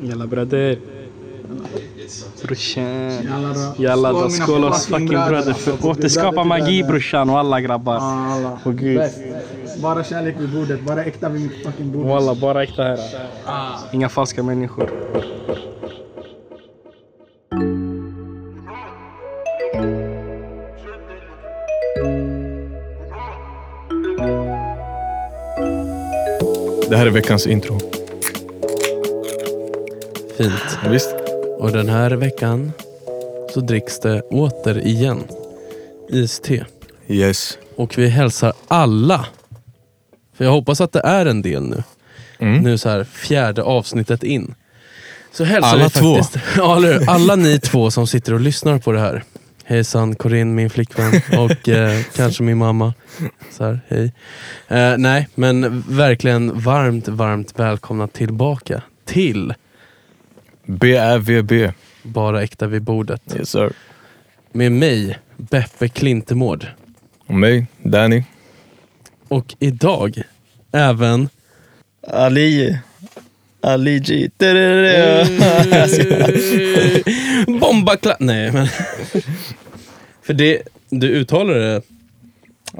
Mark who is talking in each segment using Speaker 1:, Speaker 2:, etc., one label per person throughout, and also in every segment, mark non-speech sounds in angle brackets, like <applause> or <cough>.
Speaker 1: Jalla brother. Brorsan.
Speaker 2: Jalla då.
Speaker 1: Jalla
Speaker 2: Skål,
Speaker 1: då.
Speaker 2: mina
Speaker 1: Skål oss
Speaker 2: fucking
Speaker 1: fucking brother.
Speaker 2: bröder.
Speaker 1: För återskapa magi brorsan och alla grabbar.
Speaker 2: Alla.
Speaker 1: Åh gud.
Speaker 2: Bäst. Bara kärlek vid bordet, bara äkta vid mitt fucking bord.
Speaker 1: Walla, bara äkta här.
Speaker 2: Ah.
Speaker 1: Inga falska människor.
Speaker 3: Det här är veckans intro.
Speaker 4: Fint.
Speaker 3: Ja, visst?
Speaker 4: Och den här veckan så dricks det återigen iste.
Speaker 3: Yes.
Speaker 4: Och vi hälsar alla. För jag hoppas att det är en del nu.
Speaker 3: Mm.
Speaker 4: Nu så här fjärde avsnittet in. Så hälsar
Speaker 3: Alla
Speaker 4: vi
Speaker 3: två.
Speaker 4: faktiskt, <laughs> Ja, eller hur? alla ni två som sitter och lyssnar på det här. Hejsan Corinne, min flickvän och eh, kanske min mamma. Så här, hej. Eh, nej, men verkligen varmt, varmt välkomna tillbaka till
Speaker 3: B-Ä-V-B.
Speaker 4: Bara äkta vid bordet.
Speaker 3: Yes sir.
Speaker 4: med mig, Beppe Klintemord.
Speaker 3: Och mig, Danny.
Speaker 4: Och idag även...
Speaker 5: Ali. Ali G.
Speaker 4: <laughs> Bomba kla- Nej,
Speaker 5: <laughs>
Speaker 4: men... För det, du uttalar det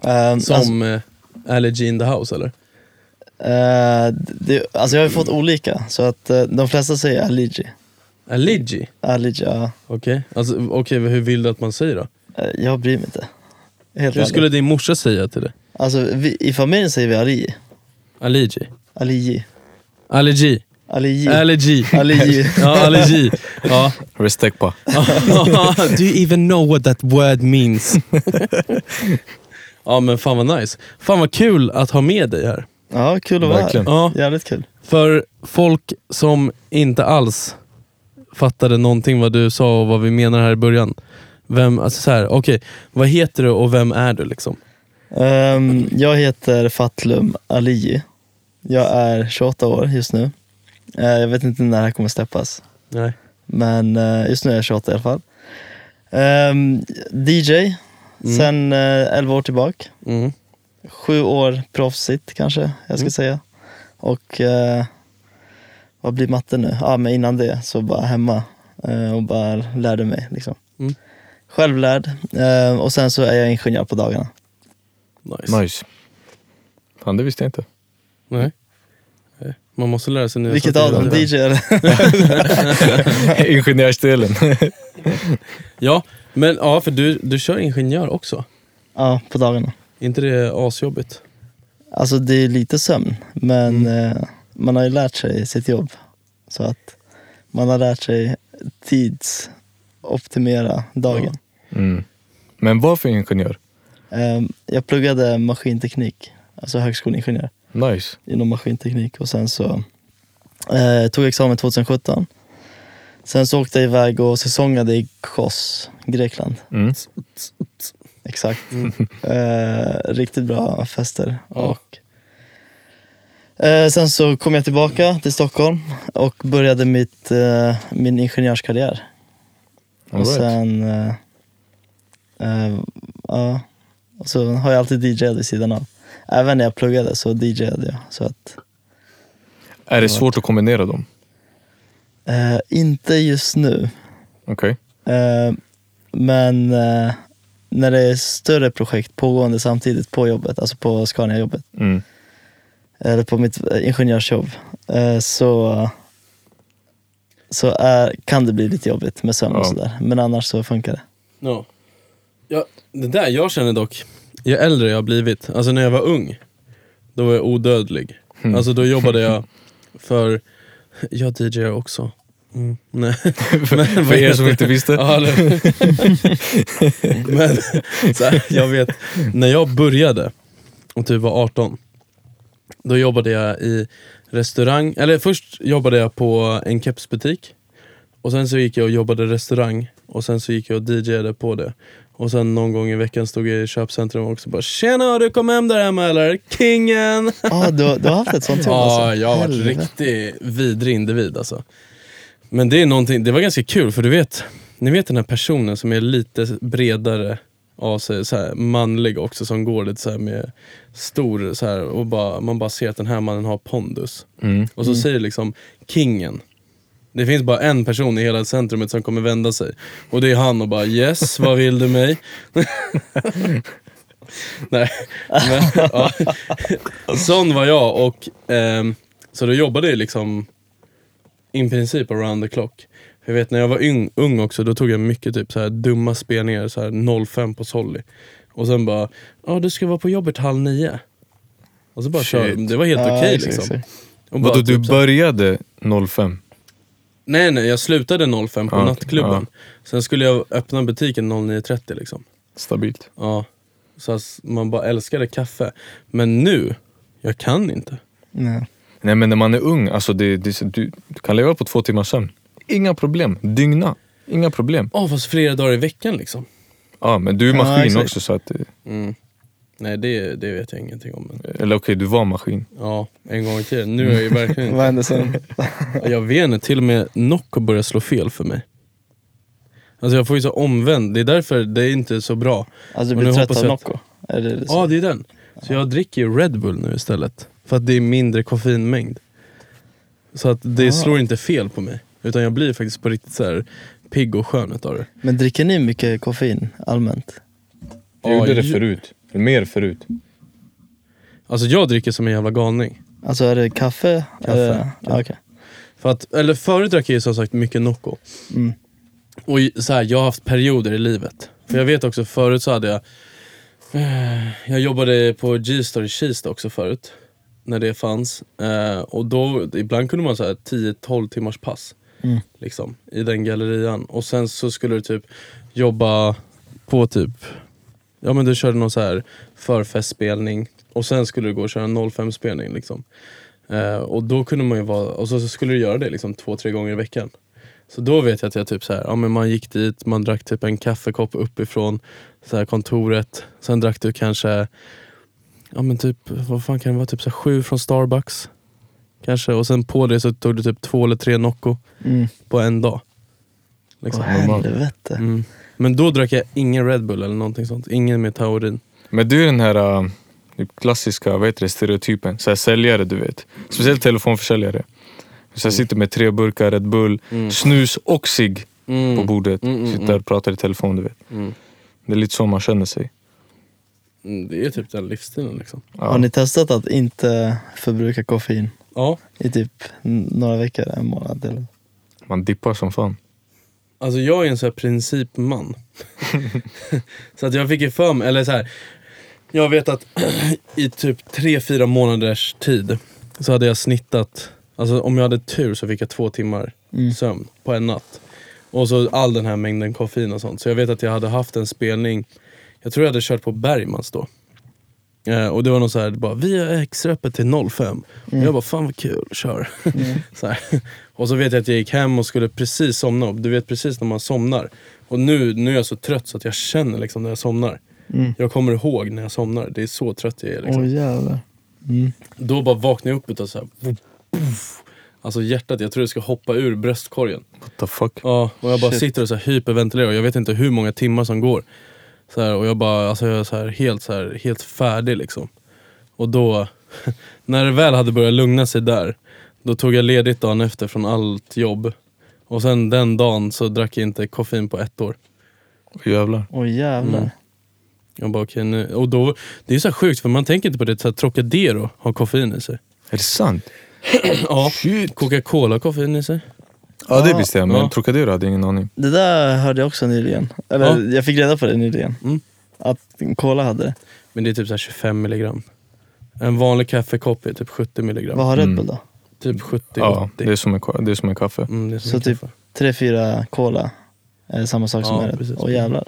Speaker 5: Um,
Speaker 4: som
Speaker 5: Alltså,
Speaker 4: eh, Allergy in the house, eller?
Speaker 5: eh, det, alltså jag har ju fått olika, så att eh, de flesta säger Ali G.
Speaker 4: Allergy?
Speaker 5: Ali G, ja.
Speaker 4: Okej, alltså, okej, hur vill du att man säger då?
Speaker 5: Eh, jag bryr mig inte. Helt
Speaker 4: Hur
Speaker 5: ärligt.
Speaker 4: skulle din morsa säga till dig?
Speaker 5: Alltså vi, i familjen säger vi Ali.
Speaker 4: Allergy?
Speaker 5: Ali G.
Speaker 4: Allergy?
Speaker 5: Ali G.
Speaker 4: Allergy?
Speaker 5: Ali G.
Speaker 4: <laughs> Ja, allergy. Ja.
Speaker 3: Respect pa.
Speaker 4: <laughs> Do you even know what that word means? <laughs> ja men fan vad nice. Fan vad kul att ha med dig här.
Speaker 5: Ja, kul att vara
Speaker 3: Verkligen.
Speaker 5: här.
Speaker 4: Ja,
Speaker 5: Jävligt kul.
Speaker 4: för folk som inte alls fattade någonting vad du sa och vad vi menar här i början. Vem, alltså så här, okej, vad heter du och vem är du liksom?
Speaker 5: Ehm, jag heter Fatlum Ali. Jag är 28 år just nu. Eh, jag vet inte när det här kommer släppas.
Speaker 4: Nej.
Speaker 5: Men eh, just nu är jag 28 i alla fall. Ehm, DJ, sen eh, 11 år tillbaka.
Speaker 4: Mm.
Speaker 5: Sju år proffsigt kanske jag ska säga. Och eh, vad blir matte nu? Ja, men innan det så bara hemma eh, och bara lärde mig. Liksom.
Speaker 4: Mm.
Speaker 5: Självlärd. Eh, och sen så är jag ingenjör på dagarna.
Speaker 4: Nice.
Speaker 3: Nice. Fan, det visste jag <laughs> inte.
Speaker 4: Nej. Nej. Man måste lära sig nya
Speaker 5: Vilket
Speaker 4: saker
Speaker 5: av dem?
Speaker 4: hela tiden.
Speaker 5: DJ eller? <laughs>
Speaker 3: <laughs> Ingenjörsdelen.
Speaker 4: Ja, men ja, för du, du kör ingenjör också.
Speaker 5: ja, på dagarna.
Speaker 4: Är inte det asjobbigt?
Speaker 5: Alltså det är lite sömn, men eh, man har ju lärt sig sitt jobb. Så att man har lärt sig tidsoptimera dagen.
Speaker 3: Mm. Men vad för ingenjör?
Speaker 5: Eh, jag pluggade maskinteknik, alltså högskoleingenjör
Speaker 3: Nice.
Speaker 5: inom maskinteknik och sen så eh, tog jag examen 2017. Sen så åkte jag iväg och säsongade i Kos, Grekland.
Speaker 3: Mm.
Speaker 5: Exakt. <laughs> Eh, riktigt bra fester. Och, eh, sen så kom jag tillbaka till Stockholm och började mitt, eh, min ingenjörskarriär.
Speaker 3: All
Speaker 5: Och
Speaker 3: right.
Speaker 5: sen... eh, eh, ja. Och så har jag alltid DJat vid sidan av. Även när jag pluggade så DJade jag. Så att,
Speaker 3: Är det svårt att kombinera dem?
Speaker 5: eh, inte just nu.
Speaker 3: Okej.
Speaker 5: Eh, men eh, när det är större projekt pågående samtidigt på jobbet, alltså på Scania-jobbet,
Speaker 3: Mm.
Speaker 5: eller på mitt eh, ingenjörsjobb, eh, så, så är, kan det bli lite jobbigt med sömn och
Speaker 3: Ja.
Speaker 5: sådär. Men annars så funkar det.
Speaker 4: Ja. ja. Det där jag känner dock, ju äldre jag har blivit, alltså när jag var ung, då var jag odödlig.
Speaker 3: Mm.
Speaker 4: Alltså då
Speaker 3: <laughs>
Speaker 4: jobbade jag för, jag DJar också. Mm.
Speaker 3: <laughs>
Speaker 4: Nej. Men,
Speaker 3: För er som inte <laughs> visste.
Speaker 4: Ja, eller- <laughs> Men så här, jag vet, när jag började och typ var 18, då jobbade jag i restaurang, eller först jobbade jag på en kepsbutik och sen så gick jag och jobbade restaurang och sen så gick jag och DJade på det. Och sen någon gång i veckan stod jag i köpcentrum och också bara “Tjena, har du kommit hem där hemma eller? Kingen!”
Speaker 5: Ah, du, har- du har haft ett sånt jobb
Speaker 4: Ja,
Speaker 5: alltså?
Speaker 4: jag har varit
Speaker 5: Helvete.
Speaker 4: riktigt vidrig individ alltså. Men det är någonting, det var ganska kul för du vet, ni vet den här personen som är lite bredare av sig, så här, manlig också, som går lite så här med stor, så här, och bara, man bara ser att den här mannen har pondus.
Speaker 3: Mm.
Speaker 4: Och så säger liksom kingen, Det finns bara en person i hela centrumet som kommer vända sig. Och det är han och bara yes, vad vill du mig? Nej. Men, ja. Sån var jag och ehm, så då jobbade jag liksom i princip around the clock. För jag vet när jag var yng, ung också, då tog jag mycket typ så här dumma spelningar, så här 05 på Solly. Och sen bara, ja du ska vara på jobbet halv nio. Och så bara
Speaker 3: Shit.
Speaker 4: kör, det var helt okej
Speaker 5: exakt,
Speaker 4: liksom.
Speaker 5: exakt.
Speaker 4: Och bara
Speaker 3: Vadå, du
Speaker 4: typ så här-
Speaker 3: började 05?
Speaker 4: Nej nej, jag slutade 05 på
Speaker 3: Ja, okej,
Speaker 4: nattklubben. Sen skulle jag öppna butiken 09.30 liksom.
Speaker 3: Stabilt.
Speaker 4: Ja. Så att man bara älskade kaffe. Men nu, jag kan inte.
Speaker 5: Nej.
Speaker 3: Nej men när man är ung, alltså det, det, du, du kan leva på två timmars sömn. Inga problem. Dygna. Inga problem.
Speaker 4: Åh, fast flera dagar i veckan liksom.
Speaker 3: Ja, men du är maskin
Speaker 5: exakt.
Speaker 3: också så att... eh, det-
Speaker 4: Mm. Nej det, det vet jag ingenting om. Men,
Speaker 3: Eller okej, du var maskin.
Speaker 4: ja, en gång i tiden. Nu är jag ju <laughs> verkligen
Speaker 5: Vad hände sen?
Speaker 4: Jag vet inte, till och med Nocco börjar slå fel för mig. Alltså jag får ju så omvänd, det är därför det är inte så bra.
Speaker 5: Alltså
Speaker 4: Och
Speaker 5: du
Speaker 4: nu
Speaker 5: blir trött
Speaker 4: hoppas
Speaker 5: av
Speaker 4: jag att-
Speaker 5: Nocco? Är det det
Speaker 4: Ja, det är den. Så jag dricker ju Red Bull nu istället. För att det är mindre koffeinmängd. Så att det slår inte fel på mig. Utan jag blir faktiskt på riktigt så här pigg och skön utav det.
Speaker 5: Men dricker ni mycket koffein allmänt?
Speaker 4: Jag gjorde det
Speaker 3: förut. Mer förut.
Speaker 4: Alltså jag dricker som en jävla galning.
Speaker 5: Alltså är det kaffe?
Speaker 4: Kaffe.
Speaker 5: Är det- Ja, okej.
Speaker 4: För att, eller förut drack jag ju som sagt mycket Nocco.
Speaker 5: Mm.
Speaker 4: Och i- så här, jag har haft perioder i livet. För jag vet också, förut så hade jag... eh, Jag jobbade på G-store i Kista också förut. När det fanns. Eh, och då, ibland kunde man så här 10-12 timmars pass.
Speaker 5: Mm.
Speaker 4: Liksom, I den gallerian. Och sen så skulle du typ jobba på typ... Ja men du körde någon så här förfestspelning. Och sen skulle du gå och köra en 05-spelning liksom. Eh, och då kunde man ju vara... Och så, så skulle du göra det liksom två, tre gånger i veckan. Så då vet jag att jag typ så här, ja, men man gick dit, man drack typ en kaffekopp uppifrån så här kontoret. Sen drack du kanske, ja men typ, vad fan kan det vara, typ så här, sju från Starbucks. Kanske, och sen på det så tog du typ två eller tre Nocco
Speaker 5: Mm.
Speaker 4: på en dag. Liksom.
Speaker 5: Åh helvete.
Speaker 4: Mm. Men då drack jag ingen Red Bull eller någonting sånt, ingen med taurin.
Speaker 3: Men du är den här äh, typ klassiska vad heter det, stereotypen, så här, säljare du vet. Speciellt telefonförsäljare. Så här, sitter med tre burkar Red Bull, snus och cigg på bordet.
Speaker 4: Mm, mm,
Speaker 3: sitter där och pratar i telefon du vet.
Speaker 4: Mm.
Speaker 3: Det är lite så man känner sig.
Speaker 4: Mm, Det är typ den livsstilen liksom.
Speaker 3: Ja.
Speaker 5: Har ni testat att inte förbruka koffein
Speaker 4: Ja,
Speaker 5: i typ n- några veckor, en månad eller?
Speaker 3: Man dippar som fan.
Speaker 4: Alltså jag är en sån här principman. så att jag fick ju för mig, eller så här. Jag vet att <clears throat> i typ tre fyra månaders tid så hade jag snittat, alltså om jag hade tur så fick jag två timmar
Speaker 5: Mm.
Speaker 4: sömn på en natt. Och så all den här mängden koffein och sånt. Så jag vet att jag hade haft en spelning, jag tror jag hade kört på Bergmans då. Eh, och det var någon så här, bara, vi är extra öppet till 05.
Speaker 5: Mm.
Speaker 4: Och jag bara, fan vad kul, kör. <laughs> så här. Och så vet jag att jag gick hem och skulle precis somna. Och Du vet precis när man somnar. Och nu, nu är jag så trött så att jag känner liksom när jag somnar.
Speaker 5: Mm.
Speaker 4: Jag kommer ihåg när jag somnar, det är så trött jag är. Liksom.
Speaker 5: Åh jävlar. Mm.
Speaker 4: Då bara vaknar jag upp utav så här, puff. Alltså hjärtat, jag tror det ska hoppa ur bröstkorgen.
Speaker 3: What the fuck?
Speaker 4: Ja, och jag bara
Speaker 5: Shit.
Speaker 4: sitter och så här hyperventilerar och jag vet inte hur många timmar som går. Så här, och jag bara, alltså jag är så här, helt, så här, helt färdig liksom. Och då, <laughs> när det väl hade börjat lugna sig där, då tog jag ledigt dagen efter från allt jobb. Och sen den dagen så drack jag inte koffein på ett år.
Speaker 3: Jävlar.
Speaker 5: Åh jävlar.
Speaker 4: Mm. Jag bara okej nu, och då, det är så här sjukt för man tänker inte på det, så här, Trocadero har koffein i sig.
Speaker 3: Är det sant?
Speaker 4: Ja, Coca-Cola har koffein i sig.
Speaker 3: Ja det visste jag, men
Speaker 4: Ja.
Speaker 3: Trocadero hade jag ingen aning.
Speaker 5: Det där hörde jag också nyligen. Eller
Speaker 4: Ja.
Speaker 5: jag fick reda på det nyligen.
Speaker 4: Mm.
Speaker 5: Att Cola hade det.
Speaker 4: Men det är typ så här 25 milligram. En vanlig kaffekopp är typ 70 milligram.
Speaker 5: Vad har Red
Speaker 3: Mm.
Speaker 5: Bull då?
Speaker 4: Typ 70-80.
Speaker 3: Ja, det är som en, ka- det är som en kaffe.
Speaker 4: Mm, det är som
Speaker 5: Så
Speaker 4: en
Speaker 5: typ-
Speaker 4: kaffe.
Speaker 5: Tre fyra Cola är det samma sak som
Speaker 4: Ja,
Speaker 5: är Red
Speaker 4: precis.
Speaker 5: Åh jävlar.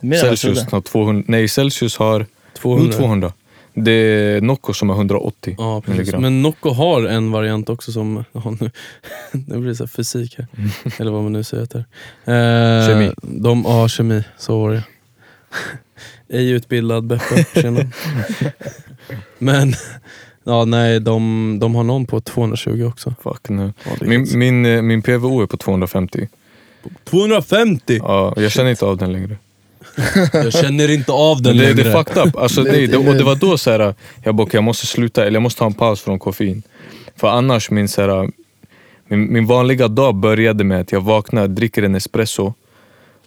Speaker 5: Det är Mer än vad jag
Speaker 3: Celsius
Speaker 5: trodde.
Speaker 3: har 200, nej Celsius har
Speaker 4: 200.
Speaker 3: 200. Det är Nocco som är 180
Speaker 4: Ja, precis.
Speaker 3: milligram.
Speaker 4: Men Nocco har en variant också som... <laughs> Ja, nu, nu blir det så här fysik här. Eller vad man nu säger att det är. Eh,
Speaker 3: Mm. Kemi.
Speaker 4: De, ja, kemi. Så var det. <laughs> Ej utbildad Beppe,
Speaker 3: <laughs>
Speaker 4: tjena. Men, ja nej, de, de har någon på 220 också.
Speaker 3: Fuck nu.
Speaker 4: Ja, det är
Speaker 3: Min,
Speaker 4: ganska-
Speaker 3: min, eh, min PVO är på 250.
Speaker 4: 250!
Speaker 3: Ja, jag känner inte av den längre.
Speaker 4: Jag känner inte av den
Speaker 3: Men det,
Speaker 4: längre.
Speaker 3: det är fucked up.
Speaker 4: <laughs>
Speaker 3: Alltså,
Speaker 5: Det är
Speaker 3: nej,
Speaker 5: ett
Speaker 3: det, och det
Speaker 5: elände.
Speaker 3: var då så här, jag bara okej, jag måste sluta, eller jag måste ta en paus från koffein. För annars min så här, Min, min vanliga dag började med att jag vaknar, dricker en espresso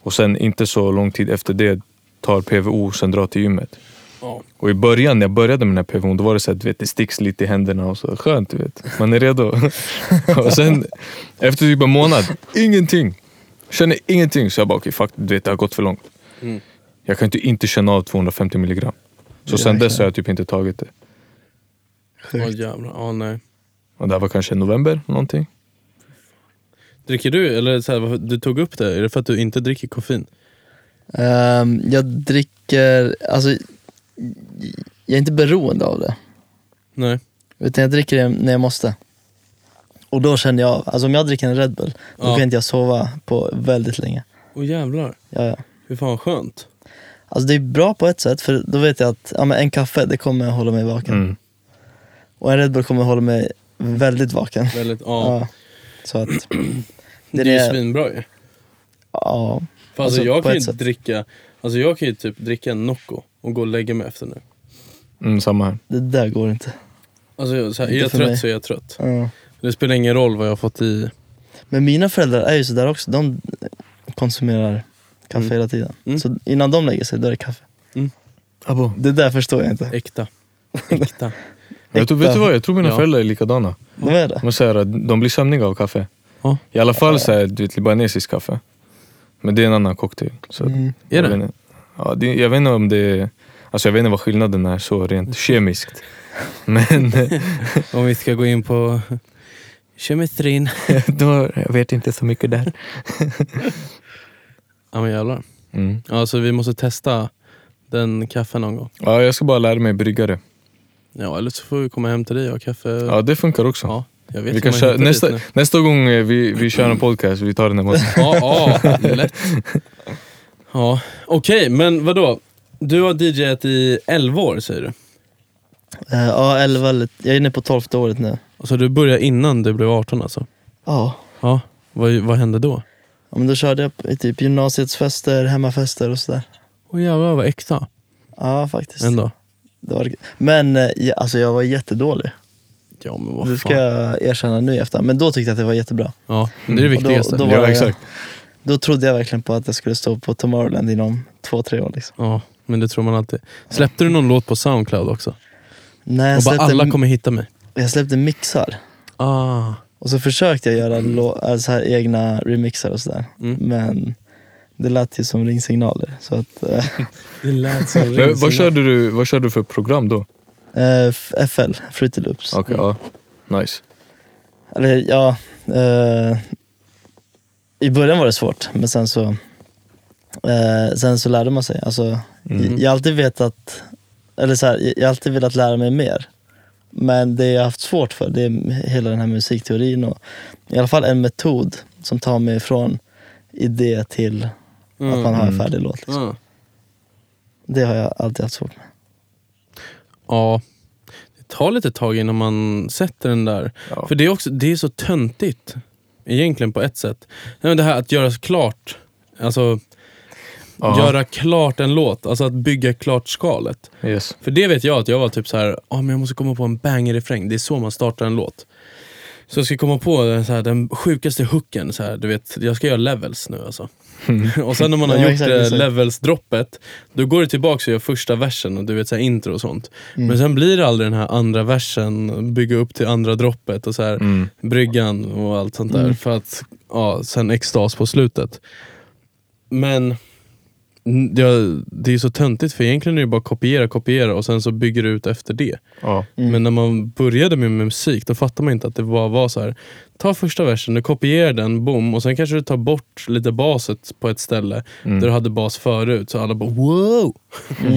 Speaker 3: och sen inte så lång tid efter det tar PVO och sen drar till gymmet.
Speaker 4: Ja.
Speaker 3: Och i början när jag började med den här PVOn, då var det så att du vet, det sticks lite i händerna och så. Skönt, du vet. Man är
Speaker 4: <laughs>
Speaker 3: redo. och sen efter typ en månad, ingenting. Känner ingenting. Så jag bara, okej fuck, du vet, det har gått för långt.
Speaker 4: Mm.
Speaker 3: Jag kan inte inte känna av 250 milligram. Så sen dess har jag typ inte tagit det.
Speaker 4: Åh jävlar, ja nej.
Speaker 3: Och det här var kanske november någonting.
Speaker 4: Dricker du, eller så här, varför- du tog upp det, är det för att du inte dricker koffein?
Speaker 5: Ehm, jag dricker, alltså jag är inte beroende av det.
Speaker 4: Nej.
Speaker 5: Utan jag dricker det när jag måste. Och då känner jag, alltså om jag dricker en Red Bull, då
Speaker 4: Ja.
Speaker 5: kan inte jag sova på väldigt länge.
Speaker 4: Åh jävlar,
Speaker 5: Ja, ja.
Speaker 4: hur fan skönt.
Speaker 5: Alltså det är bra på ett sätt, för då vet jag att ja, men en kaffe, det kommer hålla mig vaken.
Speaker 3: Mm.
Speaker 5: Och en Red Bull kommer hålla mig väldigt vaken.
Speaker 4: Väldigt, ja.
Speaker 5: Ja.
Speaker 4: <clears throat>
Speaker 5: Så att,
Speaker 4: Det
Speaker 5: det
Speaker 4: är ju
Speaker 5: är det,
Speaker 4: svinbra ju.
Speaker 5: ja.
Speaker 4: För alltså,
Speaker 5: Alltså,
Speaker 4: jag
Speaker 5: på
Speaker 4: kan ju
Speaker 5: ett sätt.
Speaker 4: dricka, alltså jag kan ju typ dricka en Nocco och gå och lägga mig efter nu.
Speaker 3: Mm, samma här.
Speaker 5: Det där går inte.
Speaker 4: Alltså jag, så här, är
Speaker 5: Inte
Speaker 4: jag
Speaker 5: för
Speaker 4: trött
Speaker 5: mig.
Speaker 4: så är jag trött.
Speaker 5: Ja.
Speaker 4: Det spelar ingen roll vad jag har fått i.
Speaker 5: Men mina föräldrar är ju sådär också, de konsumerar kaffe hela tiden.
Speaker 4: Mm.
Speaker 5: Så innan de lägger sig, då är det kaffe.
Speaker 4: Mm.
Speaker 5: Det där förstår jag inte.
Speaker 4: Äkta. Äkta.
Speaker 3: Jag tror, vet du vad, jag tror mina
Speaker 4: Ja.
Speaker 3: föräldrar är likadana.
Speaker 5: De är det?
Speaker 3: De, så här, de blir sömniga av kaffe.
Speaker 4: Ja.
Speaker 3: I alla fall så här, du vet, libanesisk kaffe. Men det är en annan cocktail. Så att-
Speaker 5: Mm.
Speaker 4: Är
Speaker 3: jag
Speaker 4: det?
Speaker 3: Vet, inte- ja, det? Jag vet inte om det är... Alltså jag vet inte vad skillnaden är så
Speaker 4: Mm.
Speaker 3: rent kemiskt. <laughs> Men
Speaker 4: Om vi ska gå in på kemetrin.
Speaker 3: <laughs> då, jag vet inte så mycket där.
Speaker 4: Ja men jävlar.
Speaker 3: Mm.
Speaker 4: Alltså vi måste testa den kaffen någon gång.
Speaker 3: Ja, jag ska bara lära mig brygga det.
Speaker 4: Ja eller så får vi komma hem till dig och ha kaffe.
Speaker 3: Ja, det funkar också.
Speaker 4: Ja, jag vet
Speaker 3: Vi
Speaker 4: hur
Speaker 3: kan
Speaker 4: man
Speaker 3: köra,
Speaker 4: hittar dit
Speaker 3: nästa,
Speaker 4: nu.
Speaker 3: nästa gång eh, vi, vi kör en podcast, vi tar
Speaker 4: <laughs>
Speaker 3: den här maten.
Speaker 4: Ja, ja, lätt. Ja, okej, men vadå? Du har DJat i 11 år säger du?
Speaker 5: Eh, Ja, 11 eller, jag är inne på 12 året nu.
Speaker 4: Alltså du började innan du blev 18 alltså?
Speaker 5: Ja.
Speaker 4: Ja, vad, vad hände då?
Speaker 5: ja men då körde jag i typ gymnasiets fester, hemmafester och sådär.
Speaker 4: Åh jävlar vad äkta
Speaker 5: Ja, faktiskt.
Speaker 4: ändå.
Speaker 5: Det var, men eh, ja, alltså jag var jättedålig.
Speaker 4: Ja men
Speaker 5: Det
Speaker 4: vad
Speaker 5: ska
Speaker 4: fan.
Speaker 5: jag erkänna nu i efterhand. Men då tyckte jag att det var jättebra.
Speaker 4: Ja, men det är det
Speaker 5: Och då-
Speaker 4: viktigaste.
Speaker 5: då var
Speaker 3: Ja,
Speaker 5: jag-
Speaker 3: exakt.
Speaker 5: Då trodde jag verkligen på att jag skulle stå på Tomorrowland inom två, tre år. Liksom.
Speaker 4: Ja, men det tror man alltid. Släppte du någon låt på Soundcloud också?
Speaker 5: Nej, jag,
Speaker 4: Och bara
Speaker 5: släppte,
Speaker 4: alla kommer hitta mig.
Speaker 5: jag släppte mixar.
Speaker 4: Ah,
Speaker 5: Och så försökte jag göra lo- alltså här egna remixar och sådär.
Speaker 4: Mm.
Speaker 5: Men det lät ju som ringsignaler. Så att, eh, <laughs>
Speaker 4: det lät som
Speaker 3: Men,
Speaker 4: ringsignal.
Speaker 3: vad, körde du, vad körde du för program då?
Speaker 5: eh, F- FL, Fruity Loops.
Speaker 3: Okej,
Speaker 4: Mm.
Speaker 3: ja. Nice.
Speaker 5: Eller ja, eh, i början var det svårt. Men sen så, eh, sen så lärde man sig. Alltså, jag, jag har alltid vetat, eller så här, jag- jag har alltid velat lära mig mer. Men det jag har haft svårt för det är hela den här musikteorin och i alla fall en metod som tar mig från idé till att man har en färdig låt. Liksom.
Speaker 4: Ah.
Speaker 5: Det har jag alltid haft svårt med.
Speaker 4: Ja, det tar lite tag innan man sätter den där.
Speaker 3: Ja.
Speaker 4: För det är, också, det är så töntigt, egentligen på ett sätt. Nej, men Det här att göra klart, alltså
Speaker 3: Ja.
Speaker 4: göra klart en låt, alltså att bygga klart skalet.
Speaker 3: Yes.
Speaker 4: För det vet jag att jag var typ så här, "Ah, men jag måste komma på en banger-refräng, det är så man startar en låt. Så jag ska komma på den, så här, den sjukaste hooken, så här, du vet, jag ska göra levels nu alltså. <laughs> och sen när man har
Speaker 5: Mm. Ja,
Speaker 4: gjort
Speaker 5: exakt,
Speaker 4: eh,
Speaker 5: exakt.
Speaker 4: levels-droppet, då går det tillbaka och gör första versen och du vet så här, intro och sånt.
Speaker 5: Mm.
Speaker 4: Men sen blir det aldrig den här andra versen, bygga upp till andra droppet och så här,
Speaker 3: Mm.
Speaker 4: bryggan och allt sånt där.
Speaker 5: Mm.
Speaker 4: För att ja, sen extas på slutet. Men n- jag- det är så töntigt för egentligen är det bara att kopiera, kopiera och sen så bygger du ut efter det.
Speaker 3: Ja.
Speaker 4: Men när man började med musik då fattade man inte att det bara var så här. Ta första versen, du kopierar den, boom, och sen kanske du tar bort lite baset på ett ställe
Speaker 3: Mm.
Speaker 4: där du hade bas förut. Så alla bara wow! Mm. <laughs>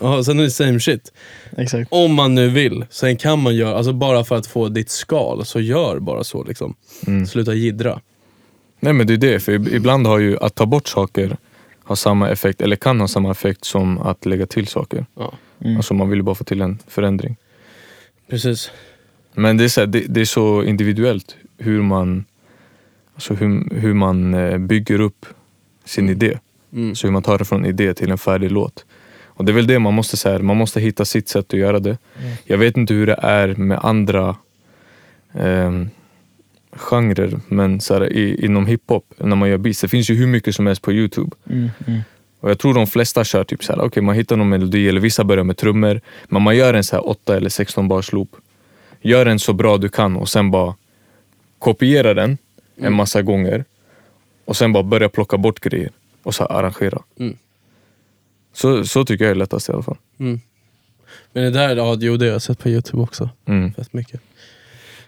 Speaker 4: ja, sen är det same shit.
Speaker 5: Exakt.
Speaker 4: Om man nu vill. Sen kan man göra, alltså bara för att få ditt skal, så gör bara så. liksom.
Speaker 3: Mm.
Speaker 4: Sluta jiddra.
Speaker 3: Nej men det är det, för ib- ibland har ju att ta bort saker har samma effekt, eller kan ha samma effekt som att lägga till saker.
Speaker 4: Ja.
Speaker 3: Alltså man vill ju bara få till en förändring.
Speaker 4: Precis.
Speaker 3: Men det är så, här, det, det är så individuellt hur man, alltså hur, hur man eh, bygger upp sin idé.
Speaker 4: Mm.
Speaker 3: Så hur man tar det från idé till en färdig låt. Och det är väl det man måste, så här, man måste hitta sitt sätt
Speaker 5: Mm.
Speaker 3: att göra det. Jag vet inte hur det är med andra ehm, genrer, men så här, i, inom hiphop, när man gör beats, det finns ju hur mycket som helst på youtube.
Speaker 5: Mm, mm.
Speaker 3: Och jag tror de flesta kör typ såhär, okej man hittar någon melodi, eller vissa börjar med trummor, men man gör en så här 8 eller 16 bars loop. Gör den så bra du kan och sen bara kopiera den
Speaker 4: Mm.
Speaker 3: en massa gånger och sen bara börja plocka bort grejer och så här arrangera.
Speaker 4: Mm.
Speaker 3: Så, så tycker jag är lättast i alla fall.
Speaker 4: Mm. Men det där, ja, jo, det har jag sett på youtube också.
Speaker 3: Mm.
Speaker 4: Fett mycket.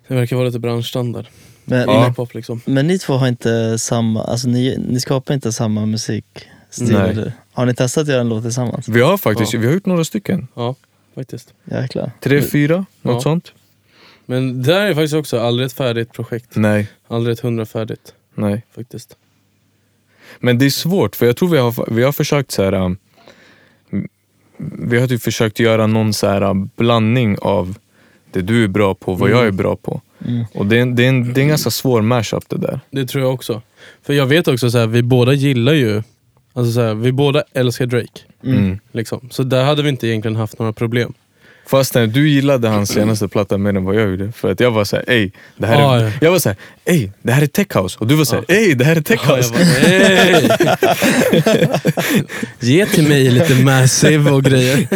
Speaker 4: Det verkar vara lite branschstandard.
Speaker 5: Men,
Speaker 4: Ja.
Speaker 5: men,
Speaker 4: Hiphop liksom.
Speaker 5: men ni två har inte samma, alltså ni, ni skapar inte samma musikstil?
Speaker 3: Nej.
Speaker 5: eller? Har ni testat att göra en låt tillsammans?
Speaker 3: Vi har faktiskt
Speaker 4: Ja.
Speaker 3: vi har gjort några stycken.
Speaker 4: Ja, faktiskt.
Speaker 5: Jäklar.
Speaker 3: Tre, fyra, något
Speaker 4: Ja.
Speaker 3: sånt.
Speaker 4: Men det där är faktiskt också aldrig ett färdigt projekt.
Speaker 3: Nej,
Speaker 4: Aldrig ett hundra färdigt
Speaker 3: nej.
Speaker 4: faktiskt.
Speaker 3: Men det är svårt, för jag tror vi har, vi har försökt så här. um, Vi har typ försökt göra någon så här um, blandning av det du är bra på och vad jag är bra på.
Speaker 5: Mm.
Speaker 3: Och det är, en- det, är en, det är en ganska svår mashup det där.
Speaker 4: Det tror jag också. För jag vet också så här, vi båda gillar ju, alltså så här, vi båda älskar Drake.
Speaker 3: Mm.
Speaker 4: Liksom. Så där hade vi inte egentligen haft några problem.
Speaker 3: Fastän du gillade hans
Speaker 4: Mm.
Speaker 3: senaste platta mer än vad jag gjorde. För att jag var såhär, ey, det här
Speaker 4: Ja,
Speaker 3: är...
Speaker 4: Ah, ja. Ah.
Speaker 3: Jag var såhär, ey, det här är tech house. Och du var såhär, ey, det här är tech
Speaker 4: Ja, jag
Speaker 3: house.
Speaker 4: bara, "Hey!" <laughs> Ge till mig lite Massive och <laughs> grejer.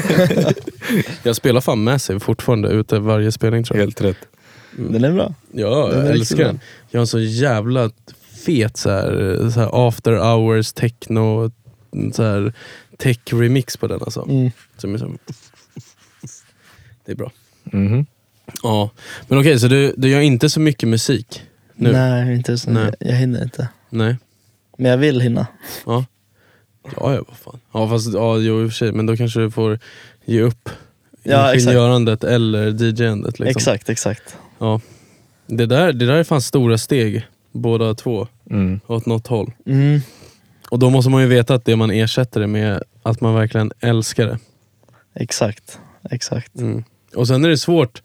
Speaker 4: jag spelar fan Massive fortfarande ute varje spelning tror
Speaker 3: <laughs>
Speaker 4: jag.
Speaker 3: Helt rätt.
Speaker 4: Mm.
Speaker 5: Den är bra.
Speaker 4: Ja,
Speaker 5: Den
Speaker 4: jag
Speaker 5: är
Speaker 4: älskar
Speaker 5: riktigt
Speaker 4: den. Jag har en så jävla fet så här, så här after hours techno, så här tech remix på den alltså.
Speaker 5: Mm.
Speaker 4: Som är så <laughs> här, det är bra.
Speaker 3: Mhm.
Speaker 4: Ja, men okej, så du, du gör inte så mycket musik nu?
Speaker 5: Nej, inte just nu.
Speaker 4: Nej.
Speaker 5: Jag, jag hinner inte.
Speaker 4: Nej.
Speaker 5: Men jag vill hinna.
Speaker 4: Ja. Ja, ja, vad fan. Ja, fast ja, jo, i och för sig, men då kanske du får ge upp
Speaker 5: Ja, exakt.
Speaker 4: ingenjörandet eller DJ-andet. Liksom.
Speaker 5: Exakt, exakt.
Speaker 4: Ja. Det, där, det där är fan stora steg, båda två,
Speaker 3: Mm.
Speaker 4: åt något håll.
Speaker 5: Mm.
Speaker 4: Och då måste man ju veta att det man ersätter det med, att man verkligen älskar det.
Speaker 5: Exakt,
Speaker 4: <laughs>
Speaker 5: exakt.
Speaker 4: Och sen är det svårt,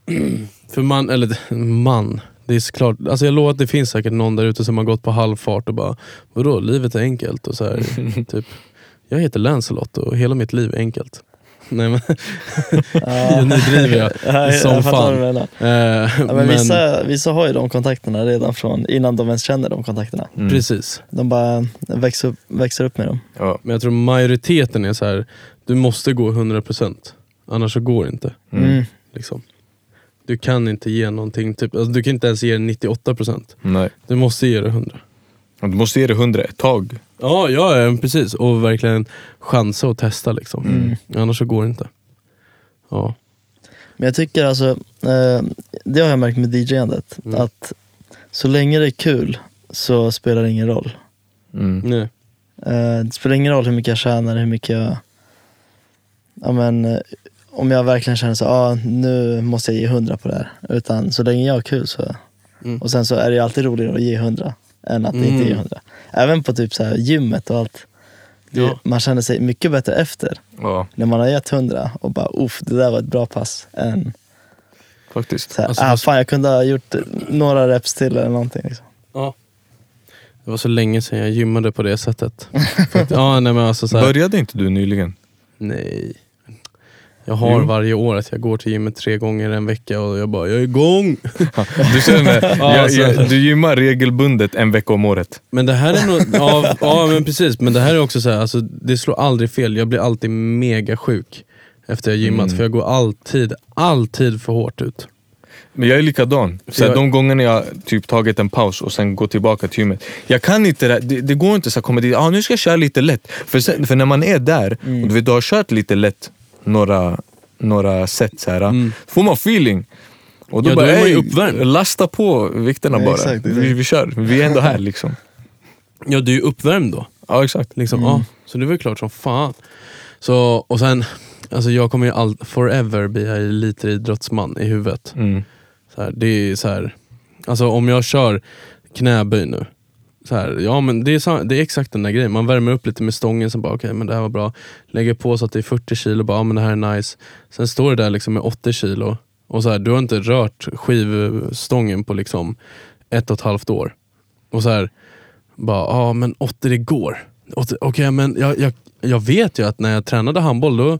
Speaker 4: <clears throat> för man, eller man, det är såklart, alltså jag lovar att det finns säkert någon där ute som har gått på halvfart och bara, vadå livet är enkelt? Och så <laughs> här, typ, jag heter Lancelot och hela mitt liv är enkelt. <laughs> Nej men,
Speaker 5: Ja.
Speaker 4: nu driver <laughs> jag.
Speaker 5: <laughs> Ja,
Speaker 4: Som
Speaker 5: jag fattar
Speaker 4: fan.
Speaker 5: vad du menar.
Speaker 4: Eh,
Speaker 5: Ja, men vissa, vissa har ju de kontakterna redan från innan de ens känner de kontakterna.
Speaker 3: Mm.
Speaker 4: Precis,
Speaker 5: De bara växer upp, växer upp med dem.
Speaker 3: Ja.
Speaker 4: men jag tror majoriteten är så här, du måste gå 100% annars så går det inte.
Speaker 3: Mm.
Speaker 5: Mm.
Speaker 4: Liksom. Du kan inte ge någonting, typ, alltså, du kan inte ens ge det 98%.
Speaker 3: Nej.
Speaker 4: Du måste ge det 100%.
Speaker 3: Du måste ge det hundra ett tag.
Speaker 4: Ja, ja ja, precis. Och verkligen chansa och testa liksom. Annars så går det inte. Ja.
Speaker 5: Men jag tycker alltså, eh, det har jag märkt med DJ-andet,
Speaker 4: Mm.
Speaker 5: att så länge det är kul så spelar det ingen roll.
Speaker 3: Mm.
Speaker 4: Nej.
Speaker 5: Eh, det spelar ingen roll hur mycket jag tjänar, hur mycket jag... Ja, men, eh, om jag verkligen känner så, ah, nu måste jag ge 100 på det här. Utan så länge jag har kul så...
Speaker 4: Mm.
Speaker 5: Och sen så är det ju alltid roligare att ge 100 än att inte ge
Speaker 4: Mm.
Speaker 5: 100. Även på typ så här gymmet och allt. Det-
Speaker 4: Ja.
Speaker 5: Man känner sig mycket bättre efter
Speaker 3: Ja,
Speaker 5: när man har gett 100 och bara, uff, det där var ett bra pass. Än
Speaker 3: faktiskt.
Speaker 5: så här,
Speaker 4: Alltså,
Speaker 5: ah,
Speaker 4: fast-
Speaker 5: fan jag kunde ha gjort några reps till eller någonting. Liksom.
Speaker 4: ja. Det var så länge sedan jag gymmade på det sättet. Fakt- ja, nej men alltså så här,
Speaker 3: Började inte du nyligen?
Speaker 4: Nej. Jag har
Speaker 3: Jo.
Speaker 4: varje år att jag går till gymmet tre gånger en vecka och jag bara, jag är igång!
Speaker 3: Du
Speaker 4: <laughs>
Speaker 3: känner,
Speaker 4: Ja,
Speaker 3: jag,
Speaker 4: så-
Speaker 3: jag, du gymmar regelbundet en vecka om året.
Speaker 4: Men det här är <laughs> nog, ja, ja men precis, men det här är också så här, alltså, det slår aldrig fel. Jag blir alltid mega sjuk efter jag gymmat
Speaker 3: Mm.
Speaker 4: för jag går alltid, alltid för hårt ut.
Speaker 3: Men jag är likadan. Så
Speaker 4: Jag-
Speaker 3: jag... De gångerna jag typ tagit en paus och sen går tillbaka till gymmet. Jag kan inte det, här. det, det går inte så att komma dit, ah, nu ska jag köra lite lätt. För, sen, för när man är där och du, vet, du har kört lite lätt några, några set, så här, ah, får man feeling. Och då
Speaker 4: Ja, då
Speaker 3: bara,
Speaker 4: är man ju
Speaker 3: "Ey,
Speaker 4: uppvärmd."
Speaker 3: lasta på vikterna
Speaker 5: Ja,
Speaker 3: bara.
Speaker 5: exakt, exakt.
Speaker 3: Vi, vi kör, vi är ändå här liksom.
Speaker 4: Ja, du är ju uppvärmd då.
Speaker 3: Ja exakt.
Speaker 4: Liksom, ja, så det var ju klart som fan. Så, och sen, alltså jag kommer ju all, forever bli elitidrottsman i huvudet.
Speaker 3: Mm.
Speaker 4: Så här, det är så här, alltså om jag kör knäböj nu, så här, ja men det är, sa- det är exakt den där grejen. Man värmer upp lite med stången, sen bara okej men det här var bra. Lägger på så att det är 40 kilo, bara ja, men det här är nice. Sen står det där liksom med 80 kilo och så här, du har inte rört skivstången på liksom ett och ett halvt år. Och så här, bara, ja men 80 det går. 80 Okej men jag, jag, jag vet ju att när jag tränade handboll, då,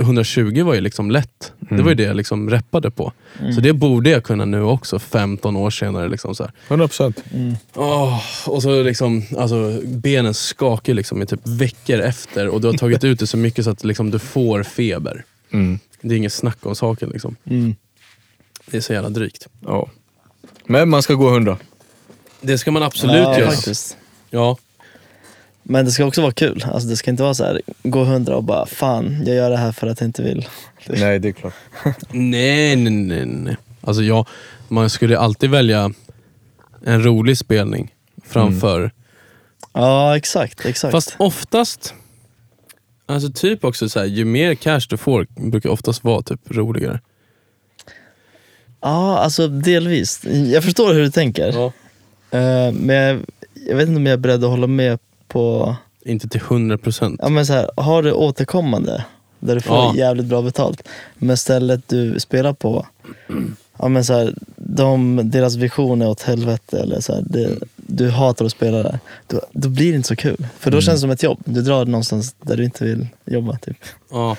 Speaker 4: 120 var ju liksom lätt. Det
Speaker 5: Mm.
Speaker 4: var ju det jag liksom reppade på. Så det borde jag kunna nu också, 15 år senare. Liksom så här.
Speaker 3: 100%.
Speaker 4: Åh, och så liksom, alltså, benen skakar liksom i typ veckor efter och du har tagit ut det så mycket så att liksom, du får feber.
Speaker 3: Mm.
Speaker 4: Det är inget snack om saken. Liksom.
Speaker 5: Mm.
Speaker 4: Det är så jävla drygt.
Speaker 3: Ja. Men man ska gå 100.
Speaker 4: Det ska man absolut
Speaker 5: ja,
Speaker 4: göra.
Speaker 5: faktiskt.
Speaker 4: Ja.
Speaker 5: Men det ska också vara kul. Alltså, det ska inte vara så här, gå hundra och bara fan, jag gör det här för att jag inte vill.
Speaker 3: Nej, det är klart.
Speaker 4: Nej, nej, nej. nej. Alltså, jag, man skulle alltid välja en rolig spelning framför
Speaker 5: Ja, exakt. exakt.
Speaker 4: Fast oftast, alltså typ också så här, ju mer cash du får brukar oftast vara typ roligare.
Speaker 5: Ja, alltså delvis. Jag förstår hur du tänker.
Speaker 4: Ja.
Speaker 5: Eh, men jag, jag vet inte om jag är beredd att hålla med på...
Speaker 4: Inte till 100 procent.
Speaker 5: Ja, men så här, har du återkommande, där du får
Speaker 4: Ja.
Speaker 5: jävligt bra betalt, men stället du spelar på, ja, men så här, de, deras vision är åt helvete, eller så här, det, du hatar att spela där, då, då blir det inte så kul. För då
Speaker 4: Mm.
Speaker 5: känns det som ett jobb. Du drar någonstans där du inte vill jobba. Typ.
Speaker 4: Ja.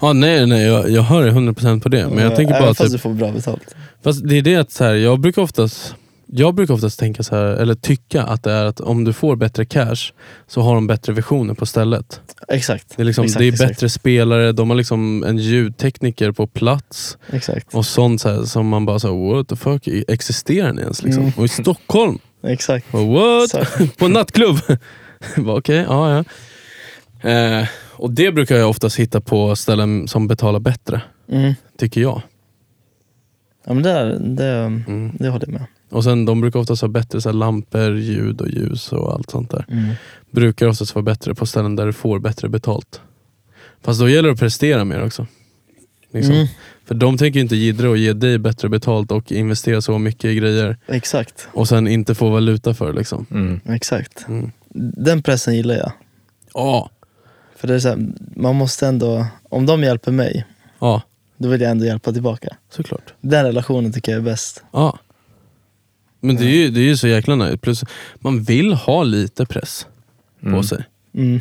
Speaker 4: ja, nej, nej, jag, jag hör 100 procent på det. Men jag tänker
Speaker 5: Även
Speaker 4: bara
Speaker 5: fast
Speaker 4: typ,
Speaker 5: du får bra betalt.
Speaker 4: Fast det är det att så här, jag brukar oftast jag brukar oftast tänka så här, eller tycka att det är att om du får bättre cash så har de bättre visioner på stället.
Speaker 5: Exakt.
Speaker 4: Det är, liksom,
Speaker 5: exakt,
Speaker 4: det är
Speaker 5: exakt,
Speaker 4: bättre spelare, de har liksom en ljudtekniker på plats
Speaker 5: Exakt.
Speaker 4: och sånt så här, som man bara, så här, what the fuck, existerar ni ens? Liksom?
Speaker 5: Mm.
Speaker 4: Och i Stockholm,
Speaker 5: exakt.
Speaker 4: bara, what?
Speaker 5: Så-
Speaker 4: <laughs> på en nattklubb. Bara, Okej, ja ja. Eh, och det brukar jag oftast hitta på ställen som betalar bättre,
Speaker 5: Mm.
Speaker 4: tycker jag.
Speaker 5: Ja, men det, det,
Speaker 4: Mm.
Speaker 5: det håller jag med
Speaker 4: Och sen de brukar oftast ha bättre så här, lampor, ljud och ljus och allt sånt där. Brukar oftast vara bättre på ställen där du får bättre betalt. Fast då gäller det att prestera mer också. Liksom.
Speaker 5: Mm.
Speaker 4: För de tänker ju inte jiddra och ge dig bättre betalt och investera så mycket i grejer
Speaker 5: Exakt,
Speaker 4: och sen inte få valuta för det, liksom.
Speaker 3: Mm.
Speaker 5: exakt.
Speaker 4: Mm.
Speaker 5: Den pressen gillar jag.
Speaker 4: Ja,
Speaker 5: För det är så här, man måste ändå, om de hjälper mig,
Speaker 4: ja,
Speaker 5: då vill jag ändå hjälpa tillbaka.
Speaker 4: såklart.
Speaker 5: Den relationen tycker jag är bäst.
Speaker 4: Ja. Men det är ju, det är ju så jäkla nice. Plus, man vill ha lite press på sig.
Speaker 5: Mm.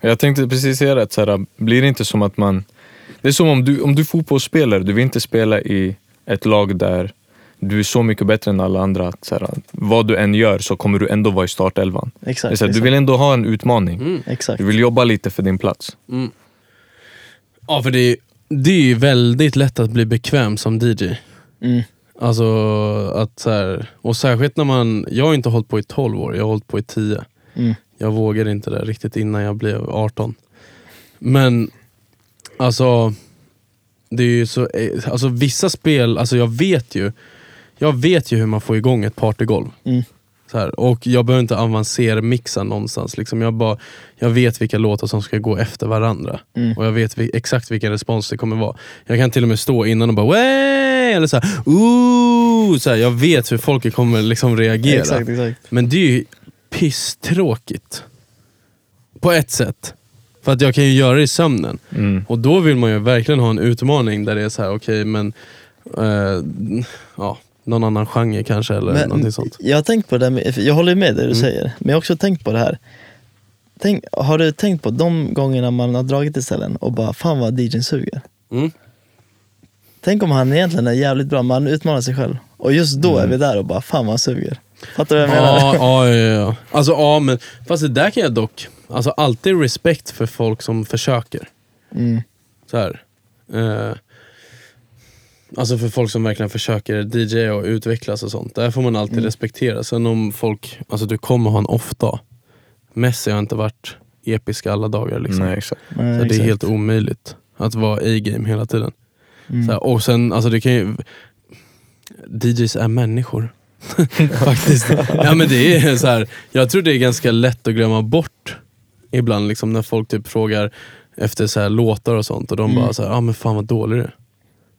Speaker 3: Jag tänkte precis säga det, att så här, blir det inte som att man... Det är som om du, om du är fotbollsspelare, du vill inte spela i ett lag där du är så mycket bättre än alla andra. Att, så här, vad du än gör så kommer du ändå vara i startelvan. Det är
Speaker 5: Exakt.
Speaker 3: så här, du
Speaker 5: exakt,
Speaker 3: vill ändå ha en utmaning.
Speaker 5: exakt.
Speaker 3: Du vill jobba lite för din plats.
Speaker 4: Ja, för det är, det är ju väldigt lätt att bli bekväm som DJ.
Speaker 5: Mm.
Speaker 4: Alltså att så här, och särskilt när man, jag har inte hållit på i 12 år, jag har hållit på i 10.
Speaker 5: Mm.
Speaker 4: Jag vågade inte det riktigt innan jag blev 18. Men alltså, det är ju så, eh, alltså vissa spel, alltså jag vet ju Jag vet ju hur man får igång ett partygolv.
Speaker 5: Mm.
Speaker 4: Så här, och jag behöver inte avancera mixa någonstans. Liksom jag, bara, jag vet vilka låtar som ska gå efter varandra.
Speaker 5: Mm.
Speaker 4: Och jag vet vi, exakt vilken respons det kommer vara. Jag kan till och med stå innan och bara Way! Eller så här, Ooh! Så här, jag vet hur folk kommer liksom reagera.
Speaker 5: Exakt, exakt.
Speaker 4: Men det är ju pisstråkigt. På ett sätt. För att jag kan ju göra det i sömnen.
Speaker 3: Mm.
Speaker 4: Och då vill man ju verkligen ha en utmaning där det är så här, okej men eh, ja, någon annan genre kanske eller någonting sånt. Mm.
Speaker 5: Jag har tänkt på det där med, jag håller med det du säger, men jag har också tänkt på det här. Tänk, har du tänkt på de gångerna man har dragit till ställen och bara, fan vad DJn suger?
Speaker 4: Mm.
Speaker 5: Tänk om han egentligen är jävligt bra, men han utmanar sig själv. Och just då är vi där och bara, fan vad han suger. Fattar du vad jag menar?
Speaker 4: Mm. Ja, ja, ja, ja. Alltså, ja, men fast det där kan jag dock, alltså alltid respekt för folk som försöker.
Speaker 5: Mm.
Speaker 4: Så här. Eh, alltså för folk som verkligen försöker DJ och utvecklas och sånt. Där får man alltid
Speaker 5: Mm.
Speaker 4: respektera. Sen om folk, alltså du kommer ha en off-dag. Messi har inte varit episk alla dagar liksom.
Speaker 3: Nej, exakt.
Speaker 5: Nej,
Speaker 4: Så det är
Speaker 5: exakt.
Speaker 4: helt omöjligt att vara A-game hela tiden.
Speaker 5: Mm.
Speaker 4: Så här, och sen, alltså det kan ju... DJs är människor. <laughs> Faktiskt. ja, men det är så här, jag tror det är ganska lätt att glömma bort ibland liksom, när folk typ frågar efter så här, låtar och sånt och de bara så här, ah, men fan vad dålig du är."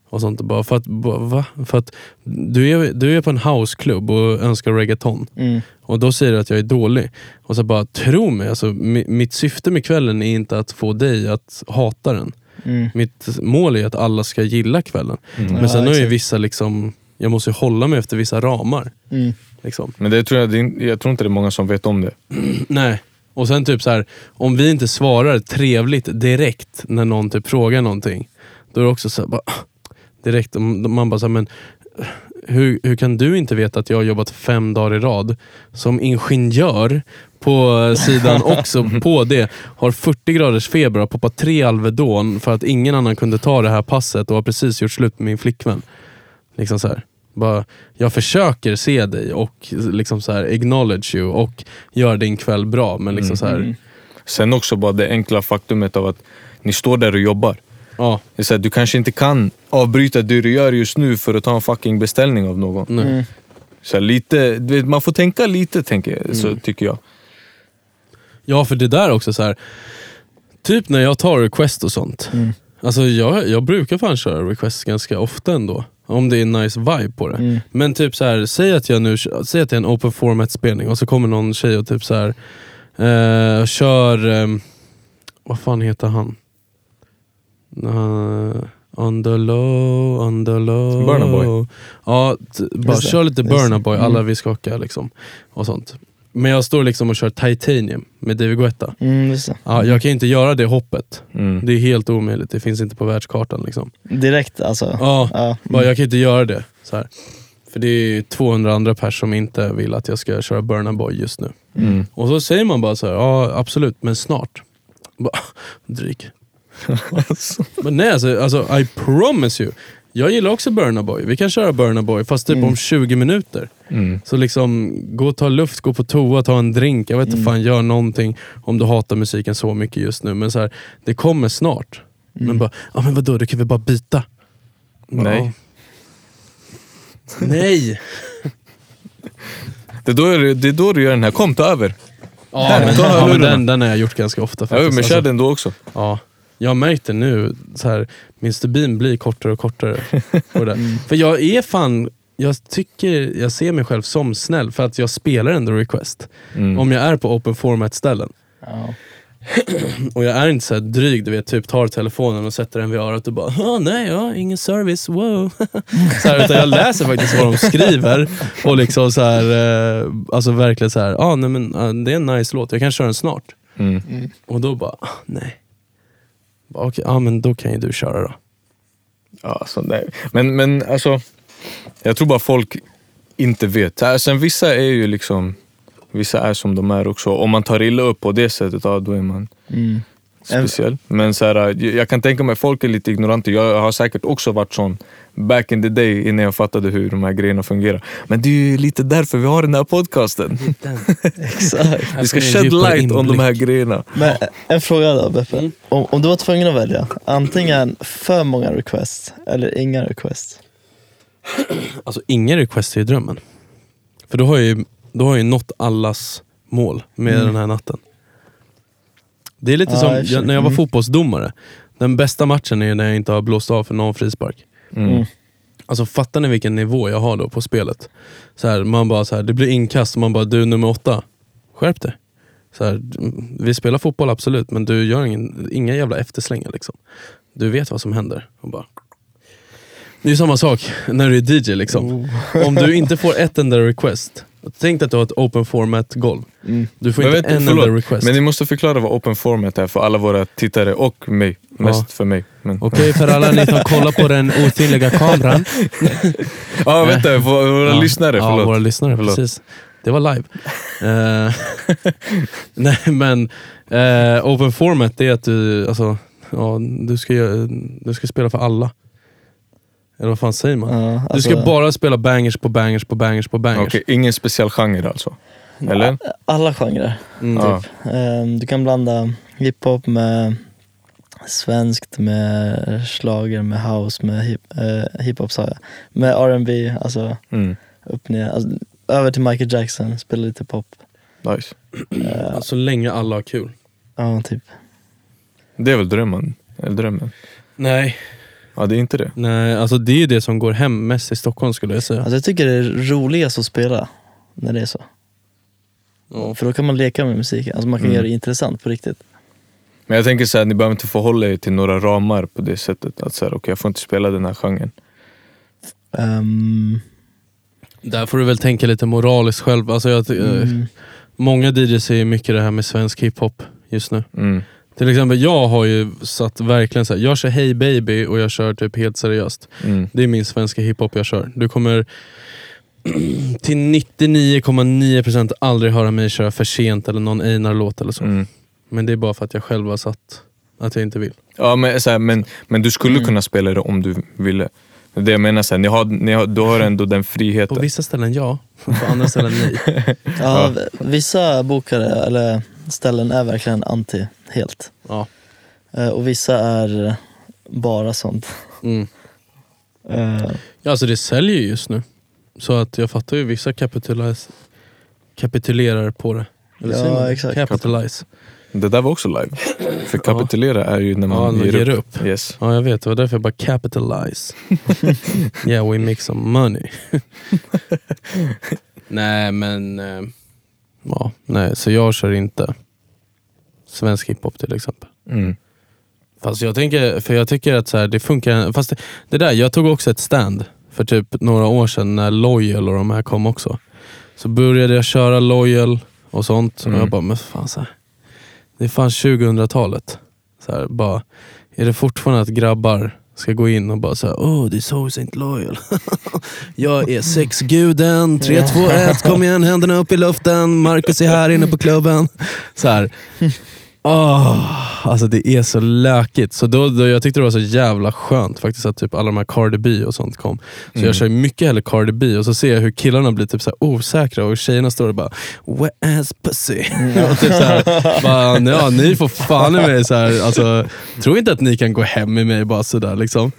Speaker 4: och sånt. Och bara, för att, bara, va? För att du är, du är på en houseklubb och önskar reggaeton.
Speaker 5: Mm.
Speaker 4: Och då säger du att jag är dålig. Och så bara, tro mig, alltså, mi- mitt syfte med kvällen är inte att få dig att hata den.
Speaker 5: Mm.
Speaker 4: Mitt mål är att alla ska gilla kvällen. Men
Speaker 5: Ja,
Speaker 4: sen har ju
Speaker 5: exakt.
Speaker 4: vissa, liksom, jag måste ju hålla mig efter vissa ramar.
Speaker 5: Mm.
Speaker 4: Liksom.
Speaker 3: Men det tror jag, det är- jag tror inte det är många som vet om det.
Speaker 4: Nej, Och sen typ så här, om vi inte svarar trevligt direkt när någon typ frågar någonting, då är det också så här, bara, direkt, man bara så här, men hur, hur kan du inte veta att jag har jobbat fem dagar i rad som ingenjör på sidan också på det, har 40 graders feber och har poppat tre Alvedon för att ingen annan kunde ta det här passet och har precis gjort slut med min flickvän. Liksom så här. Bara, jag försöker se dig och liksom så här, acknowledge you och gör din kväll bra. Men liksom så här,
Speaker 3: Sen också bara det enkla faktumet av att ni står där och jobbar.
Speaker 4: ja,
Speaker 3: Det är så här, du kanske inte kan avbryta det du gör just nu för att ta en fucking beställning av någon.
Speaker 4: nej.
Speaker 3: Så här, lite, du vet, man får tänka lite, tänker, jag,
Speaker 4: Mm.
Speaker 3: så tycker jag.
Speaker 4: Ja, för det där också så här. Typ när jag tar request och sånt. Alltså jag, jag brukar fan köra request ganska ofta ändå. Om det är en nice vibe på det. Men typ så här, säg att jag nu säg att det är en open format spelning och så kommer någon tjej och typ så här eh, kör, ehm, vad fan heter han? Uh, on the low, on the low.
Speaker 3: Burna Boy.
Speaker 4: Ja, t- bara
Speaker 5: Just det.
Speaker 4: kör lite
Speaker 5: Just det.
Speaker 4: Burna Boy, alla
Speaker 5: Mm.
Speaker 4: vi skakar liksom. Och sånt. Men jag står liksom och kör Titanium med David Guetta.
Speaker 5: Mm, just det.
Speaker 4: Ja, jag kan ju inte göra det hoppet.
Speaker 3: Mm.
Speaker 4: Det är helt omöjligt, det finns inte på världskartan. Liksom.
Speaker 5: Direkt alltså.
Speaker 4: Ja,
Speaker 5: Ja.
Speaker 4: bara, jag kan inte göra det. Så här. För det är 200 andra pers som inte vill att jag ska köra Burna Boy just nu.
Speaker 3: Mm.
Speaker 4: Och så säger man bara så här, ja absolut, men snart. Bara, <laughs> Dryg. men nej alltså, alltså, I promise you. Jag gillar också Burna Boy. Vi kan köra Burna Boy, fast typ om 20 minuter.
Speaker 3: Mm.
Speaker 4: Så liksom, gå och ta luft, gå på toa, ta en drink. Jag vet inte fan, gör någonting om du hatar musiken så mycket just nu. Men så här, det kommer snart. Men bara, ja ah, men vadå, då kan vi bara byta. Bara,
Speaker 3: Nej.
Speaker 4: "Ja." <laughs> Nej!
Speaker 3: Det, är då, du- det är då du gör den här, kom ta över.
Speaker 4: Ja,
Speaker 3: Här,
Speaker 4: men,
Speaker 3: ta
Speaker 4: ja, men
Speaker 3: hörlurarna.
Speaker 4: den, den har jag gjort ganska ofta
Speaker 3: Ja,
Speaker 4: faktiskt.
Speaker 3: men
Speaker 4: Alltså,
Speaker 3: kör den då också.
Speaker 4: Ja. Jag har märkt det nu, så här, min stubin blir kortare
Speaker 3: <laughs>
Speaker 4: och kortare. på det där.
Speaker 3: Mm.
Speaker 4: För jag är fan, jag tycker, jag ser mig själv som snäll för att jag spelar ändå request.
Speaker 3: Mm.
Speaker 4: Om jag är på open format ställen.
Speaker 5: Ja.
Speaker 4: Och jag är inte så här dryg, du vet, typ tar telefonen och sätter den vid örat och bara "Ah, nej, ja, ingen service, wow. <laughs> så här, utan jag läser faktiskt vad de skriver och liksom så här, eh, alltså verkligen så här, ah, nej, men, ah, det är en nice låt, jag kan köra den snart.
Speaker 3: Mm.
Speaker 4: Och då bara, "Ah, nej. Bara, Okej, ja men då kan ju du köra då.
Speaker 3: Ja, så där. Men, men alltså, jag tror bara folk inte vet. Äh, Sen vissa är ju liksom, vissa är som de är också. Om man tar illa upp på det sättet, ja, då är man
Speaker 5: Mm.
Speaker 3: speciell. Men så här, jag- jag kan tänka mig, folk är lite ignoranta. Jag har säkert också varit sån back in the day innan jag fattade hur de här grejerna fungerar. Men det är ju lite därför vi har den här podcasten.
Speaker 5: Exakt.
Speaker 3: Vi ska
Speaker 4: får ni Alltså, en
Speaker 3: shed
Speaker 4: djupare
Speaker 3: light om de
Speaker 4: inblick.
Speaker 3: här grejerna.
Speaker 5: Men eh, en fråga då Beppe.
Speaker 4: Mm.
Speaker 5: Om, om du var tvungen att välja, antingen för många requests eller inga requests.
Speaker 4: Alltså inga request är ju drömmen. För då har jag ju, då har jag ju nått allas mål med den här natten. Det är lite
Speaker 5: Mm. Ja,
Speaker 4: som
Speaker 5: jag förstår.
Speaker 4: jag, när jag var
Speaker 5: Mm.
Speaker 4: fotbollsdomare. Den bästa matchen är ju när jag inte har blåst av för någon frispark.
Speaker 3: Mm.
Speaker 4: Alltså fattar ni vilken nivå jag har då på spelet? Så här, man bara så här, det blir inkast och man bara, du nummer åtta, skärp dig. Så här, vi spelar fotboll absolut, men du gör ingen, inga jävla efterslängar liksom. Du vet vad som händer. Och bara... Det är ju samma sak när du är DJ liksom.
Speaker 3: Oh.
Speaker 4: Om du inte får ett enda request, tänk dig att du har ett open format golv. Du får
Speaker 3: Mm. Men,
Speaker 4: inte
Speaker 3: vet,
Speaker 4: en
Speaker 3: förlåt,
Speaker 4: enda request.
Speaker 3: men ni måste förklara vad open format är för alla våra tittare och mig. Mest
Speaker 4: Ja.
Speaker 3: för mig. Men,
Speaker 4: Okej för alla ni som kollar på den osynliga kameran.
Speaker 3: Ja, ah, vänta. vå- Våra
Speaker 4: Ja,
Speaker 3: lyssnare, förlåt.
Speaker 4: Ja, våra lyssnare,
Speaker 3: Förlåt.
Speaker 4: precis. Det
Speaker 3: <laughs>
Speaker 4: var live. Eh, <laughs> nej men, eh, open format det är att du, alltså, ja, du, ska, göra- du ska spela för alla. Eller vad fan säger man?
Speaker 5: Ja,
Speaker 4: du
Speaker 5: alltså,
Speaker 4: ska bara spela bangers på bangers på bangers på bangers.
Speaker 3: Okej, ingen speciell genre alltså? Eller?
Speaker 5: Alla genrer.
Speaker 4: Mm.
Speaker 3: Ja.
Speaker 5: Ehm, Du kan blanda hiphop med svenskt, med schlager, med house, med hip- eh, hiphop sa jag. Med R&B, alltså
Speaker 3: Mm.
Speaker 5: upp ner. Alltså, över till Michael Jackson, spela lite pop.
Speaker 3: Nice.
Speaker 4: Så länge alla har kul.
Speaker 5: Ja, typ.
Speaker 3: Det är väl drömmen? Eller drömmen?
Speaker 4: Nej,
Speaker 3: Ja, det är inte det.
Speaker 4: nej alltså det är ju det som går hem mest i Stockholm skulle jag säga.
Speaker 5: Alltså, jag tycker det är roligast att spela när det är så. För då kan man leka med musiken, alltså man
Speaker 4: Mm.
Speaker 5: kan göra det intressant på riktigt.
Speaker 3: Men jag tänker så här, ni behöver inte förhålla er till några ramar på det sättet. Att så här, okej, jag får inte spela den här genren.
Speaker 5: Ehm,
Speaker 4: Där får du väl tänka lite moraliskt själv. Alltså jag, ty- eh,
Speaker 5: mm,
Speaker 4: Många DJs säger mycket det här med svensk hiphop just nu.
Speaker 3: Mm.
Speaker 4: Till exempel jag har ju satt verkligen så här. jag kör Hey Baby och jag kör typ helt seriöst.
Speaker 3: Mm.
Speaker 4: Det är min svenska hiphop jag kör. Du kommer <clears throat> till 99,9% aldrig höra mig köra för sent eller någon Einar-låt eller så.
Speaker 3: Mm.
Speaker 4: Men det är bara för att jag själv har satt att jag inte vill.
Speaker 3: Ja, men, så här, men, men du skulle kunna spela det om du ville. Det är det jag menar, så här, ni har, ni har, du har ändå den
Speaker 4: På
Speaker 3: friheten.
Speaker 4: vissa ställen ja, på andra ställen
Speaker 5: <laughs>
Speaker 4: nej.
Speaker 5: Ja, v- vissa bokare eller ställen är verkligen anti helt.
Speaker 4: Ja.
Speaker 5: Eh, Och vissa är bara sånt.
Speaker 4: Mm.
Speaker 5: Eh,
Speaker 4: Ja, alltså det säljer ju just nu. Så att jag fattar ju, vissa kapitulis- kapitulerar på det.
Speaker 5: Ja,
Speaker 4: säger man det?
Speaker 5: exakt.
Speaker 4: Capitalize.
Speaker 3: Det där var också live. För kapitulera är ju när man ger, upp. Yes.
Speaker 4: Ja, jag vet. Det var därför jag bara capitalize. yeah, we make some money. nej, men... eh, Ja, nej, så jag kör inte svensk hiphop till exempel.
Speaker 3: Mm.
Speaker 4: Fast jag tänker, för jag tycker att så här, det funkar, fast det, det där, jag tog också ett stand för typ några år sedan när Loyal och de här kom också. Så började jag köra Loyal och sånt
Speaker 3: Mm.
Speaker 4: och jag bara, men fan så här, det är fan 2000-talet. Så här, bara, är det fortfarande att grabbar ska gå in och bara såhär, oh this hoes ain't loyal. <laughs> jag är sexguden, 3, 2, 1, kom igen händerna upp i luften, Marcus är här inne på klubben. Så här. Åh, alltså det är så lökigt. Så då, då, jag tyckte det var så jävla skönt faktiskt att typ alla de här Cardi B och sånt kom. Så jag kör ju mycket hellre Cardi B och så ser jag hur killarna blir typ så här osäkra och tjejerna står och bara wet ass pussy. <laughs> och typ så här, bara, ja, ni får fan i mig så här, alltså, tro inte att ni kan gå hem med mig bara sådär. Liksom.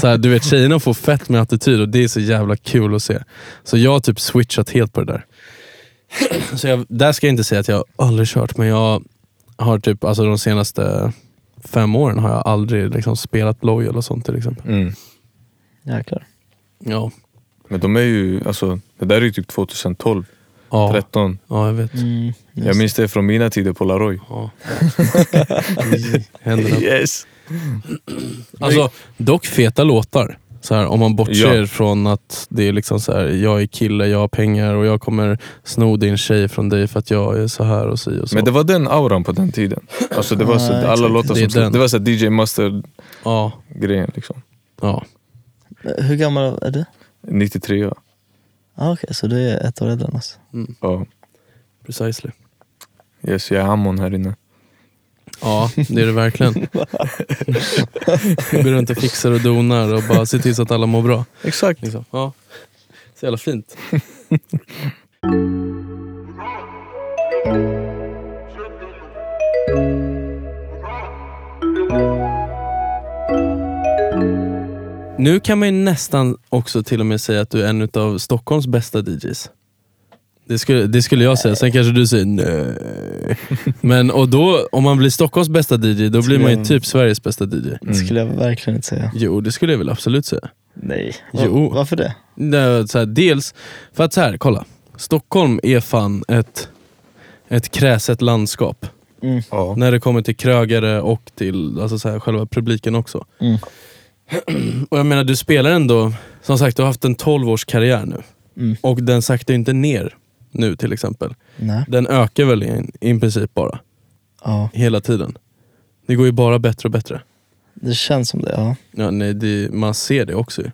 Speaker 4: Så här, du vet tjejerna får fett med attityd och det är så jävla kul att se. Så jag har typ switchat helt på det där. Så jag, där ska jag inte säga att jag aldrig kört, men jag har typ, alltså de senaste fem åren har jag aldrig liksom spelat Loyal och sånt till exempel.
Speaker 3: Mm.
Speaker 5: Jäklar.
Speaker 4: Ja,
Speaker 3: Men de är ju, alltså, det där är ju typ 2012,
Speaker 4: ja,
Speaker 3: 13.
Speaker 4: ja jag vet. <laughs>
Speaker 5: Mm,
Speaker 3: Jag minns det från mina tider på Laroy.
Speaker 4: Ja. Händerna.
Speaker 3: Yes!
Speaker 4: Alltså, dock feta låtar. Så här, om man bortser
Speaker 3: Ja.
Speaker 4: från att det är liksom så här, jag är kille, jag har pengar och jag kommer sno din tjej från dig för att jag är så här och si och så.
Speaker 3: Men det var den auran på den tiden. Alltså det var så,
Speaker 5: Ja,
Speaker 3: alla
Speaker 5: exakt.
Speaker 3: låtar
Speaker 4: Det är
Speaker 3: som stod,
Speaker 4: den.
Speaker 3: det var så här DJ Master-grejen
Speaker 4: ja,
Speaker 3: liksom.
Speaker 4: ja.
Speaker 5: Eh, Hur gammal är du?
Speaker 3: 93 ja.
Speaker 5: Ah, Okej, så du är ett år äldre än oss.
Speaker 3: ja.
Speaker 4: Precisely.
Speaker 3: Yes, jag är Hammon här inne.
Speaker 4: Ja, det är det verkligen. Går runt och fixar och donar och bara ser till så att alla mår bra.
Speaker 3: Exakt.
Speaker 4: Liksom. Ja. <laughs> Så jävla fint. Nu kan man ju nästan också till och med säga att du är en av Stockholms bästa DJs. Det skulle, det skulle jag säga, sen kanske du säger nej. <laughs> Men och då, om man blir Stockholms bästa DJ, då blir man ju
Speaker 5: jag-
Speaker 4: typ Sveriges bästa DJ.
Speaker 5: Det skulle jag verkligen inte säga.
Speaker 4: Jo, det skulle jag väl absolut säga.
Speaker 5: Nej.
Speaker 4: Jo.
Speaker 5: Varför det?
Speaker 4: Nej, så här, dels, för att så här, kolla. Stockholm är fan ett, ett kräset landskap.
Speaker 5: Mm.
Speaker 3: Ja.
Speaker 4: När det kommer till krögare och till alltså så här, själva publiken också.
Speaker 5: Mm.
Speaker 4: <clears throat> Och jag menar, du spelar ändå, som sagt, du har haft en 12-års karriär nu.
Speaker 5: Mm.
Speaker 4: Och den saktar ju inte ner nu till exempel.
Speaker 5: Nej.
Speaker 4: Den ökar väl i, i princip bara,
Speaker 5: Ja,
Speaker 4: hela tiden. Det går ju bara bättre och bättre.
Speaker 5: det känns som det. Ja.
Speaker 4: Ja, nej, det, man ser det också ju.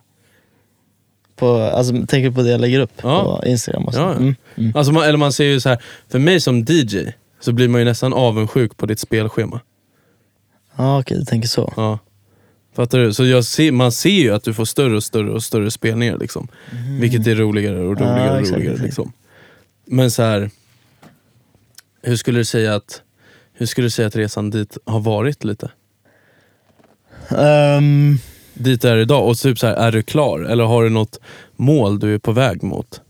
Speaker 5: På, alltså, tänker du på det jag lägger upp
Speaker 4: Ja.
Speaker 5: på Instagram? Och så?
Speaker 4: Ja, ja.
Speaker 5: Mm. Mm.
Speaker 4: Alltså man, eller man ser ju så här, för mig som DJ så blir man ju nästan avundsjuk på ditt spelschema.
Speaker 5: Ah, Okej, du tänker så.
Speaker 4: Ja. Fattar du? Så jag ser, man ser ju att du får större och större och större spelningar. Liksom. Vilket är roligare och roligare
Speaker 5: Mm. Ja,
Speaker 4: och
Speaker 5: exakt,
Speaker 4: roligare.
Speaker 5: exakt.
Speaker 4: Liksom. Men så här, hur skulle du säga att hur skulle du säga att resan dit har varit lite?
Speaker 5: Ehm,
Speaker 4: Dit du är idag och typ så här, är du klar? Eller har du något mål du är på väg mot?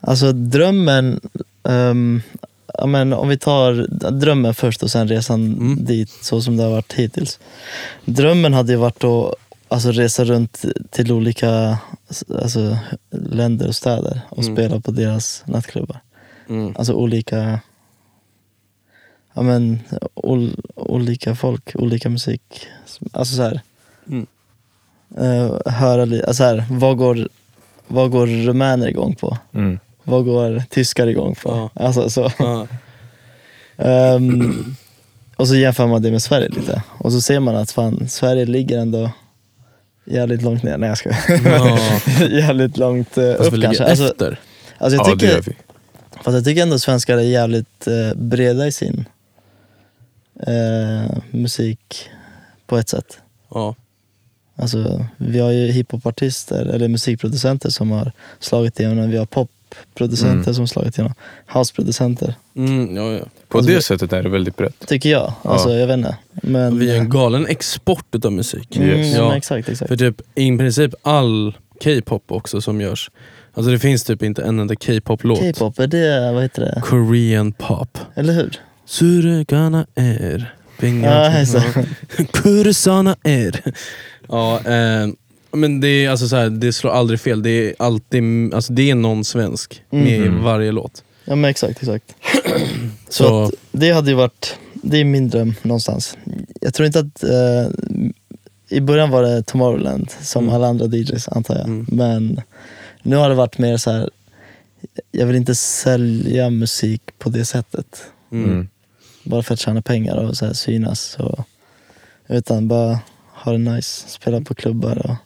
Speaker 5: alltså drömmen, ehm, ja, men, om vi tar drömmen först och sen resan
Speaker 4: Mm.
Speaker 5: dit så som det har varit hittills. Drömmen hade ju varit att alltså, resa runt till olika alltså, länder och städer och
Speaker 4: Mm.
Speaker 5: spela på deras nattklubbar. Alltså olika Ja men ol, olika folk, olika musik. Alltså så här.
Speaker 4: Mm.
Speaker 5: Eh, höra lite, alltså så här, vad går, vad går rumäner igång på?
Speaker 3: Mm.
Speaker 5: vad går tyskar igång på?
Speaker 4: Ja.
Speaker 5: Alltså, så.
Speaker 4: Ja.
Speaker 5: Ehm, och så jämför man det med Sverige lite. Och så ser man att fan, Sverige ligger ändå jävligt långt ner. Nej jag ska.
Speaker 4: Ja.
Speaker 5: <laughs> jävligt långt eh,
Speaker 4: Fast vi
Speaker 5: upp
Speaker 4: ligger
Speaker 5: kanske. Alltså,
Speaker 4: efter.
Speaker 5: alltså jag
Speaker 3: Ja, det
Speaker 5: tycker,
Speaker 3: gör vi.
Speaker 5: Fast jag tycker ändå svenskar är jävligt eh, breda i sin eh, musik på ett sätt.
Speaker 4: Ja.
Speaker 5: Alltså, vi har ju hiphopartister, eller musikproducenter som har slagit igenom. Vi har popproducenter som har slagit igenom. Houseproducenter,
Speaker 4: Mm, ja, ja.
Speaker 3: På
Speaker 5: Alltså,
Speaker 3: det
Speaker 5: vi-
Speaker 3: sättet är det väldigt brett.
Speaker 5: tycker jag. Alltså, jag vet inte. Men,
Speaker 4: Vi är en galen export utav musik.
Speaker 5: mm,
Speaker 3: Yes.
Speaker 5: ja.
Speaker 4: Ja.
Speaker 5: men Exakt, exakt.
Speaker 4: För typ i princip all K-pop också som görs. Alltså det finns typ inte en enda K-pop-låt.
Speaker 5: K-pop, är det, vad heter det?
Speaker 4: Korean pop.
Speaker 5: Eller hur?
Speaker 4: Suregana är. <laughs>
Speaker 5: Ja, alltså.
Speaker 4: Kurusana är. Ja, eh, men det är alltså så här, det slår aldrig fel. Det är alltid, alltså det är någon svensk med i
Speaker 3: Mhm.
Speaker 4: varje låt.
Speaker 5: ja men exakt,
Speaker 4: <clears throat>
Speaker 5: exakt. Så,
Speaker 4: Så-
Speaker 5: Att det hade ju varit, det är min dröm någonstans. Jag tror inte att, eh, i början var det Tomorrowland som
Speaker 4: Mm.
Speaker 5: alla andra DJs antar jag.
Speaker 4: Mm.
Speaker 5: Men nu har det varit mer så här. jag vill inte sälja musik på det sättet.
Speaker 4: Mm.
Speaker 3: Mm.
Speaker 5: bara för att tjäna pengar och så här synas. Så, utan bara ha det nice, spela på klubbar och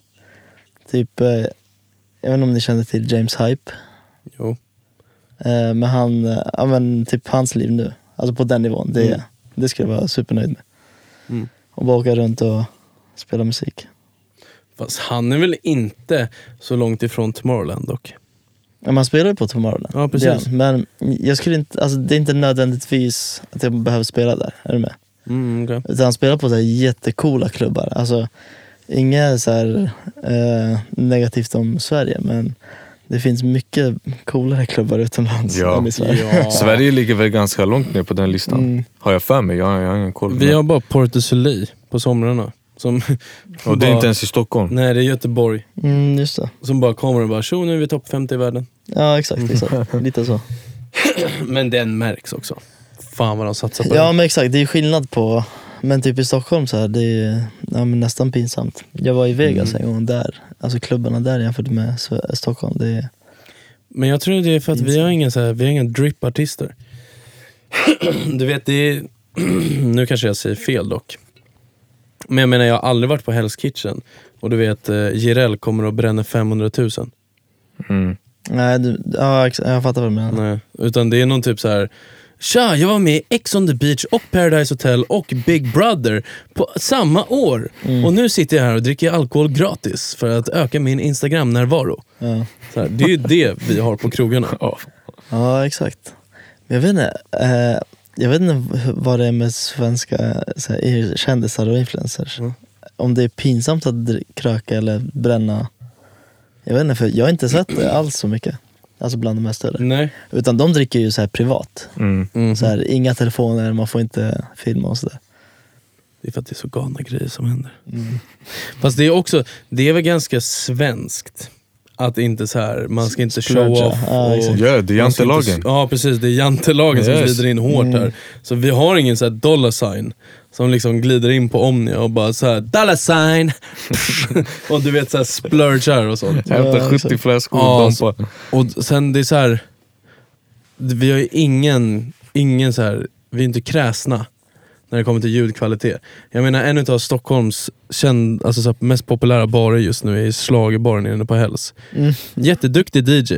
Speaker 5: typ, eh, jag vet inte om ni känner till James Hype,
Speaker 4: Jo.
Speaker 5: eh, men han, eh, ja men typ hans liv nu, alltså på den nivån, det,
Speaker 4: Mm.
Speaker 5: det skulle jag vara supernöjd med.
Speaker 4: Mm.
Speaker 5: Och bara åka runt och spela musik.
Speaker 4: Fast han är väl inte så långt ifrån Tomorrowland dock.
Speaker 5: Ja, man spelar ju på Tomorrowland.
Speaker 4: Ja, precis.
Speaker 5: Det gör han. men jag skulle inte, alltså, det är inte nödvändigtvis att jag behöver spela där, är du med?
Speaker 4: Mm, okej.
Speaker 5: Utan han spelar på så här jättecoola klubbar. Alltså, inget så här, eh, negativt om Sverige, men det finns mycket coolare klubbar utomlands
Speaker 3: Ja.
Speaker 5: än i Sverige.
Speaker 3: Sverige ligger väl ganska långt ner på den listan.
Speaker 5: Mm.
Speaker 3: Har jag för mig. Jag, jag har ingen koll.
Speaker 4: Vi har bara Porto du Soleil på somrarna. Som
Speaker 3: Och det är
Speaker 4: bara-
Speaker 3: inte ens i Stockholm.
Speaker 4: Nej, det är Göteborg.
Speaker 5: Mm, just det.
Speaker 4: Som bara kommer och bara “tjo, nu är vi topp 50 i världen”. <clears throat>
Speaker 5: Ja, <laughs> exakt. exakt. Lite så.
Speaker 4: Men den märks också. Fan vad de satsar på
Speaker 5: Ja,
Speaker 4: den.
Speaker 5: men exakt. Det är skillnad på... Men typ i Stockholm, så här, det är ja, men nästan pinsamt. Jag var i Vegas en gång där. Alltså klubbarna där jämfört med Sve- Stockholm. Det är...
Speaker 4: Men jag tror det är för att vi har inga, så här, vi har inga drip-artister. <clears throat> Du vet, det är... <clears throat> nu kanske jag säger fel dock. Men jag menar, jag har aldrig varit på Hell's Kitchen. Och du vet, eh, Jireel kommer och bränner 500 000.
Speaker 3: Mm.
Speaker 5: Nej, du... ja, ex- jag fattar vad du menar.
Speaker 4: Nej. Utan det är någon typ så här. Tja, jag var med i Ex on the beach och Paradise Hotel och Big Brother på samma år.
Speaker 5: Mm.
Speaker 4: Och nu sitter jag här och dricker alkohol gratis för att öka min Instagram-närvaro.
Speaker 5: Ja.
Speaker 4: Så här, det
Speaker 5: <laughs>
Speaker 4: är ju det vi har på krogarna.
Speaker 5: Ja, exakt. Men jag vet inte, eh, jag vet inte v- vad det är med svenska så här, EU kändisar och influencers.
Speaker 4: Mm.
Speaker 5: Om det är pinsamt att dr- kröka eller bränna. Jag vet inte, för jag har inte sett det alls så mycket. Alltså bland de här större.
Speaker 4: Nej.
Speaker 5: Utan de dricker ju så här privat.
Speaker 3: Mm.
Speaker 4: Mm.
Speaker 5: Så här, inga telefoner, man får inte filma och sådär.
Speaker 4: Det är för att det är så galna grejer som händer.
Speaker 5: Mm.
Speaker 4: Fast det är också, det är väl ganska svenskt. Att inte så här, man ska inte show
Speaker 5: Splurga.
Speaker 4: off.
Speaker 5: Ja,
Speaker 4: och-
Speaker 5: exakt.
Speaker 3: Ja, det är
Speaker 4: Man ska Alltså,
Speaker 3: jantelagen.
Speaker 4: inte- Ja precis, det är jantelagen som
Speaker 3: Yes.
Speaker 4: glider in hårt
Speaker 5: Mm.
Speaker 4: här. Så vi har ingen så här dollar sign som liksom glider in på Omnia och bara så här dollar sign <laughs> och du vet så här splurgar och sånt.
Speaker 3: Hämta
Speaker 5: Ja,
Speaker 3: 70
Speaker 5: exakt.
Speaker 3: flaskor
Speaker 4: Ja, alltså-
Speaker 3: och
Speaker 4: så-
Speaker 3: dampa.
Speaker 4: Och sen det är så här vi har ju ingen, ingen så här vi är inte kräsna när det kommer till ljudkvalitet. Jag menar en utav Stockholms känd, alltså så här, mest populära barer just nu är schlagerbaren inne på Hells.
Speaker 5: Mm.
Speaker 4: Jätteduktig DJ,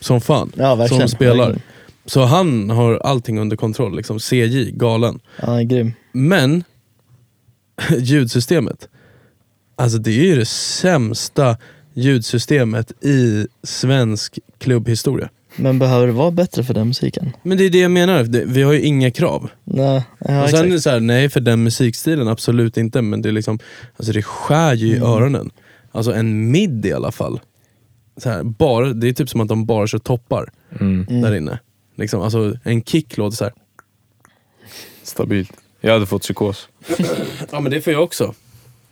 Speaker 4: som fan,
Speaker 5: Ja, verkligen.
Speaker 4: som spelar.
Speaker 5: Verkligen.
Speaker 4: Så han har allting under kontroll, liksom CJ, galen.
Speaker 5: Ja, grym.
Speaker 4: Men <laughs> ljudsystemet, alltså det är ju det sämsta ljudsystemet i svensk klubbhistoria.
Speaker 5: Men behöver det vara bättre för den musiken?
Speaker 4: Men det är det jag menar, det, vi har ju inga krav.
Speaker 5: Nej, ja,
Speaker 4: och sen är
Speaker 5: exakt.
Speaker 4: det så här, nej för den musikstilen absolut inte, men det är liksom, alltså det skär ju i
Speaker 5: Mm.
Speaker 4: öronen. Alltså en mid i alla fall. Så här, bara, det är typ som att de bara kör toppar
Speaker 3: Mm.
Speaker 4: där inne. Liksom, alltså en kick låter så här.
Speaker 3: Stabilt. Jag hade fått psykos.
Speaker 4: Ja men det får jag också.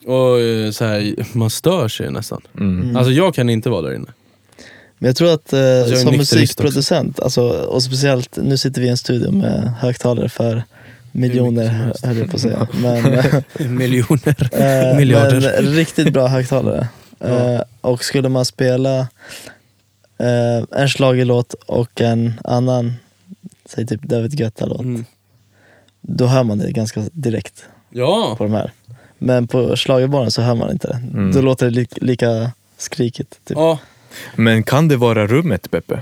Speaker 4: Och eh, så här, man stör sig nästan.
Speaker 3: Mm.
Speaker 4: Alltså jag kan inte vara där inne.
Speaker 5: Men jag tror att eh,
Speaker 4: Alltså, jag är
Speaker 5: som
Speaker 4: nykterist också.
Speaker 5: musikproducent, alltså, och speciellt nu sitter vi i en studio med högtalare för
Speaker 4: som
Speaker 5: miljoner,
Speaker 4: helst.
Speaker 5: höll jag på att säga. Men,
Speaker 4: Miljoner, <laughs>
Speaker 5: eh,
Speaker 4: miljarder.
Speaker 5: men riktigt bra högtalare. Eh, och skulle man spela Eh, en schlagerlåt och en annan, säg typ David Guetta-låt.
Speaker 4: Mm.
Speaker 5: Då hör man det ganska direkt
Speaker 4: Ja!
Speaker 5: på de här. Men på schlagerbaren så hör man inte det. Då låter det li- lika skrikigt. Typ.
Speaker 4: Mm. Ja,
Speaker 3: Men kan det vara rummet, Beppe?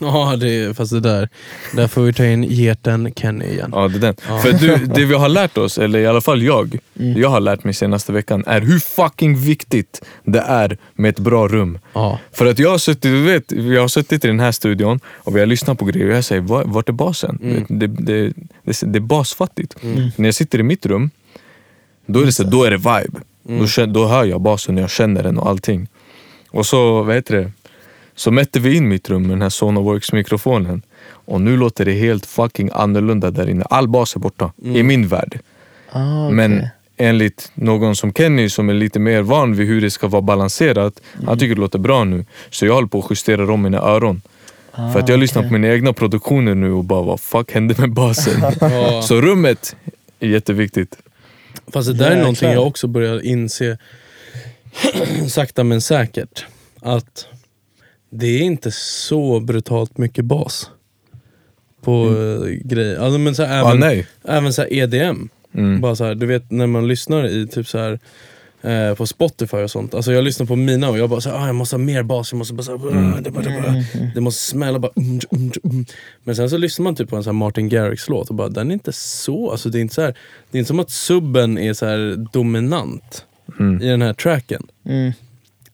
Speaker 4: ja det, är- fast det där. Där får vi ta in geten Kenny igen.
Speaker 3: Ja, det är den. För du, det vi har lärt oss, eller i alla fall jag, jag har lärt mig senaste veckan, är hur fucking viktigt det är med ett bra rum.
Speaker 4: Ja.
Speaker 3: För att jag har suttit, du vet, jag har suttit i den här studion och vi har lyssnat på grejer och jag säger, "Va- vart är basen? Du vet, Det, det, det, det är basfattigt. När jag sitter i mitt rum, då är det, så, då är det vibe. Då, känner, då hör jag basen och jag känner den och allting. Och så, vad heter det? Så mätte vi in mitt rum med den här Sonoworks mikrofonen och nu låter det helt fucking annorlunda där inne. All bas är borta, i min värld.
Speaker 5: Ah, okej.
Speaker 3: Men enligt någon som Kenny som är lite mer van vid hur det ska vara balanserat,
Speaker 4: Mm.
Speaker 3: han tycker det låter bra nu. Så jag håller på att justera om mina öron. För
Speaker 4: Ah,
Speaker 3: att jag lyssnar på mina egna produktioner nu och bara vad fuck hände med basen?
Speaker 4: <laughs> Ja.
Speaker 3: så rummet är jätteviktigt.
Speaker 4: Fast det där är någonting
Speaker 5: Jäklar.
Speaker 4: jag också börjar inse <clears throat> sakta men säkert. Att det är inte så brutalt mycket bas på mm. grejer. Alltså, men så här,
Speaker 3: Ah,
Speaker 4: även,
Speaker 3: nej.
Speaker 4: även så här EDM.
Speaker 3: Mm.
Speaker 4: Bara så här, du vet när man lyssnar i typ så här eh, på Spotify och sånt. Alltså jag lyssnar på mina och jag bara så här, ah, jag måste ha mer bas, jag måste bara så här,
Speaker 3: Mm.
Speaker 4: det, bara, det, bara, det måste smälla bara. Mm, mm, mm. Men sen så lyssnar man typ på en så här Martin Garrix låt och bara den är inte så, alltså det är inte så här, det är inte som att subben är så här dominant
Speaker 3: Mm.
Speaker 4: i den här tracken.
Speaker 5: Mm.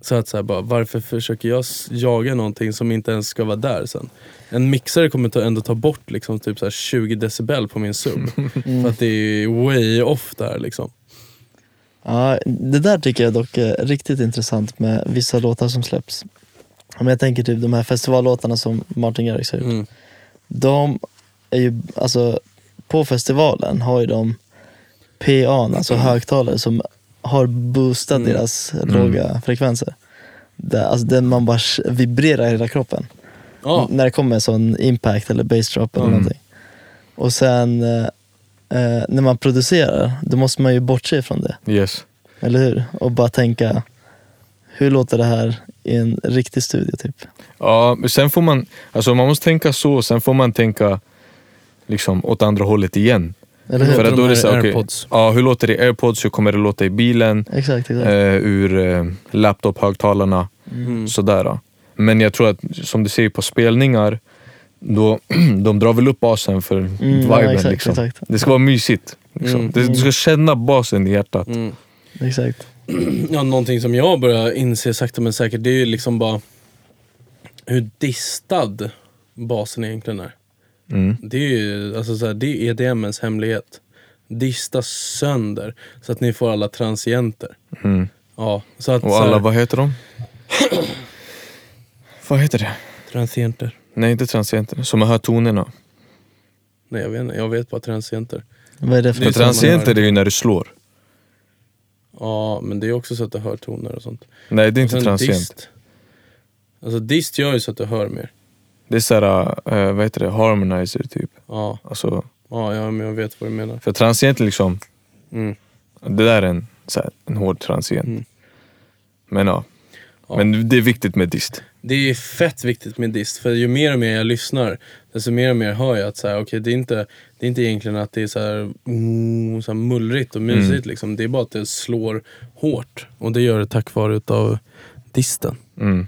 Speaker 4: Så att så här, bara, varför försöker jag s- jaga någonting som inte ens ska vara där sen? En mixare kommer ta, ändå ta bort liksom, typ så här 20 decibel på
Speaker 3: <laughs>
Speaker 4: min sub.
Speaker 3: Mm.
Speaker 4: För att det är way off där liksom.
Speaker 5: Ja, det där tycker jag dock är riktigt intressant med vissa låtar som släpps. Om jag tänker typ de här festivallåtarna som Martin Garrix har gjort.
Speaker 4: Mm.
Speaker 5: De är ju, alltså på festivalen har ju de PA, alltså högtalare som har boostat deras låga frekvenser. Det, alltså den man bara sh- vibrerar i hela kroppen.
Speaker 4: Ja,
Speaker 5: När det kommer en sån impact eller bass drop eller någonting. Och sen eh, eh, när man producerar, då måste man ju bortse ifrån det.
Speaker 3: Yes.
Speaker 5: Eller hur? Och bara tänka, hur låter det här i en riktig studio typ?
Speaker 3: Ja, men sen får man, alltså man måste tänka så, sen får man tänka liksom åt andra hållet igen.
Speaker 5: Eller hur?
Speaker 4: För- låter de här
Speaker 3: så här, okej,
Speaker 4: AirPods?
Speaker 3: ja, hur låter det i airpods, hur kommer det låta i bilen?
Speaker 5: Exakt, exakt.
Speaker 3: eh,
Speaker 4: Mm.
Speaker 3: ur eh, laptop-högtalarna. Sådär. Men jag tror att, som du säger på spelningar, då, <clears throat> de drar väl upp basen för viben.
Speaker 5: ja, exakt,
Speaker 3: liksom.
Speaker 5: exakt.
Speaker 3: Det ska vara mysigt. Liksom.
Speaker 4: Mm.
Speaker 3: Det, du ska känna basen i hjärtat.
Speaker 5: exakt.
Speaker 3: Mm.
Speaker 4: ja, någonting som jag börjar inse sakta men säkert det är ju liksom bara hur distad basen egentligen är.
Speaker 3: Mm.
Speaker 4: Det är ju alltså, så här, det är EDMens hemlighet. Dista sönder så att ni får alla transienter.
Speaker 3: Mm.
Speaker 4: Ja, så att,
Speaker 3: Och
Speaker 4: så här,
Speaker 3: alla, vad heter de? <clears throat> vad heter det?
Speaker 4: transienter.
Speaker 3: Nej, inte transienter. Som hör tonerna.
Speaker 4: Nej jag vet inte, jag vet bara transienter.
Speaker 5: Vad är det för
Speaker 4: Det är
Speaker 3: För
Speaker 4: samma
Speaker 3: transienter
Speaker 4: här.
Speaker 3: är ju när du slår.
Speaker 4: Ja, men det är också så att du hör toner och sånt.
Speaker 3: Nej, det är
Speaker 4: Och
Speaker 3: inte
Speaker 4: sen
Speaker 3: transient.
Speaker 4: dist. Alltså dist gör ju så att du hör mer.
Speaker 3: Det är såhär, eh, vad heter det? Harmonizer typ.
Speaker 4: Ja,
Speaker 3: Alltså,
Speaker 4: ja, ja men jag vet vad du menar.
Speaker 3: för transient liksom,
Speaker 4: Mm.
Speaker 3: Det där är en, så här, en hård transient.
Speaker 4: Mm.
Speaker 3: Men ja.
Speaker 4: Ja.
Speaker 3: Men det är viktigt med dist.
Speaker 4: Det är fett viktigt med dist, för ju mer och mer jag lyssnar, desto mer och mer hör jag att så här, okej, det, är inte, det är inte egentligen att det är så här, mm, så här mullrigt och mysigt.
Speaker 3: Mm.
Speaker 4: Liksom. Det är bara att det slår hårt. Och det gör det tack vare utav disten.
Speaker 3: Mm.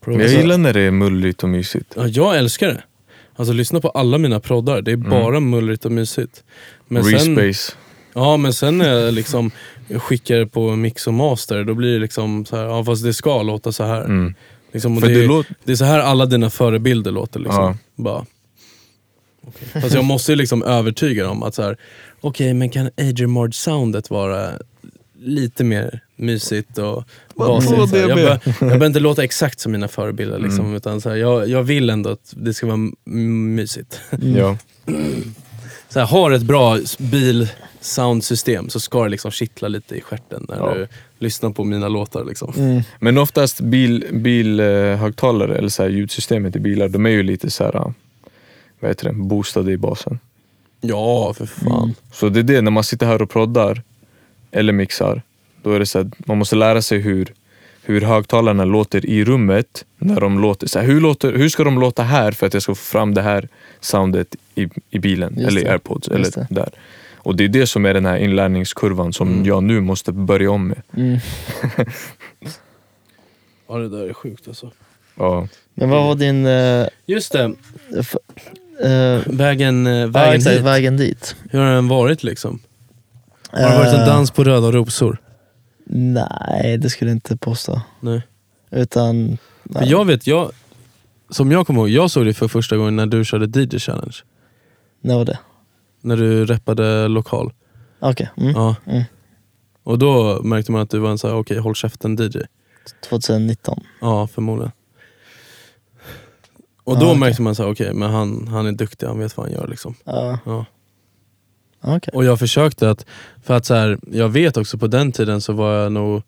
Speaker 4: Pro-
Speaker 3: Men jag gillar när det är mullrigt och mysigt.
Speaker 4: Alltså, ja, jag älskar det. Alltså lyssna på alla mina proddar, det är
Speaker 3: Mm.
Speaker 4: bara mullrigt och mysigt. Men sen-
Speaker 3: Respace.
Speaker 4: Ja men sen när jag liksom skickar det på mix och master, då blir det liksom så här, ja fast det ska låta så här.
Speaker 3: Mm.
Speaker 4: Liksom, och
Speaker 3: För
Speaker 4: det,
Speaker 3: det
Speaker 4: <laughs>
Speaker 3: låt-
Speaker 4: det är så här alla dina förebilder låter. Liksom.
Speaker 3: Ja.
Speaker 4: Bara. Okay. Fast jag måste ju liksom övertyga dem att så här, okej men kan Adrian soundet vara lite mer mysigt och basigt?
Speaker 3: tror
Speaker 4: Så här,
Speaker 3: det
Speaker 4: Jag,
Speaker 3: med.
Speaker 4: bör, jag behöver inte låta exakt som mina förebilder, liksom,
Speaker 3: Mm.
Speaker 4: utan så här, jag, jag vill ändå att det ska vara m- mysigt.
Speaker 3: Ja.
Speaker 4: Så här, har ett bra s- bilsoundsystem så ska det liksom kittla lite i stjärten när
Speaker 3: Ja.
Speaker 4: du lyssnar på mina låtar. Liksom.
Speaker 5: Mm.
Speaker 3: Men oftast bilhögtalare bil, eh, högtalare, eller så här, ljudsystemet i bilar, de är ju lite så här, eh, vad heter det, boostade i basen.
Speaker 4: Ja, för fan.
Speaker 5: Mm.
Speaker 3: Mm. Så det är det, när man sitter här och proddar, eller mixar, då är det så här, man måste lära sig hur, hur högtalarna låter i rummet när de låter. Så här, hur, låter hur ska de låta här för att jag ska få fram det här soundet i, i bilen
Speaker 5: Just
Speaker 3: eller i
Speaker 5: det.
Speaker 3: airpods eller
Speaker 5: Just det.
Speaker 3: där. Och det är det som är den här inlärningskurvan som jag nu måste börja om med.
Speaker 5: Mm.
Speaker 4: Ja det där är sjukt alltså.
Speaker 3: Ja.
Speaker 5: Men vad var din... eh,
Speaker 4: Just det,
Speaker 5: f- eh,
Speaker 4: vägen, eh,
Speaker 5: ja,
Speaker 4: vägen
Speaker 5: exakt,
Speaker 4: hit.
Speaker 5: vägen dit.
Speaker 4: Hur har den varit liksom? Har det varit en
Speaker 5: Eh,
Speaker 4: dans på röda rosor?
Speaker 5: Nej, det skulle jag inte påstå.
Speaker 4: Nej.
Speaker 5: Utan...
Speaker 4: För jag vet, jag, som jag kommer ihåg, jag såg det för första gången när du körde DJ Challenge.
Speaker 5: När var det?
Speaker 4: När du rappade lokal.
Speaker 5: Okej. Mm.
Speaker 4: Ja.
Speaker 5: Mm.
Speaker 4: Och då märkte man att du var en sån här, okej håll käften DJ.
Speaker 5: 2019.
Speaker 4: Ja, förmodligen. Och
Speaker 5: Ja,
Speaker 4: då
Speaker 5: okej.
Speaker 4: märkte man så här, okej men han, han är duktig, han vet vad han gör liksom.
Speaker 5: Ja,
Speaker 4: Ja.
Speaker 5: okej.
Speaker 4: Och jag försökte att, för att så här, jag vet också på den tiden så var jag nog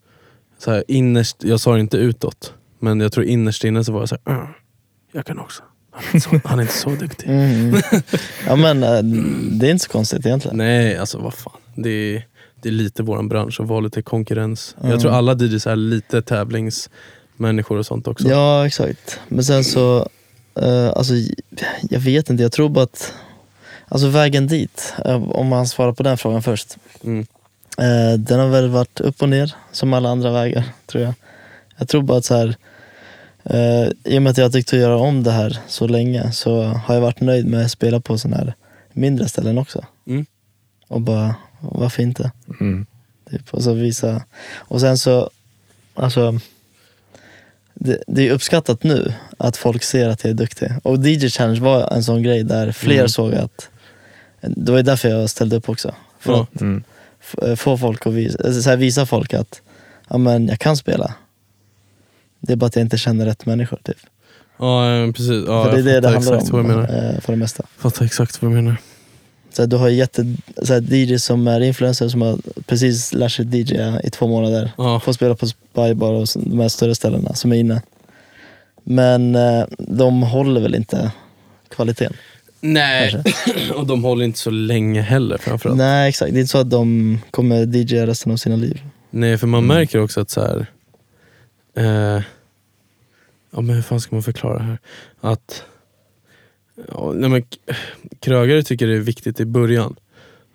Speaker 4: så här, innerst, jag sa det inte utåt, men jag tror innerst inne så var jag så här, "Mm, jag kan också. Han är inte så, han är inte så duktig. <laughs>
Speaker 5: Mm. mm. Ja men eh, det är inte så konstigt egentligen.
Speaker 4: Nej, alltså vad fan. Det är, det är lite vår bransch att vara lite konkurrens.
Speaker 5: Mm.
Speaker 4: Jag tror alla DJs är lite tävlingsmänniskor och sånt också.
Speaker 5: Ja exakt. Men sen så, eh, alltså j- jag vet inte, jag tror bara att, alltså vägen dit, eh, om man svarar på den frågan först.
Speaker 4: Mm.
Speaker 5: Eh, den har väl varit upp och ner, som alla andra vägar, tror jag. Jag tror bara att så här, eh, i och med att jag har tyckt att göra om det här så länge så har jag varit nöjd med att spela på sådana här mindre ställen också.
Speaker 4: Mm.
Speaker 5: Och bara, varför inte?
Speaker 3: Mm.
Speaker 5: Typ, och så visa. Och sen så, alltså, det, det är uppskattat nu att folk ser att jag är duktig. Och DJ Challenge var en sån grej där fler
Speaker 4: Mm.
Speaker 5: såg att, det var ju därför jag ställde upp också. För
Speaker 4: Ja.
Speaker 5: att
Speaker 3: Mm.
Speaker 5: f- eh, få folk att visa, alltså, så här, visa folk att, ja men jag kan spela. Det är bara att jag inte känner rätt människor typ.
Speaker 4: Ja, eh, precis. Ja,
Speaker 5: För det är
Speaker 4: jag
Speaker 5: det det
Speaker 4: fattar
Speaker 5: handlar
Speaker 4: exakt vad
Speaker 5: om
Speaker 4: jag menar.
Speaker 5: eh, för det mesta.
Speaker 4: Fattar exakt vad du menar.
Speaker 5: Så här, du har ju jätte, så här, DJ som är influencer som har precis lärt sig DJ i två månader.
Speaker 4: Ja.
Speaker 5: får spela på spybar och så- de här större ställena som är inne. Men eh, de håller väl inte kvaliteten.
Speaker 4: Nej, <clears throat> och de håller inte så länge heller framförallt. Nej,
Speaker 5: Nej exakt, det är inte så att de kommer DJa resten av sina liv.
Speaker 4: Nej för man märker också att så här. Eh, ja men hur fan ska man förklara det här? Att ja, nej, men, k- krögare tycker det är viktigt i början.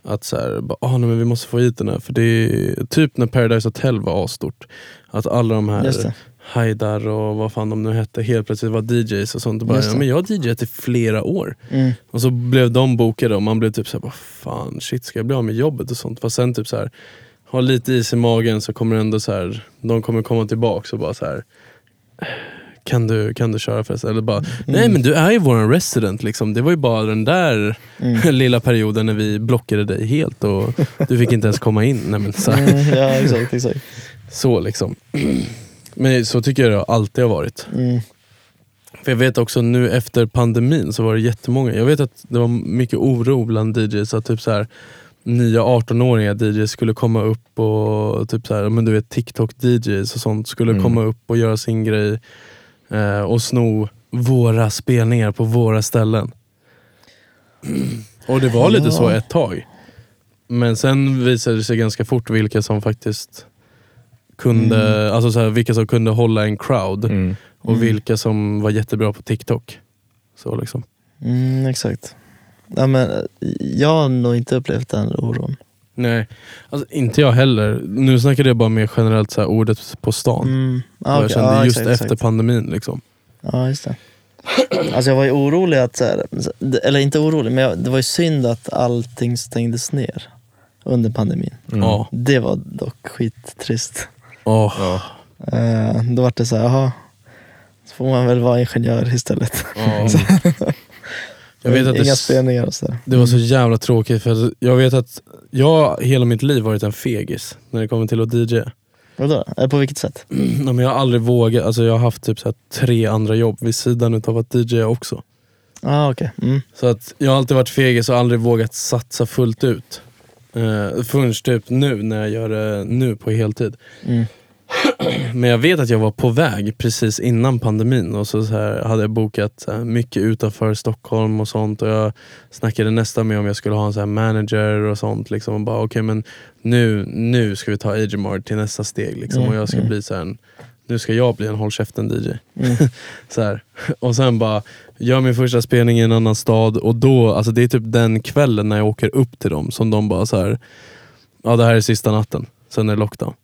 Speaker 4: Att så här, bara, ah, nej, men vi måste få hit den här. För det är typ när Paradise Hotel var asstort. Att alla de här
Speaker 5: Just det.
Speaker 4: Haidar och vad fan de nu hette helt plötsligt var DJs och sånt. Och bara,
Speaker 5: Just
Speaker 4: ja,
Speaker 5: det.
Speaker 4: men jag har DJat i flera år.
Speaker 5: Mm. <laughs>
Speaker 4: Och så blev de bokade och man blev typ såhär, vad fan shit ska jag bli av med jobbet och sånt. Fast sen typ så här, ha lite is i magen så kommer det ändå så här, de kommer komma tillbaka och bara så här. Kan du, kan du köra förresten? Eller bara,
Speaker 5: Mm.
Speaker 4: nej men du är ju våran resident liksom. Det var ju bara den där <laughs>
Speaker 5: Mm.
Speaker 4: lilla perioden när vi blockade dig helt och du fick inte ens komma in. Nej, men så, här,
Speaker 5: Mm, ja exakt, exakt.
Speaker 4: så liksom. <clears throat> Men så tycker jag det alltid har varit.
Speaker 5: Mm.
Speaker 4: För jag vet också nu efter pandemin så var det jättemånga. Jag vet att det var mycket oro bland DJs att typ så här, nya 18-åriga DJs skulle komma upp och typ så här, men du vet TikTok-DJs och sånt skulle
Speaker 3: Mm.
Speaker 4: komma upp och göra sin grej eh, och sno våra spelningar på våra ställen. Och det var lite
Speaker 5: Ja.
Speaker 4: så ett tag. Men sen visade det sig ganska fort vilka som faktiskt kunde, alltså så här, vilka som kunde hålla en crowd
Speaker 3: Mm.
Speaker 4: och vilka som var jättebra på TikTok. Så liksom.
Speaker 5: Mm, exakt. Ja, men, eh, jag har nog inte upplevt den oron.
Speaker 4: Nej, alltså, inte jag heller. Nu snackade jag bara mer generellt så här, ordet på stan.
Speaker 5: Mm.
Speaker 4: Vad
Speaker 5: Ah,
Speaker 4: jag
Speaker 5: okej.
Speaker 4: kände
Speaker 5: Ja,
Speaker 4: just
Speaker 5: exakt,
Speaker 4: efter
Speaker 5: exakt.
Speaker 4: pandemin. Liksom.
Speaker 5: Ja, just det. Alltså jag var ju orolig att, så här, eller inte orolig, men jag, det var ju synd att allting stängdes ner under pandemin.
Speaker 4: Ja.
Speaker 5: Det var dock skittrist.
Speaker 4: Åh.
Speaker 5: Eh, då var det så här, jaha, så får man väl vara ingenjör istället.
Speaker 4: Så- Jag vet att
Speaker 5: Inga Mm.
Speaker 4: det,
Speaker 5: spelningar och sådär.
Speaker 4: det var så jävla tråkigt för jag vet att jag hela mitt liv varit en fegis när det kommer till att DJ. <clears throat>
Speaker 5: Vadå? Eller på vilket sätt?
Speaker 4: Nej, men jag har aldrig vågat, alltså jag har haft typ så här tre andra jobb vid sidan utav att DJ också.
Speaker 5: Ah, okej. Mm.
Speaker 4: Så att jag har alltid varit fegis och aldrig vågat satsa fullt ut. Uh, förrän typ nu när jag gör det nu på heltid.
Speaker 5: Mm.
Speaker 4: Men jag vet att jag var på väg precis innan pandemin och så, så här, hade jag bokat så här, mycket utanför Stockholm och sånt. Och jag snackade nästan med om jag skulle ha en så här manager och sånt. Liksom, och bara okej men nu, nu ska vi ta Agemar till nästa steg. Liksom,
Speaker 5: Mm,
Speaker 4: och jag ska
Speaker 5: mm.
Speaker 4: bli så här, en nu ska jag bli en håll käften-DJ.
Speaker 5: Mm.
Speaker 4: <laughs> så här. Och sen bara, gör min första spelning i en annan stad och då, alltså det är typ den kvällen när jag åker upp till dem som de bara så här. ja det här är sista natten, sen är det lockdown.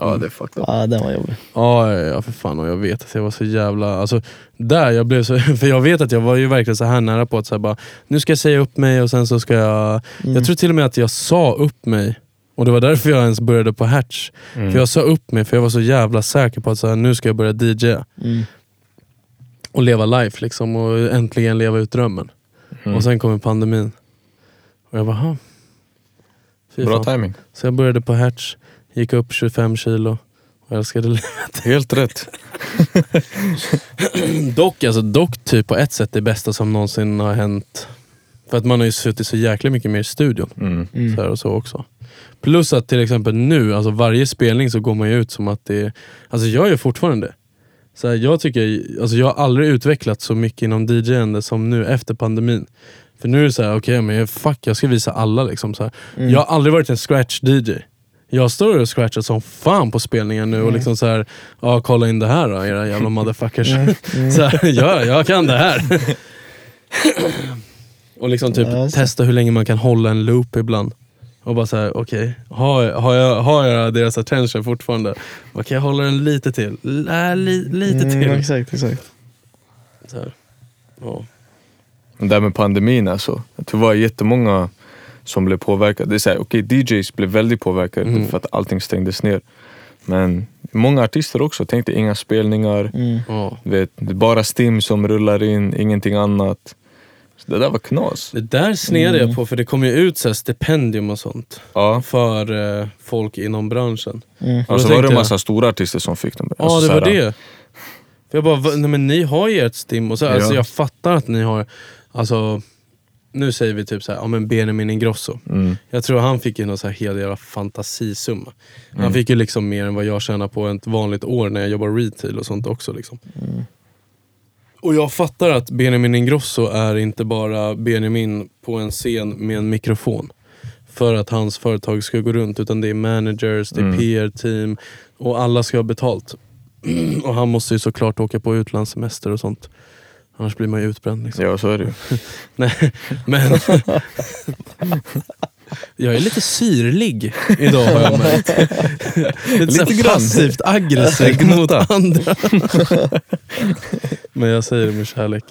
Speaker 3: Ja, det är fucked up.
Speaker 5: Ja, den var jobbig.
Speaker 4: Ja, ja, ja för fan och jag vet att jag var så jävla... Alltså, där jag blev så... <laughs> För jag vet att jag var ju verkligen så här nära på att så här bara, nu ska jag säga upp mig och sen så ska jag... Jag tror till och med att jag sa upp mig. Och det var därför jag ens började på Hertz.
Speaker 3: Mm.
Speaker 4: För jag sa upp mig för jag var så jävla säker på att så här, nu ska jag börja DJa
Speaker 5: Mm.
Speaker 4: och leva life liksom och äntligen leva ut drömmen.
Speaker 3: Mm.
Speaker 4: Och sen kom pandemin. Och jag bara, "Ha." Fy
Speaker 3: Bra
Speaker 4: fan.
Speaker 3: timing.
Speaker 4: Så jag började på Hertz, gick upp 25 kilo och älskade <laughs> livet.
Speaker 3: Helt rätt.
Speaker 4: <clears throat> Dock, alltså, dock typ på ett sätt det bästa som någonsin har hänt. För att man har ju suttit så jäkla mycket mer i studion.
Speaker 3: Mm.
Speaker 5: Mm.
Speaker 4: Så här och så också. Plus att till exempel nu, alltså varje spelning så går man ju ut som att det är... Alltså jag gör fortfarande det. så här, jag, tycker, alltså jag har aldrig utvecklat så mycket inom DJ-ande som nu efter pandemin. För nu är det så här, okej men fuck jag ska visa alla liksom. Så här. Jag har aldrig varit en scratch-DJ. Jag står och scratchar som fan på spelningen nu och liksom så här, ja kolla in det här då era jävla motherfuckers. Så här, ja, jag kan det här. och liksom typ
Speaker 5: Ja, just det.
Speaker 4: testa hur länge man kan hålla en loop ibland. Och bara såhär, okej, har, har, jag, har jag deras attention fortfarande? Vad kan jag hålla den lite till? Lä, li, lite till.
Speaker 5: Mm, exakt, exakt.
Speaker 4: Så här. Ja.
Speaker 3: Det där med pandemin alltså. Jag tror det var jättemånga som blev påverkade. Det är så här, okej, DJs blev väldigt påverkade
Speaker 4: Mm.
Speaker 3: för att allting stängdes ner. Men många artister också. Tänk dig, inga spelningar.
Speaker 5: Mm.
Speaker 4: Ja.
Speaker 3: Du Vet, det är bara Stim som rullar in, ingenting annat. Så det där var knas.
Speaker 4: Det där snedde
Speaker 5: Mm.
Speaker 4: jag på, för det kom ju ut så här stipendium och sånt
Speaker 3: Ja.
Speaker 4: för eh, folk inom branschen.
Speaker 5: Mm.
Speaker 4: Och
Speaker 3: Alltså
Speaker 4: då
Speaker 3: var det
Speaker 4: tänkte
Speaker 3: en
Speaker 4: jag-
Speaker 3: massa stora artister som fick dem.
Speaker 4: Ja,
Speaker 3: Alltså,
Speaker 4: det
Speaker 3: så
Speaker 4: var
Speaker 3: här,
Speaker 4: det. För jag bara, "Va? nej men ni har ju ert stim. Och så, här,
Speaker 3: Ja.
Speaker 4: alltså, jag fattar att ni har, alltså, nu säger vi typ så här, ja men Benjamin Ingrosso.
Speaker 3: Mm.
Speaker 4: Jag tror han fick ju någon så här hel jävla fantasisumma. Han fick ju liksom mer än vad jag tjänar på ett vanligt år när jag jobbar retail och sånt också. Liksom. Och jag fattar att Benjamin Ingrosso är inte bara Benjamin på en scen med en mikrofon. För att hans företag ska gå runt. Utan det är managers, det är
Speaker 3: Mm.
Speaker 4: PR-team och alla ska ha betalt. <clears throat> och han måste ju såklart åka på utlandssemester och sånt. Annars blir man ju utbränd. Liksom.
Speaker 3: Ja, så är det ju.
Speaker 4: Nej, men... jag är lite syrlig idag har jag märkt. <laughs> Lite, så här
Speaker 3: Lite grann.
Speaker 4: passivt aggressiv mot andra. men jag säger det med kärlek.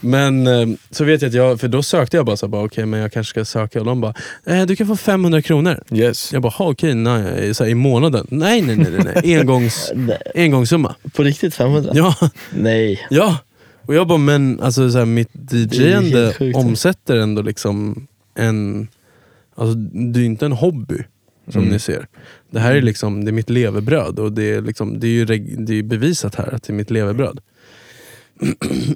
Speaker 4: Men eh, så vet jag att jag, för då sökte jag bara, så här, bara okej men jag kanske ska söka och de bara, eh, du kan få 500 kronor.
Speaker 3: Yes.
Speaker 4: Jag bara, "Ha, okej, nej, så här, i månaden? Nej, nej, nej, nej, <laughs> nej. Engångs,
Speaker 5: Nej,
Speaker 4: engångssumma.
Speaker 5: På riktigt 500?
Speaker 4: Ja,
Speaker 5: Nej.
Speaker 4: Ja, och jag bara, men alltså, så här, mitt
Speaker 5: Det är
Speaker 4: DJ-ande
Speaker 5: helt sjukt.
Speaker 4: omsätter ändå liksom en... Alltså, det är ju inte en hobby som ni ser. Det här är liksom, det är mitt levebröd och det är, liksom, det är ju reg- det är ju bevisat här att det är mitt levebröd. <clears throat>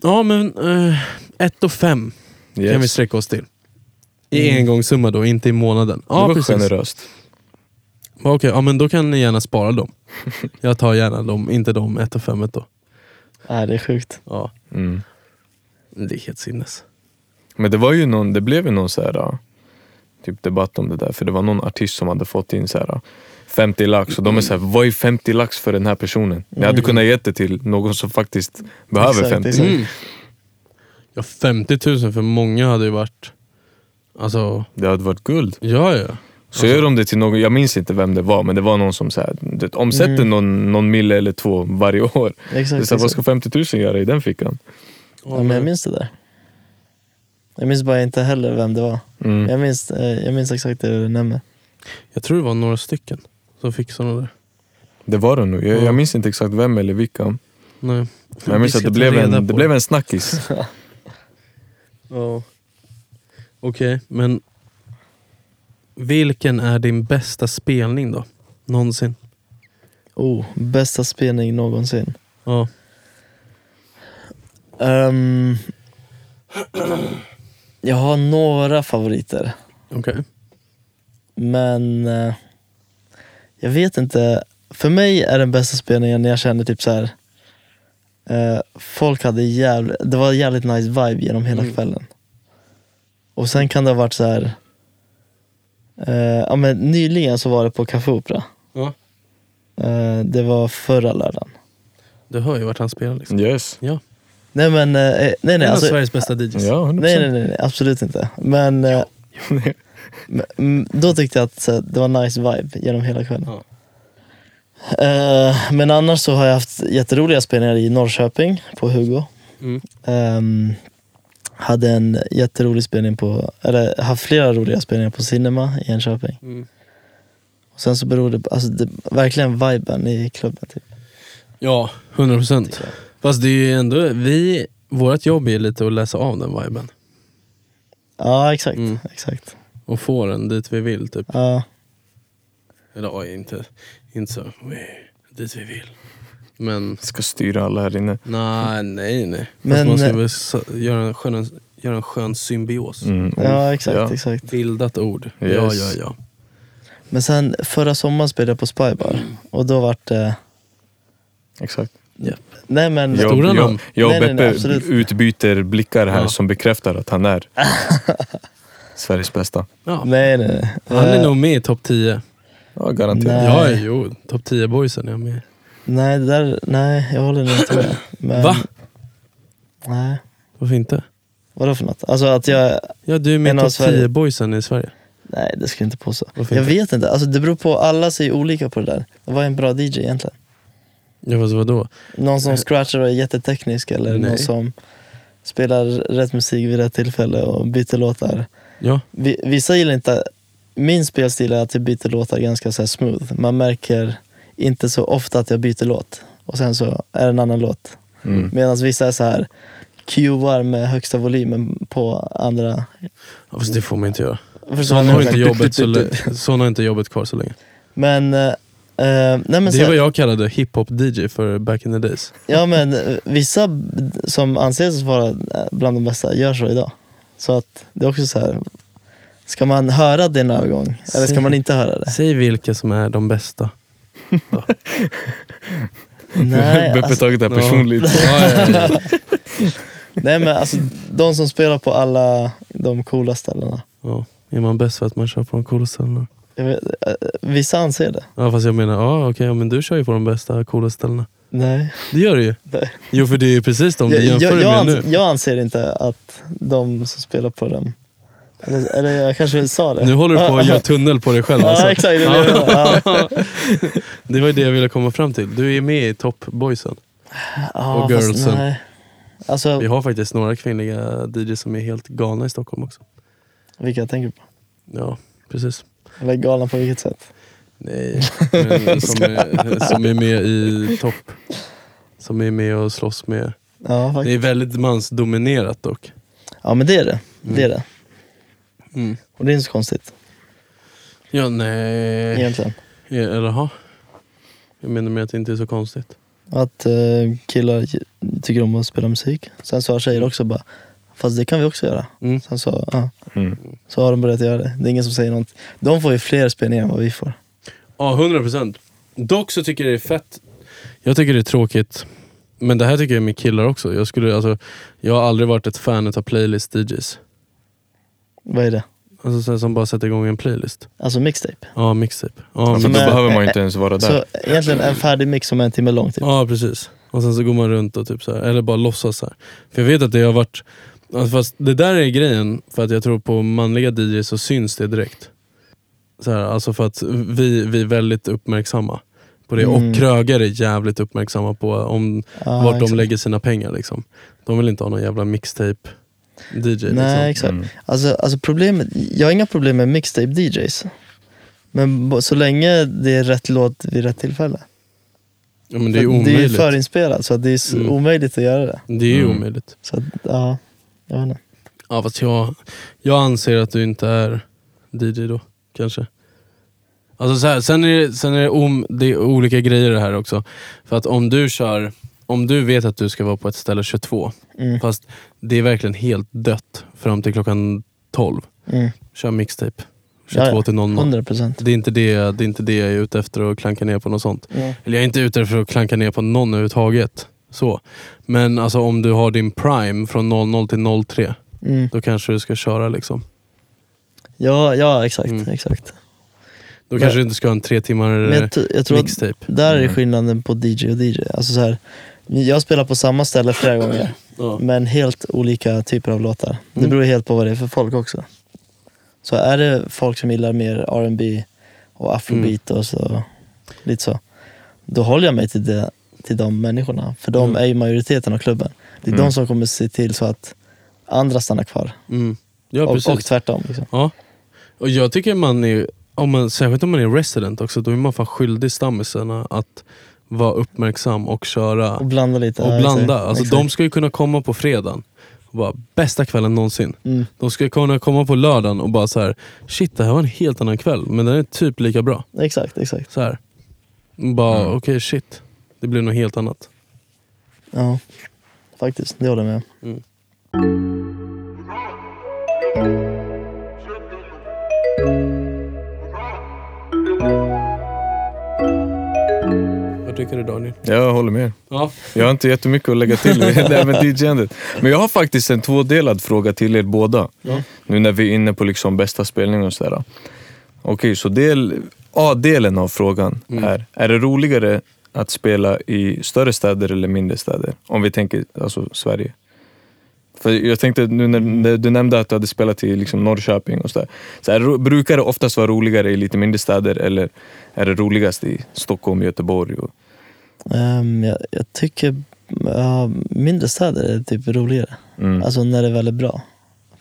Speaker 4: ja men, eh, ett och fem
Speaker 3: yes.
Speaker 4: kan vi sträcka oss till. I engångssumma då, inte i månaden.
Speaker 3: det
Speaker 4: Ja,
Speaker 3: var
Speaker 4: precis.
Speaker 3: generöst.
Speaker 4: Ja, Okej, ja, men då kan ni gärna spara dem. Jag tar gärna dem, inte de ett och femmet då.
Speaker 5: Nej, det är sjukt.
Speaker 4: Ja,
Speaker 3: Mm.
Speaker 4: det är helt sinnes.
Speaker 3: Men det var ju någon, det blev ju någon så här, ja, typ debatt om det där, för det var någon artist som hade fått in så här, ja, 50 lax och de är såhär, vad är 50 lax för den här personen? Jag hade kunnat ge det till någon som faktiskt behöver
Speaker 5: Exakt,
Speaker 3: 50.
Speaker 5: exakt.
Speaker 4: Mm. Ja, 50 000 för många hade ju varit... Alltså,
Speaker 3: Det hade varit guld.
Speaker 4: ja ja.
Speaker 3: Så gör de det till någon, jag minns inte vem det var, men det var någon som så här, du vet, omsätter någon, någon mille eller två varje år. Det är
Speaker 5: Exakt,
Speaker 3: så här, vad ska
Speaker 5: exakt.
Speaker 3: 50 000 göra i den fickan?
Speaker 5: Ja, men jag minns det där. Jag minns bara inte heller vem det var.
Speaker 3: Mm.
Speaker 5: Jag, minns, eh, jag minns exakt det du nämner.
Speaker 4: Jag tror det var några stycken som fick sådana där.
Speaker 3: Det var det nog. Jag,
Speaker 4: Ja.
Speaker 3: jag minns inte exakt vem eller vilka. Men
Speaker 4: Nej.
Speaker 3: jag minns
Speaker 4: Vi
Speaker 3: att
Speaker 4: ska
Speaker 3: det
Speaker 4: ta
Speaker 3: blev,
Speaker 4: reda på
Speaker 3: en, det blev en snackis.
Speaker 4: Ja. Okej, men... Vilken är din bästa spelning då? Någonsin?
Speaker 5: Oh, bästa spelning någonsin.
Speaker 4: Ja.
Speaker 5: Ehm, <clears throat> jag har några favoriter,
Speaker 4: Okej.
Speaker 5: men eh, jag vet inte. För mig är den bästa spelningen när jag kände typ så här. eh, folk hade jävligt, det var jävligt nice vibe genom hela
Speaker 4: Mm.
Speaker 5: kvällen. Och sen kan det ha varit så här. eh, ja, men nyligen så var det på Café Opera.
Speaker 4: Ja.
Speaker 5: Eh, det var förra lördagen.
Speaker 4: Du hör ju vart han spelar liksom.
Speaker 3: Yes.
Speaker 4: Ja.
Speaker 5: Nej men, eh, nej nej.
Speaker 4: en av
Speaker 5: Alltså,
Speaker 4: Sveriges bästa DJs.
Speaker 3: Mm. Ja, 100%.
Speaker 5: nej, nej, nej, nej, absolut inte. Men eh, men, mm, då tyckte jag att så, här, det var nice vibe genom hela kvällen.
Speaker 4: Ja.
Speaker 5: Eh, men annars så har jag haft jätteroliga spelningar i Norrköping på Hugo.
Speaker 4: Mm.
Speaker 5: Ehm, hade en jätterolig spelning på, eller haft flera roliga spelningar på Cinema i Enköping.
Speaker 4: Mm.
Speaker 5: Och sen så beror det, alltså det, verkligen viben i klubben. Typ.
Speaker 4: Ja, 100 procent. Fast det är ju ändå, vi, vårt jobb är lite att läsa av den viben.
Speaker 5: Ja exakt,
Speaker 4: Mm.
Speaker 5: exakt.
Speaker 4: Och få den dit vi vill typ.
Speaker 5: Ja,
Speaker 4: Eller ja, inte, inte så, "Oj, dit vi vill. Men
Speaker 3: Ska styra alla här inne.
Speaker 4: nej, nej, nej. Men,
Speaker 5: Men- eh,
Speaker 4: man ska väl s- göra en skön, göra en skön symbios.
Speaker 3: Mm.
Speaker 5: ja exakt, exakt.
Speaker 4: Bildat ord.
Speaker 3: Yes.
Speaker 4: Ja, ja, ja.
Speaker 5: Men sen förra sommaren spelade jag på Spybar och då vart det,
Speaker 3: Exakt.
Speaker 5: nej men
Speaker 3: Jag,
Speaker 4: Stora
Speaker 3: jag,
Speaker 4: namn.
Speaker 3: jag och
Speaker 5: Nej, nej, nej,
Speaker 3: Beppe
Speaker 5: absolut.
Speaker 3: utbyter blickar här
Speaker 4: Ja.
Speaker 3: som bekräftar att han
Speaker 5: <laughs>
Speaker 3: är Sveriges bästa.
Speaker 4: ja.
Speaker 5: Nej, nej, nej.
Speaker 4: Han är
Speaker 5: Eh,
Speaker 4: nog med i topp 10.
Speaker 3: Ja, garanterat.
Speaker 5: Nej.
Speaker 4: Ja, jo. Topp 10 boysen är jag med.
Speaker 5: Nej, det där, nej, jag håller nog inte med. Men,
Speaker 4: Va?
Speaker 5: Nej.
Speaker 4: Varför inte?
Speaker 5: Vadå för något? Alltså att jag,
Speaker 4: Ja, du är med
Speaker 5: En
Speaker 4: i
Speaker 5: av
Speaker 4: topp
Speaker 5: Sverige.
Speaker 4: 10 boysen i Sverige.
Speaker 5: nej det ska jag inte påstå.
Speaker 4: Varför
Speaker 5: Jag
Speaker 4: inte?
Speaker 5: vet inte, alltså det beror på, alla säger olika på det där. Vad är en bra DJ egentligen?
Speaker 4: Ja, fast vadå?
Speaker 5: Någon som scratchar och är jätteteknisk eller
Speaker 4: Eh. Nej.
Speaker 5: någon som spelar rätt musik vid rätt tillfälle och byter låtar.
Speaker 4: Ja.
Speaker 5: Vi- Vissa gillar inte, min spelstil är att jag byter låtar ganska så här smooth. Man märker inte så ofta att jag byter låt och sen så är det en annan låt.
Speaker 3: Mm.
Speaker 5: Medan vissa är så här cuear med högsta volymen på andra.
Speaker 4: Ja, Fast det får man inte göra.
Speaker 5: Förstår du vad
Speaker 4: Sådana
Speaker 5: jag
Speaker 4: har
Speaker 5: menar? <laughs>
Speaker 4: inte jobbet, så länge. Sådana har inte jobbet kvar så länge.
Speaker 5: Men, eh, eh, nej men,
Speaker 4: Det
Speaker 5: så
Speaker 4: är
Speaker 5: här,
Speaker 4: vad jag kallade hiphop-DJ för back in the days.
Speaker 5: ja, men eh, vissa b- som anses vara eh, bland de bästa gör så idag. Så att det är också så här. Ska man höra det en övergång? Eller ska
Speaker 4: Säg-
Speaker 5: man inte
Speaker 4: <laughs>
Speaker 5: höra det?
Speaker 4: Säg vilka som är de bästa.
Speaker 5: Nej,
Speaker 3: <laughs> Beppe
Speaker 5: alltså,
Speaker 3: tagit det här
Speaker 4: ja.
Speaker 3: personligt.
Speaker 5: nej men alltså de som spelar på alla de coola ställena.
Speaker 4: Ja. Är man bäst för att man kör på de coola ställena?
Speaker 5: Jag vet, eh, vissa anser det.
Speaker 4: Ja, fast jag menar, ja okej, ja, men du kör ju på de bästa coola ställena.
Speaker 5: Nej.
Speaker 4: Det gör du ju.
Speaker 5: Nej.
Speaker 4: Jo, för det är ju precis de du
Speaker 5: jag,
Speaker 4: jämför
Speaker 5: jag,
Speaker 4: dig
Speaker 5: jag,
Speaker 4: med
Speaker 5: ans-
Speaker 4: nu.
Speaker 5: jag anser inte att de som spelar på dem, eller, eller jag kanske sa det.
Speaker 4: Nu håller du på
Speaker 5: <laughs>
Speaker 4: att göra tunnel på dig själv alltså.
Speaker 5: Ja, exakt. Det, är det, jag menar. ja.
Speaker 4: Det var det jag ville komma fram till. Du är med i toppboysen.
Speaker 5: Ja,
Speaker 4: Och
Speaker 5: fast
Speaker 4: girlsen.
Speaker 5: nej. Alltså,
Speaker 4: Vi har faktiskt några kvinnliga DJs som är helt galna i Stockholm också.
Speaker 5: vilka jag tänker på?
Speaker 4: Ja, precis.
Speaker 5: Eller galna på vilket sätt?
Speaker 4: Nej,
Speaker 5: <laughs>
Speaker 4: men som är, som är med i topp. Som är med och slåss med.
Speaker 5: Ja,
Speaker 4: Det
Speaker 5: faktiskt.
Speaker 4: är väldigt mansdominerat dock.
Speaker 5: ja men det är det. Det är
Speaker 4: Mm.
Speaker 5: det. Och det är inte så konstigt
Speaker 4: Ja, nej.
Speaker 5: egentligen.
Speaker 4: Eller ha. Jag menar med att det inte är så konstigt.
Speaker 5: Att eh, killar j- tycker om att spela musik. Sen så har tjejer också bara, fast det kan vi också göra.
Speaker 4: Mm.
Speaker 5: Sen så, ja.
Speaker 3: Mm.
Speaker 5: så har de börjat göra det. Det är ingen som säger någonting. De får ju fler spelningar än vad vi får.
Speaker 4: Ja, 100 procent. Dock så tycker jag det är fett. Jag tycker det är tråkigt. Men det här tycker jag med killar också. Jag, skulle, alltså, jag har aldrig varit ett fan av playlist-DJs.
Speaker 5: Vad är det?
Speaker 4: Alltså så här som bara sätter igång en playlist.
Speaker 5: Alltså mixtape.
Speaker 4: Ja, mixtape.
Speaker 3: Ja,
Speaker 4: Ja,
Speaker 3: men
Speaker 5: som
Speaker 3: då
Speaker 5: är-
Speaker 3: behöver man ju inte ens vara där.
Speaker 5: Så egentligen en färdig mix som är en timme lång typ.
Speaker 4: Ja precis. Och sen så går man runt och typ så här, eller bara låtsas så här. För jag vet att det har varit, alltså, fast det där är grejen, för att jag tror på manliga DJs så syns det direkt. Så här, alltså för att vi, vi är väldigt uppmärksamma på det.
Speaker 5: Mm.
Speaker 4: Och krögare är jävligt uppmärksamma på om,
Speaker 5: Ja,
Speaker 4: vart de
Speaker 5: exakt.
Speaker 4: lägger sina pengar. Liksom. De vill inte ha någon jävla mixtape-DJ.
Speaker 5: Nej,
Speaker 4: Liksom.
Speaker 5: exakt.
Speaker 3: Mm.
Speaker 5: Alltså, alltså problemet, jag har inga problem med mixtape-DJs. Men bo- så länge det är rätt låt vid rätt tillfälle.
Speaker 4: Ja, men det
Speaker 5: För
Speaker 4: är
Speaker 5: att
Speaker 4: omöjligt.
Speaker 5: ju förinspelat, så att det är s-
Speaker 4: Mm.
Speaker 5: omöjligt att göra det.
Speaker 4: Det är ju
Speaker 3: Mm.
Speaker 4: omöjligt.
Speaker 5: Så att, ja, jag vet inte.
Speaker 4: Ja, fast jag, jag anser att du inte är DJ då, kanske. Alltså så här, sen är, det, sen är det, om, det är olika grejer det här också. För att om du kör, om du vet att du ska vara på ett ställe 22,
Speaker 5: Mm.
Speaker 4: fast det är verkligen helt dött fram till klockan 12.
Speaker 5: Mm.
Speaker 4: Kör mixtape. 22
Speaker 5: Ja, ja.
Speaker 4: till 00.
Speaker 5: 100 procent.
Speaker 4: Det är, inte det, det är inte det jag är ute efter att klanka ner på något sånt.
Speaker 5: Mm.
Speaker 4: Eller jag är inte ute för att klanka ner på någon överhuvudtaget. Så. Men alltså om du har din prime från 00 till 03,
Speaker 5: Mm.
Speaker 4: då kanske du ska köra liksom.
Speaker 5: Ja, ja, exakt.
Speaker 4: Mm.
Speaker 5: exakt.
Speaker 4: Då
Speaker 5: Men-
Speaker 4: kanske du inte ska ha en tre timmar
Speaker 5: Men jag,
Speaker 4: eh,
Speaker 5: t- jag tror att
Speaker 4: mixtape.
Speaker 5: där är skillnaden på DJ och DJ. Alltså så här, Jag spelar på samma
Speaker 4: <coughs>
Speaker 5: ställe flera gånger,
Speaker 4: Ja. Mm.
Speaker 5: men helt olika typer av låtar. Det beror helt på vad det är för folk också. Så är det folk som gillar mer R&B och
Speaker 4: Mm.
Speaker 5: afrobeat och så, lite så, då håller jag mig till, det, till de människorna. För
Speaker 4: Mm.
Speaker 5: de är ju majoriteten av klubben. Det är de som kommer se till så att andra stannar kvar.
Speaker 4: Mm. Ja,
Speaker 5: och,
Speaker 4: precis.
Speaker 5: och tvärtom. Liksom.
Speaker 4: Ja. Och jag tycker man är, om man, särskilt om man är resident också, då är man fan skyldig stammisarna att vara uppmärksam och köra
Speaker 5: Och blanda lite.
Speaker 4: och
Speaker 5: ja,
Speaker 4: blanda.
Speaker 5: exakt,
Speaker 4: Alltså,
Speaker 5: exakt.
Speaker 4: de ska ju kunna komma på fredagen och bara bästa kvällen någonsin.
Speaker 5: Mm.
Speaker 4: De ska kunna komma på lördagen och bara så här shit det här var en helt annan kväll men den är typ lika bra.
Speaker 5: Exakt, exakt.
Speaker 4: Så här. Bara
Speaker 5: Mm.
Speaker 4: okej shit, det blir något helt annat.
Speaker 5: Ja, faktiskt. Det håller jag med om.
Speaker 4: Vad tycker du Daniel?
Speaker 3: Jag håller med.
Speaker 4: Ja.
Speaker 3: Jag har inte jättemycket att lägga till i det här med DJ-andet. Men jag har faktiskt en tvådelad fråga till er båda. Nu när vi är inne på liksom bästa spelning och sådär. Okej, så del, A-delen av frågan är, är det roligare att spela i större städer eller mindre städer? Om vi tänker alltså Sverige. För jag tänkte, nu när, när du nämnde att du hade spelat i liksom Norrköping och sådär. Så är det, ro- brukar det oftast vara roligare i lite mindre städer eller är det roligast i Stockholm, Göteborg? Och,
Speaker 5: Ehm, jag, jag tycker ja, mindre städer är typ roligare.
Speaker 3: mm.
Speaker 5: Alltså när det väl är bra.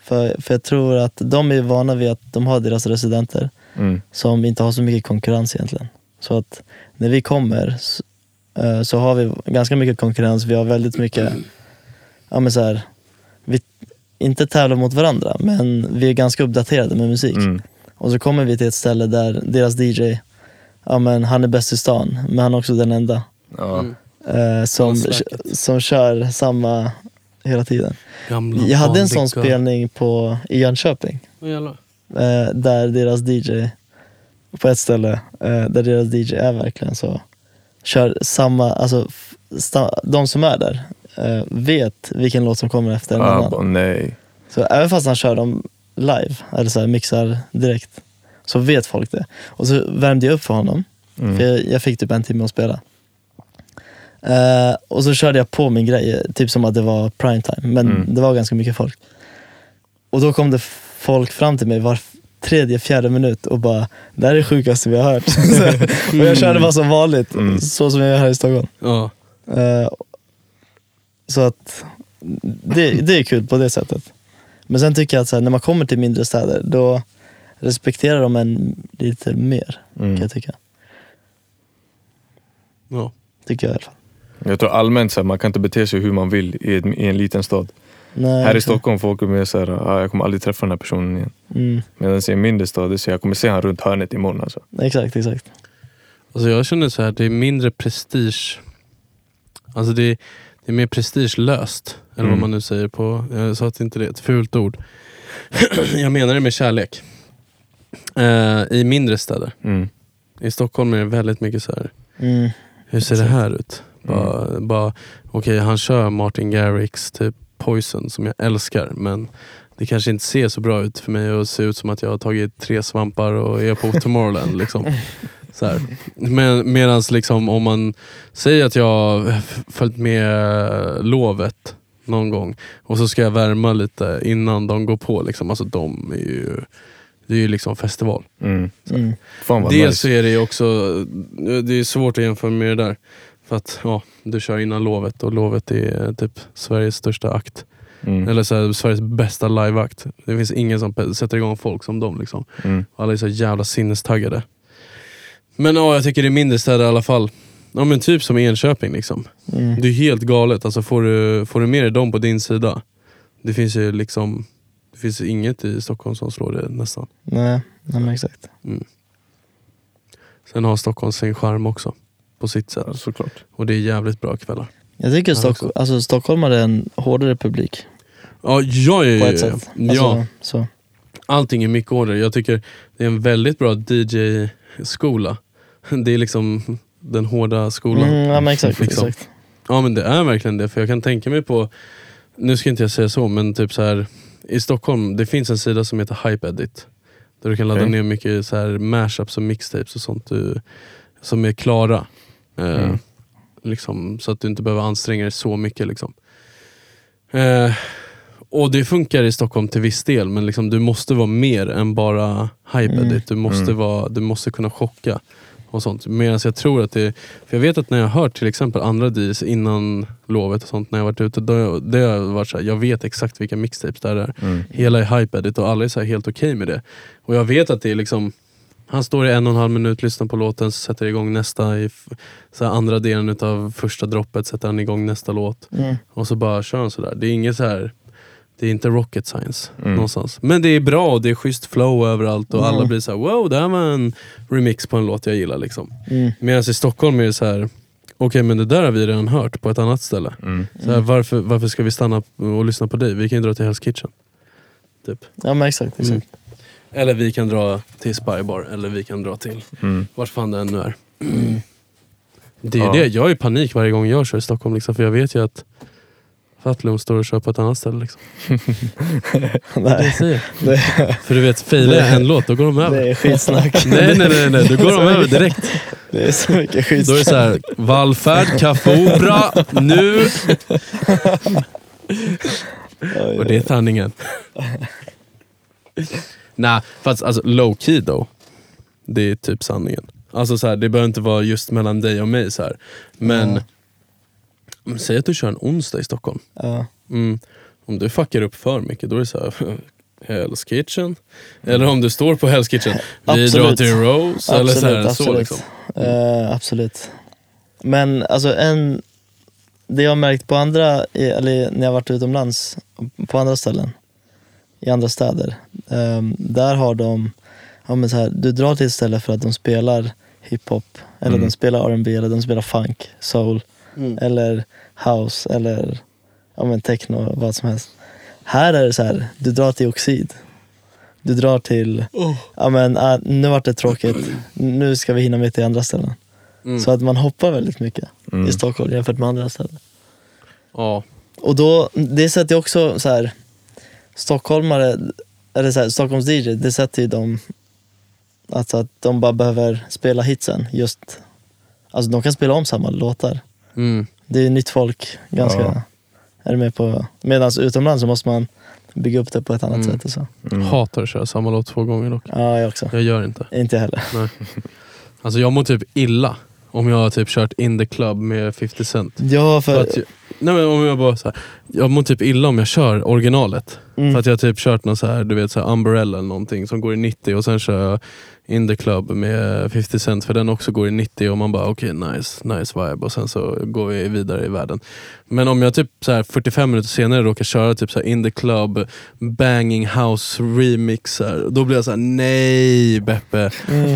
Speaker 5: För, för jag tror att de är vana vid att de har deras residenter
Speaker 3: Mm.
Speaker 5: som inte har så mycket konkurrens egentligen. Så att när vi kommer så, eh, så har vi ganska mycket konkurrens. Vi har väldigt mycket, ja men så här, vi inte tävlar mot varandra men vi är ganska uppdaterade med musik.
Speaker 3: Mm.
Speaker 5: Och så kommer vi till ett ställe där deras DJ, ja men han är bäst i stan men han är också den enda.
Speaker 3: Ja.
Speaker 5: eh, som,
Speaker 4: Slacket.
Speaker 5: som kör samma hela tiden.
Speaker 4: Gamla
Speaker 5: Jag hade en sån
Speaker 4: bandika.
Speaker 5: spelning på, i Jönköping
Speaker 4: Vad jävlar.
Speaker 5: eh, där deras DJ, på ett ställe, eh, där deras DJ är verkligen så, kör samma, alltså f- sta, de som är där eh, vet vilken låt som kommer efter en
Speaker 3: Ah,
Speaker 5: annan.
Speaker 3: bara, nej.
Speaker 5: Så även fast han kör dem live, eller så här, mixar direkt, så vet folk det. Och så värmde jag upp för honom, för jag, jag fick typ en timme att spela. Eh, och så körde jag på min grej, eh, typ som att det var primetime, men
Speaker 3: Mm.
Speaker 5: det var ganska mycket folk. Och då kom det f- folk fram till mig var f- tredje, fjärde minut och bara, det här är det sjukaste vi har hört. <laughs> Så- och jag körde bara som vanligt, så som jag gör här i Stockholm.
Speaker 4: Ja.
Speaker 5: Eh, Så att det, det är kul på det sättet. Men sen tycker jag att så här, när man kommer till mindre städer, då respekterar de en lite mer,
Speaker 4: Mm.
Speaker 3: Mm.
Speaker 5: kan jag tycka.
Speaker 4: Ja.
Speaker 5: Tycker jag i alla fall.
Speaker 3: Jag tror allmänt att man kan inte bete sig hur man vill i, ett, i en liten stad.
Speaker 5: Nej,
Speaker 3: Här i
Speaker 5: exakt.
Speaker 3: Stockholm får folk mer såhär, ah, jag kommer aldrig träffa den här personen igen.
Speaker 5: Mm,
Speaker 3: Medan i en mindre stad, det är så jag kommer se han runt hörnet imorgon alltså.
Speaker 5: exakt, exakt.
Speaker 4: Alltså jag känner så här, det är mindre prestige. Alltså det är, det är mer prestigelöst. Eller
Speaker 3: Mm.
Speaker 4: vad man nu säger på, jag sa att inte det är ett fult ord. <clears throat> jag menar det med kärlek. Eh, I mindre städer.
Speaker 3: Mm.
Speaker 4: I Stockholm är det väldigt mycket så här.
Speaker 5: Mm,
Speaker 4: hur ser det här ut? Bara, bara okej han kör Martin Garrix, typ Poison som jag älskar men det kanske inte ser så bra ut för mig och ser ut som att jag har tagit tre svampar och är på Tomorrowland. liksom. så här. Men, medans liksom, om man säger att jag har f- följt med lovet någon gång och så ska jag värma lite innan de går på. Liksom. Alltså de är ju, det är ju liksom festival.
Speaker 3: Mm.
Speaker 5: mm.
Speaker 3: Fan vad
Speaker 4: Dels så
Speaker 3: nice.
Speaker 4: är det ju också, det är svårt att jämföra med det där. För att ja, du kör innan lovet och lovet är typ Sveriges största akt.
Speaker 3: Mm.
Speaker 4: Eller så här, Sveriges bästa liveakt. Det finns ingen som pe- sätter igång folk som dem. Liksom.
Speaker 3: Mm.
Speaker 4: Alla är så jävla sinnestaggade. Men ja, jag tycker det är mindre städer i alla fall. Ja men typ som Enköping liksom.
Speaker 5: Mm.
Speaker 4: Det är helt galet. Alltså, får, du, får du med dig dem på din sida. Det finns ju liksom, det finns inget i Stockholm som slår det nästan.
Speaker 5: Nej, nej, men exakt.
Speaker 4: Sen har Stockholm sin charm också. På sitt sätt.
Speaker 3: Ja, såklart.
Speaker 4: Och det är jävligt bra kvällar.
Speaker 5: Jag tycker Stock,
Speaker 4: också.
Speaker 5: alltså, stockholmare är en hårdare publik
Speaker 4: Ja, ja,
Speaker 5: på
Speaker 4: ja,
Speaker 5: ett
Speaker 4: ja, ja.
Speaker 5: sätt.
Speaker 4: Eh, ja
Speaker 5: Alltså, så.
Speaker 4: allting är mycket hårdare. Jag tycker det är en väldigt bra DJ-skola. Det är liksom den hårda skolan.
Speaker 5: Mm, ja, men exakt,
Speaker 4: Liksom.
Speaker 5: exakt.
Speaker 4: Ja men det är verkligen det, för jag kan tänka mig på, nu ska inte jag säga så, men typ så här i Stockholm, det finns en sida som heter Hype Edit. Där du kan ladda
Speaker 3: Okej.
Speaker 4: ner mycket
Speaker 3: Mm.
Speaker 4: så här mashups och mixtapes och sånt du, som är klara. Eh, Liksom, så att du inte behöver anstränga dig så mycket. Liksom. Eh, och det funkar i Stockholm till viss del, men liksom, du måste vara mer än bara hyped.
Speaker 5: Mm.
Speaker 4: Du, måste
Speaker 3: Mm.
Speaker 4: vara, du måste kunna chocka. och sånt. Medan jag tror att det, för jag vet att när jag har hört till exempel andra DJs innan lovet och sånt, när jag varit ute, då, det har varit så här, jag vet exakt vilka mixtapes det här är.
Speaker 3: Mm.
Speaker 4: Hela är hype edit och alla är så här helt okej med det. Och jag vet att det är liksom han står i en och en halv minut, lyssnar på låten, sätter igång nästa. I f- så här andra delen utav första droppet sätter han igång nästa låt.
Speaker 5: Mm.
Speaker 4: Och så bara kör han sådär. Det är inget så här. Det är inte rocket science
Speaker 3: Mm.
Speaker 4: någonstans. Men det är bra och det är schysst flow överallt och alla
Speaker 5: Mm.
Speaker 4: blir så här: wow det här var en remix på en låt jag gillar liksom.
Speaker 5: Mm.
Speaker 4: Medan i Stockholm är det så här. okej men det där har vi redan hört på ett annat ställe.
Speaker 3: Mm.
Speaker 4: Så här, varför, varför ska vi stanna och lyssna på dig? Vi kan ju dra till Hell's Kitchen. Typ.
Speaker 5: Ja men exakt. exakt. <laughs>
Speaker 4: Mm. Eller vi kan dra till Spybar, eller vi kan dra till
Speaker 3: Mm.
Speaker 4: vart fan det än nu är. Det är
Speaker 3: Ja.
Speaker 4: det, jag är i panik varje gång jag kör i Stockholm liksom, för jag vet ju att Fatlum står och kör på ett annat ställe. Liksom. Det
Speaker 5: Nej,
Speaker 4: jag säger.
Speaker 5: det,
Speaker 4: För du vet, failar jag en låt, då går de över.
Speaker 5: det är skitsnack.
Speaker 4: Nej nej nej, nej. då går de över direkt.
Speaker 5: <laughs> Det är så mycket skitsnack.
Speaker 4: Då är det så här, vallfärd, Café Opera, nu.
Speaker 5: Oj,
Speaker 4: Och det är sanningen. Nej, fast alltså low key då. Det är typ sanningen. Alltså så här, det behöver inte vara just mellan dig och mig så här. Men men säg att du kör en onsdag i Stockholm.
Speaker 5: Ja.
Speaker 4: Mm. Om du fuckar upp för mycket, då är det så här. <laughs> Hell's Kitchen. Eller om du står på Hell's Kitchen. Vi
Speaker 5: Absolut.
Speaker 4: drar till Rose. eller så här, så liksom.
Speaker 5: Eh, absolut. Men alltså en, det jag har märkt på andra, i- eller när jag har varit utomlands, på andra ställen, i andra städer, ehm, där har de, ja, men så här, du drar till ett ställe för att de spelar hiphop, eller
Speaker 3: Mm.
Speaker 5: de spelar R&B eller de spelar funk, soul,
Speaker 4: Mm.
Speaker 5: eller house, eller ja, men techno, vad som helst. Här är det så här, du drar till Oxid. Du drar till, ja men ah, nu vart det tråkigt, nu ska vi hinna med till andra ställen.
Speaker 4: Mm.
Speaker 5: Så att man hoppar väldigt mycket
Speaker 3: Mm.
Speaker 5: i Stockholm jämfört med andra ställen.
Speaker 4: Ja.
Speaker 5: Och då, det sätter ju också så här, stockholmare, eller så här, Stockholms DJ, det sätter ju dem, alltså att de bara behöver spela hitsen just, alltså de kan spela om samma låtar.
Speaker 4: Mm.
Speaker 5: Det är nytt folk, ganska,
Speaker 3: Ja.
Speaker 5: är du med på? Medan utomlands så måste man bygga upp det på ett annat
Speaker 4: Mm.
Speaker 5: sätt och så.
Speaker 4: Hatar att köra samma låt två gånger dock.
Speaker 5: Ja, jag också.
Speaker 4: Jag gör inte.
Speaker 5: Inte jag heller.
Speaker 4: Alltså jag mår typ illa om jag har typ kört in the club med 50 cent.
Speaker 5: Ja,
Speaker 4: För
Speaker 5: för,
Speaker 4: att jag, nej men om jag bara så här, jag mår typ illa om jag kör originalet.
Speaker 5: Mm.
Speaker 4: För att jag har typ kört någon så här, du vet, så här umbrella eller någonting som går i 90 och sen kör jag in the club med 50 cent för den också går i 90 och man bara okej nice, nice vibe och sen så går vi vidare i världen. Men om jag typ så här 45 minuter senare råkar köra typ så här in the club, banging house remixer, då blir jag så här: nej Beppe,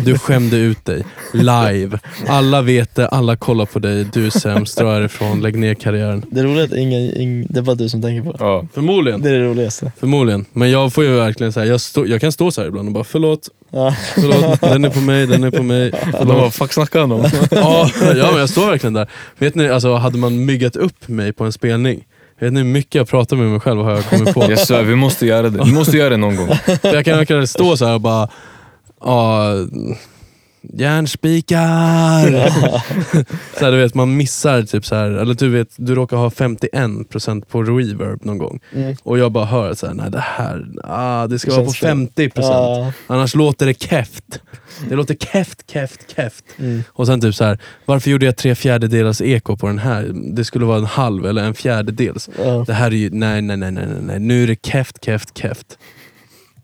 Speaker 4: du skämde ut dig. Live. Alla vet det, alla kollar på dig, du är sämst, dra härifrån, lägg ner karriären.
Speaker 5: det roliga är att ingen, ingen, det är bara du som tänker på det.
Speaker 3: Ja.
Speaker 4: Förmodligen.
Speaker 5: Det är det roligaste.
Speaker 4: Förmodligen. Men jag får ju verkligen så här, jag, stå, jag kan stå så här ibland och bara förlåt,
Speaker 5: Ja.
Speaker 4: förlåt, den är på mig, den är på mig.
Speaker 3: De bara, fuck snackar <laughs> han om?
Speaker 4: Ja, ja men jag står verkligen där. Vet ni, alltså, hade man myggat upp mig på en spelning, vet ni hur mycket jag pratar med mig själv har jag kommit på?
Speaker 3: Jag svär, vi måste göra det. Vi måste göra det någon gång.
Speaker 4: För jag kan verkligen stå så här och bara, ja, järnspikar. så här, du vet, man missar typ så här, eller du vet, du råkar ha 51% på reverb någon gång.
Speaker 5: Mm.
Speaker 4: Och jag bara hör så här, nej det här, ah, det ska
Speaker 5: Det
Speaker 4: vara på
Speaker 5: känns fel.
Speaker 4: 50%.
Speaker 5: Ja.
Speaker 4: Annars låter det keft. Det låter keft, keft, keft.
Speaker 5: Mm.
Speaker 4: Och sen typ så här, varför gjorde jag tre fjärdedelars eko på den här? Det skulle vara en halv eller en fjärdedels.
Speaker 5: Ja.
Speaker 4: Det här är ju, nej, nej, nej, nej, nej, nej. nu är det keft, keft, keft.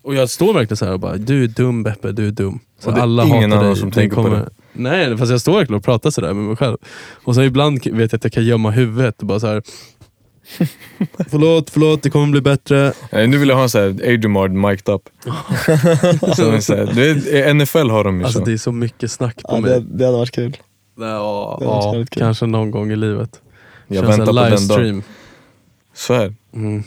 Speaker 4: Och jag står verkligen så här och bara, du är dum Beppe, du är dum. Så
Speaker 3: Och det är
Speaker 4: alla
Speaker 3: ingen
Speaker 4: hatar
Speaker 3: annan
Speaker 4: dig.
Speaker 3: som
Speaker 4: Den
Speaker 3: tänker på det.
Speaker 4: Nej, fast jag står verkligen och pratar sådär med mig själv. Och sen ibland k- vet jag att jag kan gömma huvudet och bara
Speaker 3: <laughs>
Speaker 4: så här. förlåt, förlåt, det kommer bli bättre.
Speaker 3: Eh, Nu vill jag ha en sån här Adrian mic'd
Speaker 5: <laughs>
Speaker 3: up. Som är så här, det är, i NFL har de ju
Speaker 4: Alltså
Speaker 3: så.
Speaker 4: det är så mycket snack på
Speaker 5: Ja,
Speaker 4: mig.
Speaker 5: det, det hade varit kul.
Speaker 4: Ja,
Speaker 5: Det hade varit
Speaker 4: ja
Speaker 5: kul.
Speaker 4: kanske någon gång i livet.
Speaker 3: Jag
Speaker 4: Känns en
Speaker 3: väntar på den dagen.
Speaker 4: livestream.
Speaker 3: Svär.
Speaker 4: Mm.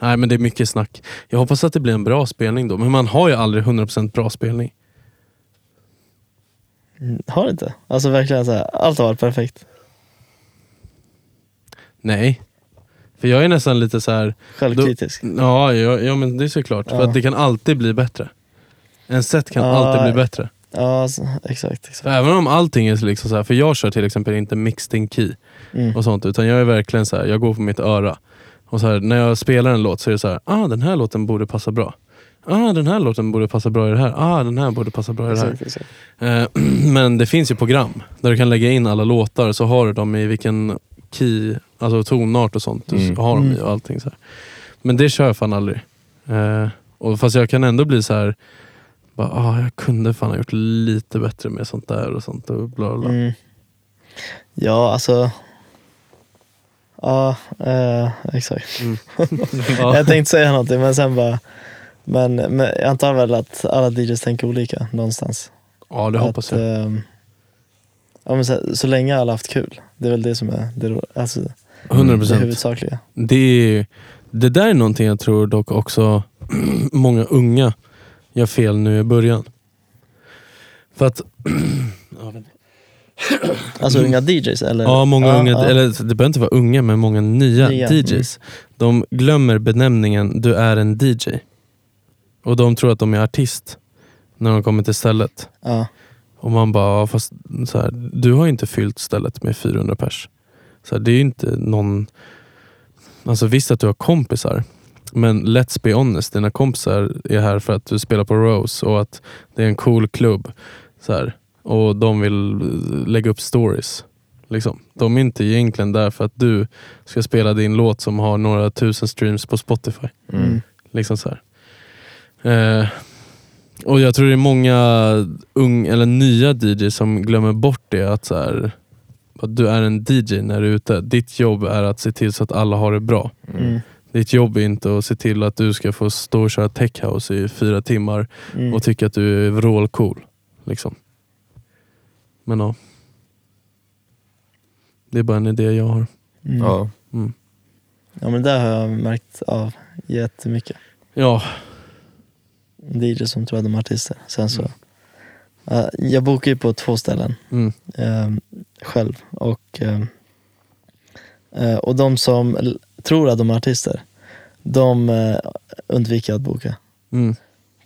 Speaker 4: Nej men det är mycket snack. Jag hoppas att det blir en bra spelning då, men man har ju aldrig 100% bra spelning.
Speaker 5: Mm, Har det inte? Alltså verkligen så här, allt har varit perfekt.
Speaker 4: Nej. För jag är nästan lite så här.
Speaker 5: Självkritisk.
Speaker 4: ja, ja, ja men det är såklart. För
Speaker 5: Ja.
Speaker 4: att det kan alltid bli bättre. En set kan
Speaker 5: Ja.
Speaker 4: alltid bli bättre.
Speaker 5: Ja, alltså, exakt.
Speaker 4: För
Speaker 5: exakt.
Speaker 4: även om allting är liksom så här, för jag kör till exempel inte mixed in key
Speaker 5: Mm.
Speaker 4: och sånt, utan jag är verkligen så här, jag går på mitt öra. Och så här, när jag spelar en låt så är det så här, ah den här låten borde passa bra. Ah den här låten borde passa bra i det här. Ah den här borde passa bra i det här.
Speaker 5: Exakt, exakt.
Speaker 4: Eh, <clears throat> Men det finns ju program där du kan lägga in alla låtar så har du dem i vilken key, alltså tonart och sånt. Du
Speaker 3: Mm.
Speaker 4: har dem i
Speaker 5: Mm.
Speaker 4: och allting. Så här. Men det kör jag fan aldrig. Eh, Och fast jag kan ändå bli så här. Bara, ah, jag kunde fan ha gjort lite bättre med sånt där och sånt. Och bla bla. bla.
Speaker 5: Mm. Ja, alltså. Ja, eh, exakt.
Speaker 4: Ja.
Speaker 5: Jag tänkte säga någonting men sen bara. Men, men jag antar väl att alla DJs tänker olika någonstans.
Speaker 4: ja, det hoppas jag.
Speaker 5: Att, ehm, ja, men så, så länge alla haft kul. Det är väl det som är det, ro- alltså, det
Speaker 4: 100%.
Speaker 5: huvudsakliga.
Speaker 4: Det, är, det där är någonting jag tror dock också <clears throat> många unga gör fel nu i början. För att... <clears throat> Ja, vänta.
Speaker 5: Alltså unga DJs eller?
Speaker 4: Mm. Ja, många unga,
Speaker 5: ja.
Speaker 4: eller det behöver inte vara unga, men många nya,
Speaker 5: Nya,
Speaker 4: DJs. De glömmer benämningen du är en DJ. Och de tror att de är artist när de kommer till stället.
Speaker 5: Ja,
Speaker 4: Och man bara, ja, fast så här, du har ju inte fyllt stället med 400 pers. Så här, det är ju inte någon... Alltså visst att du har kompisar, men let's be honest, dina kompisar är här för att du spelar på Rose och att det är en cool klubb. Så här, och de vill eh, lägga upp stories. Liksom. De är inte egentligen där för att du ska spela din låt som har några tusen streams på Spotify.
Speaker 5: Mm.
Speaker 4: Liksom så här. Eh, och jag tror det är många ung, eller nya DJs som glömmer bort det. Att, så här, att du är en DJ när du är ute. Ditt jobb är att se till så att alla har det bra.
Speaker 5: mm,
Speaker 4: Ditt jobb är inte att se till att du ska få stå och köra tech house i fyra timmar
Speaker 5: mm.
Speaker 4: och tycka att du är vrålcool. Liksom. Men ja. Det är bara en idé jag har.
Speaker 5: mm. Ja.
Speaker 3: Ja.
Speaker 5: men det har jag märkt av jättemycket.
Speaker 4: Ja,
Speaker 5: DJs som tror att de är artister. Sen så, Ja, jag bokar ju på två ställen.
Speaker 4: mm,
Speaker 5: eh, själv. Och, eh, eh, och de som l- tror att de är artister, de eh, undviker att boka.
Speaker 4: mm,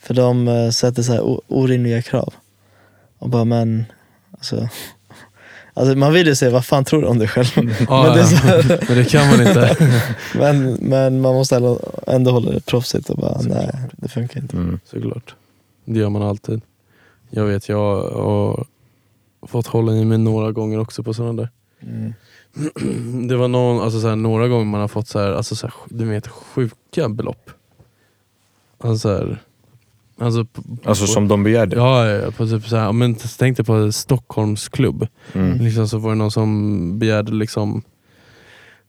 Speaker 5: För de eh, sätter så här o- orimliga krav. Och bara, men alltså, <laughs> alltså man vill ju säga, vad fan tror du om dig själv?
Speaker 4: Ja,
Speaker 5: men, det är
Speaker 4: ja.
Speaker 5: så här, <laughs>
Speaker 4: men det kan man inte.
Speaker 5: men, men man måste ändå- ändå hålla det proffsigt och bara, nej det funkar inte.
Speaker 3: Mm.
Speaker 4: Såklart. Det gör man alltid. Jag vet, jag har fått hålla i mig några gånger också på sådana där. <clears throat>
Speaker 5: Mm.
Speaker 4: Det var någon, alltså såhär, några gånger man har fått så här, alltså så här, du vet, sjuka belopp. Alltså, så här, alltså, på,
Speaker 3: Alltså
Speaker 4: på,
Speaker 3: som de begärde.
Speaker 4: Ja, ja, ja, på typ så här, men tänk dig på Stockholmsklubb.
Speaker 3: Mm.
Speaker 4: Liksom så var det någon som begärde liksom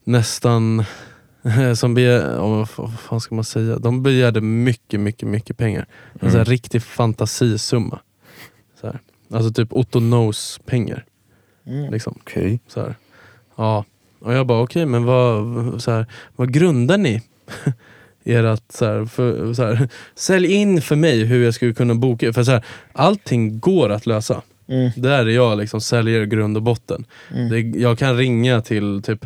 Speaker 4: nästan, <laughs> som begär, ja, vad f- vad fan ska man säga? De begärde mycket, mycket, mycket pengar. En sån här
Speaker 3: Mm.
Speaker 4: riktig fantasisumma. Så här. Alltså typ Otto Knows pengar.
Speaker 5: Mm.
Speaker 4: Liksom.
Speaker 3: Okej.
Speaker 4: Så här. Ja. Och jag bara okej, men vad, så här, vad grundar ni? <laughs> Ert, så här, för, så här, sälj in för mig hur jag skulle kunna boka. För så här, allting går att lösa.
Speaker 5: Mm.
Speaker 4: Där är jag liksom säljare i grund och botten.
Speaker 5: Mm.
Speaker 4: Det, jag kan ringa till typ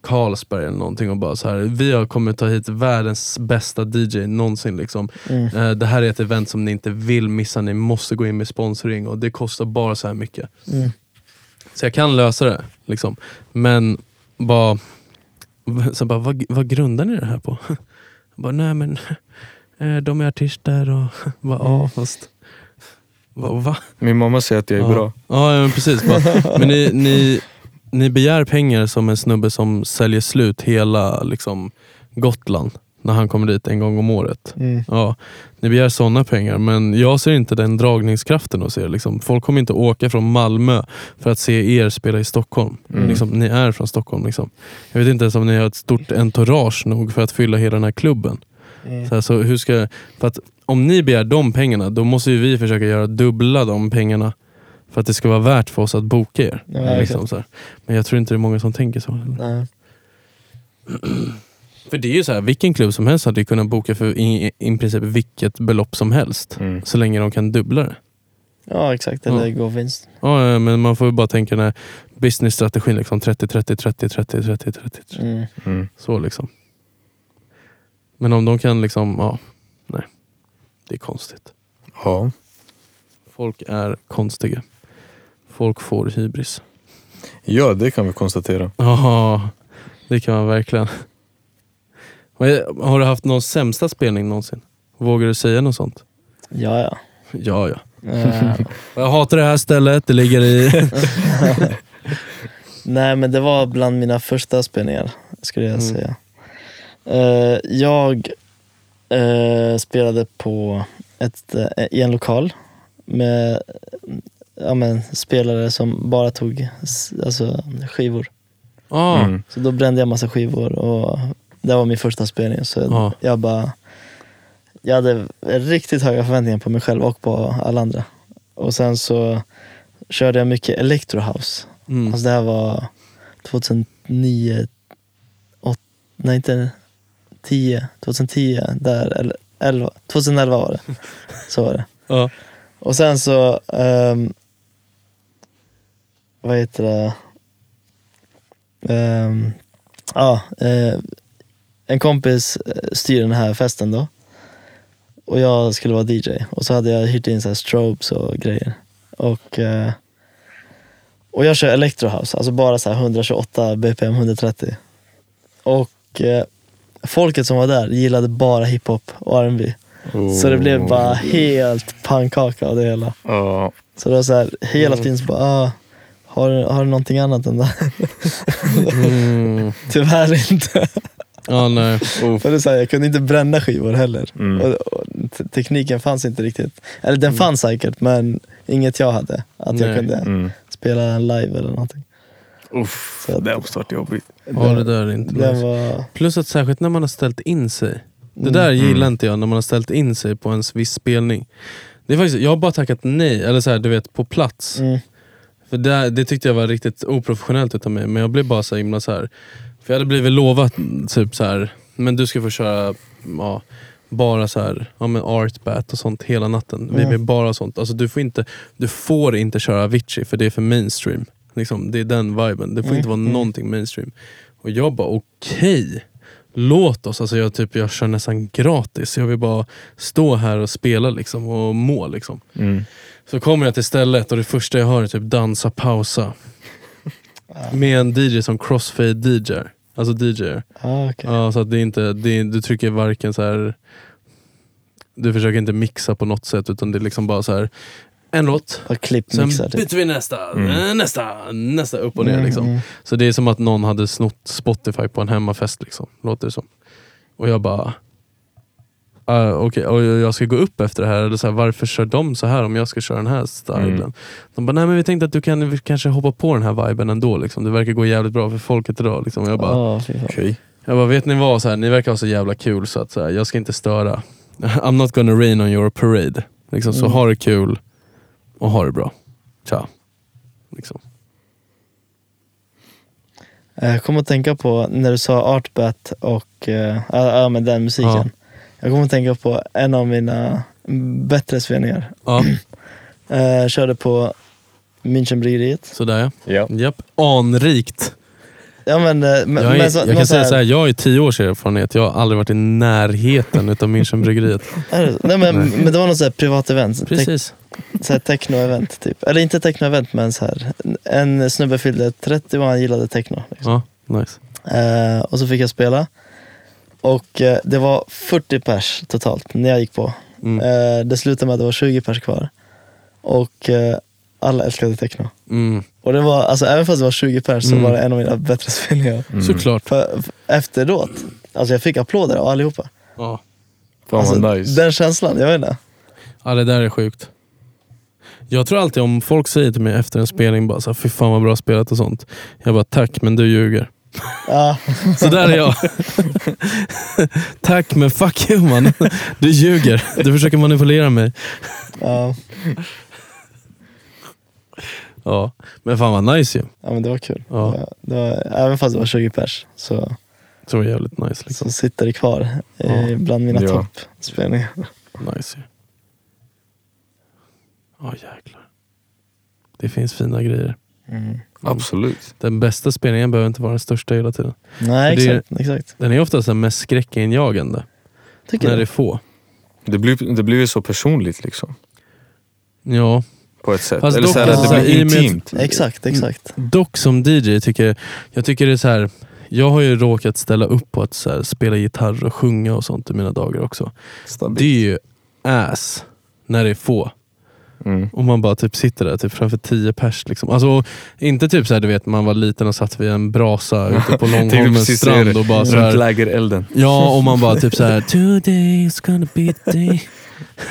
Speaker 4: Carlsberg eller någonting och bara så här. vi har kommit ta hit världens bästa DJ någonsin. Liksom.
Speaker 5: Mm.
Speaker 4: Eh, det här är ett event som ni inte vill missa, ni måste gå in med sponsring och det kostar bara så här mycket.
Speaker 5: Mm.
Speaker 4: Så jag kan lösa det, liksom. men bara, <laughs> så bara vad, vad grundar ni det här på? <laughs> Jag bara, nej men <laughs> eh, de är artister och <laughs> bara,
Speaker 5: Mm.
Speaker 4: ja fast, va? va?
Speaker 3: Min mamma säger att jag är
Speaker 4: ja.
Speaker 3: bra.
Speaker 4: Ja, ja, men precis.
Speaker 3: <laughs>
Speaker 4: Bara, men ni, ni, ni begär pengar som en snubbe som säljer slut hela liksom, Gotland när han kommer dit en gång om året.
Speaker 5: Mm.
Speaker 4: Ja, ni begär sådana pengar, men jag ser inte den dragningskraften hos er. Liksom. Folk kommer inte åka från Malmö för att se er spela i Stockholm.
Speaker 3: Mm.
Speaker 4: Liksom, ni är från Stockholm. Liksom. Jag vet inte ens om ni har ett stort entourage nog för att fylla hela den här klubben.
Speaker 5: Mm.
Speaker 4: Så här, så hur ska, för att om ni begär de pengarna, då måste ju vi försöka göra dubbla de pengarna för att det ska vara värt för oss att boka er.
Speaker 5: Ja, exakt.
Speaker 4: liksom, så här. Men jag tror inte det är många som tänker så.
Speaker 5: Nej.
Speaker 4: För det är ju så här, vilken klubb som helst hade ju kunnat boka för i, i princip vilket belopp som helst.
Speaker 3: Mm.
Speaker 4: Så länge de kan dubbla det.
Speaker 5: Ja exakt, eller gå vinst.
Speaker 4: Ja, ja, men man får ju bara tänka den här businessstrategin, liksom 30, 30, 30, 30, 30, 30, 30.
Speaker 5: Mm.
Speaker 3: Mm.
Speaker 4: Så liksom. Men om de kan liksom, ja, nej. Det är konstigt.
Speaker 3: Ja.
Speaker 4: Folk är konstiga. Folk får hybris.
Speaker 3: Ja, det kan vi konstatera.
Speaker 4: Ja, det kan man verkligen. Vad är- Har du haft någon sämsta spelning någonsin? Vågar du säga något sånt?
Speaker 5: Ja, <laughs> ja.
Speaker 4: Ja, ja.
Speaker 5: Eh,
Speaker 4: Jag hatar det här stället, det ligger i... <laughs>
Speaker 5: nej, men det var bland mina första spelningar, skulle jag
Speaker 4: Mm.
Speaker 5: säga. Eh, jag eh, spelade på ett, eh, i en lokal med ja, men, spelare som bara tog s- alltså, skivor.
Speaker 4: Ah,
Speaker 3: Mm.
Speaker 5: Så då brände jag massa skivor och det var min första spelning. Så
Speaker 4: Ja.
Speaker 5: jag bara... Jag hade riktigt höga förväntningar på mig själv och på alla andra. Och sen så körde jag mycket electro house.
Speaker 4: mm.
Speaker 5: Alltså det här var 2009, åt, nej inte 10, 2010, där, eller 11, 2011 var
Speaker 4: <laughs>
Speaker 5: det. Så var det.
Speaker 4: Ja.
Speaker 5: Och sen så, ehm, vad heter det? Ehm, Ja, eh, en kompis eh, styr den här festen då. Och jag skulle vara DJ. Och så hade jag hyrt in så här strobes och grejer. Och, eh, och jag kör electro house, alltså bara så här 128 bpm, 130. Och eh, folket som var där gillade bara hiphop och R&B Så det blev bara
Speaker 4: Oh.
Speaker 5: helt pannkaka av det hela.
Speaker 3: Ja.
Speaker 5: Så det var så här, hela tiden så bara, ah, har, har du någonting annat än det här?
Speaker 4: Mm.
Speaker 5: <laughs> Tyvärr inte.
Speaker 4: Ja, nej.
Speaker 5: För det är så här, jag kunde inte bränna skivor heller.
Speaker 3: Mm.
Speaker 5: Och, och, te- tekniken fanns inte riktigt. Eller den fanns säkert, men inget jag hade. Att jag
Speaker 4: Mm. Nej.
Speaker 5: kunde
Speaker 3: Mm.
Speaker 5: spela den live eller någonting.
Speaker 3: Uff,
Speaker 5: Så att-
Speaker 3: det måste varit jobbigt.
Speaker 4: Ja, det där är inte
Speaker 5: Den
Speaker 4: nice.
Speaker 5: var...
Speaker 4: Plus att särskilt när man har ställt in sig. Det
Speaker 5: Mm.
Speaker 4: där gillar
Speaker 3: Mm.
Speaker 4: inte jag, när man har ställt in sig på en viss spelning. Det är faktiskt, jag har bara tackat nej, eller så här, du vet på plats.
Speaker 5: Mm.
Speaker 4: För det, det tyckte jag var riktigt oprofessionellt utav mig, men jag blev bara så himla så här. För jag hade blivit lovat typ så här. men du ska få köra ja, bara så här, ja, men art bat och sånt hela natten. Vi
Speaker 5: Mm.
Speaker 4: blir bara sånt. Alltså, du, får inte, du får inte köra Avicii för det är för mainstream. Liksom, det är den viben. Det
Speaker 5: Mm.
Speaker 4: får inte vara någonting mainstream. Och jag bara okej, låt oss. Alltså, jag, typ, jag kör nästan gratis. Jag vill bara stå här och spela liksom, och må. Liksom.
Speaker 3: Mm.
Speaker 4: Så kommer jag till stället och det första jag hör är typ dansa, pausa. Med en DJ som crossfade DJ. Alltså DJ.
Speaker 5: Ah, okej.
Speaker 4: Ja, så att det är inte, det är, du trycker varken så här. Du försöker inte mixa på något sätt utan det är liksom bara så här. En låt,
Speaker 5: Bara
Speaker 4: sen
Speaker 5: klippmixar typ.
Speaker 4: byter vi nästa,
Speaker 3: Mm.
Speaker 4: eh, nästa, nästa, upp och ner.
Speaker 5: Mm,
Speaker 4: Liksom.
Speaker 5: mm.
Speaker 4: Så det är som att någon hade snott Spotify på en hemmafest, liksom. låter det som. Och jag bara, uh, okej, och jag jag ska gå upp efter det här, eller så här, varför kör de så här om jag ska köra den här stilen?
Speaker 3: Mm.
Speaker 4: De bara, nej men vi tänkte att du kan vi kanske hoppa på den här viben ändå, liksom. det verkar gå jävligt bra för folket idag. Liksom. Och jag bara,
Speaker 5: Ah, fy fan.
Speaker 3: Okej.
Speaker 4: jag bara, vet ni vad? Så här, ni verkar ha så jävla kul så att så här, jag ska inte störa. <laughs> I'm not gonna rain on your parade. Liksom, Så
Speaker 5: Mm.
Speaker 4: ha det kul och ha det bra. Ciao. Liksom.
Speaker 5: Jag Eh, kom att tänka på när du sa artbat och eh, ja ja, men den musiken.
Speaker 4: Ja.
Speaker 5: Jag kom att tänka på en av mina bättre spelningar.
Speaker 4: Ja, <clears throat>
Speaker 5: Eh, körde på Münchenbryggeriet.
Speaker 4: sådär ja.
Speaker 3: Ja.
Speaker 4: Japp. Anrikt.
Speaker 5: Ja, men, eh, men,
Speaker 4: jag är,
Speaker 5: men så-
Speaker 4: jag kan
Speaker 5: någon
Speaker 4: säga så här, jag är tio års erfarenhet. Jag har aldrig varit i närheten utav
Speaker 5: <laughs>
Speaker 4: Münchenbryggeriet.
Speaker 5: Är det så? Nej, men,
Speaker 3: Nej.
Speaker 5: men det var något så här privat event. Te-
Speaker 4: Precis.
Speaker 5: så här techno-event typ. Eller inte techno-event men så här. En snubbe fyllde 30 och han gillade techno. Liksom.
Speaker 4: Ja, nice.
Speaker 5: Eh, och så fick jag spela. Och eh, det var 40 pers totalt när jag gick på.
Speaker 4: Mm.
Speaker 5: Eh, det slutade med att det var 20 pers kvar. Och eh, alla älskade techno.
Speaker 4: Mm.
Speaker 5: Och det var, alltså även fast det var 20 pers
Speaker 4: Mm.
Speaker 5: så var det en av mina bättre spelningar.
Speaker 4: Såklart.
Speaker 5: För, för efteråt, alltså jag fick applåder av allihopa.
Speaker 4: Ja.
Speaker 3: Fan
Speaker 5: alltså,
Speaker 3: vad nice.
Speaker 5: Den känslan, jag vet inte.
Speaker 4: ja, det där är sjukt. Jag tror alltid om folk säger till mig efter en spelning, bara så här, fy fan vad bra spelat och sånt. Jag bara, tack men du ljuger.
Speaker 5: Ja.
Speaker 4: Så där är jag. Tack men fuck you man. Du ljuger. Du försöker manipulera mig.
Speaker 5: ja.
Speaker 4: Ja. Men fan vad nice ju.
Speaker 5: Ja men det var kul.
Speaker 4: Ja.
Speaker 5: Det var, det var, även fast det var 20 pers så,
Speaker 4: Så det är jävligt nice. Liksom.
Speaker 5: så sitter det kvar eh, bland mina
Speaker 3: Ja.
Speaker 5: toppspelningar.
Speaker 4: Nice ju. Ja jäklar. Det finns fina grejer.
Speaker 3: Absolut.
Speaker 4: Den bästa spelningen behöver inte vara den största hela tiden.
Speaker 5: Nej
Speaker 4: För det är-
Speaker 5: exakt, exakt.
Speaker 4: Den är oftast den mest skräckinjagande.
Speaker 5: Tycker
Speaker 4: När det
Speaker 5: du?
Speaker 4: är få.
Speaker 3: Det blir, det blir ju så personligt liksom.
Speaker 4: Ja.
Speaker 3: på ett sätt.
Speaker 4: Fast
Speaker 3: Eller
Speaker 4: dock alltså,
Speaker 3: så här,
Speaker 5: är
Speaker 3: att
Speaker 5: så
Speaker 3: det
Speaker 5: här,
Speaker 3: blir
Speaker 4: i och med att-
Speaker 3: intimt.
Speaker 5: Exakt, exakt.
Speaker 4: Dock som DJ tycker jag- jag tycker det är så här. Jag har ju råkat ställa upp på att så här, spela gitarr och sjunga och sånt i mina dagar också. Det är ju ass när det är få.
Speaker 3: Mm.
Speaker 4: Och man bara typ sitter där typ framför tio pers. Liksom. Alltså, och inte typ såhär du vet man var liten och satt vid en brasa
Speaker 3: <laughs>
Speaker 4: ute på Långholmens
Speaker 3: precis säga
Speaker 4: strand
Speaker 3: det.
Speaker 4: och bara
Speaker 3: Runt
Speaker 4: såhär.
Speaker 3: lägerelden.
Speaker 4: Ja, och man bara
Speaker 3: <laughs>
Speaker 4: typ såhär Today is gonna be the day.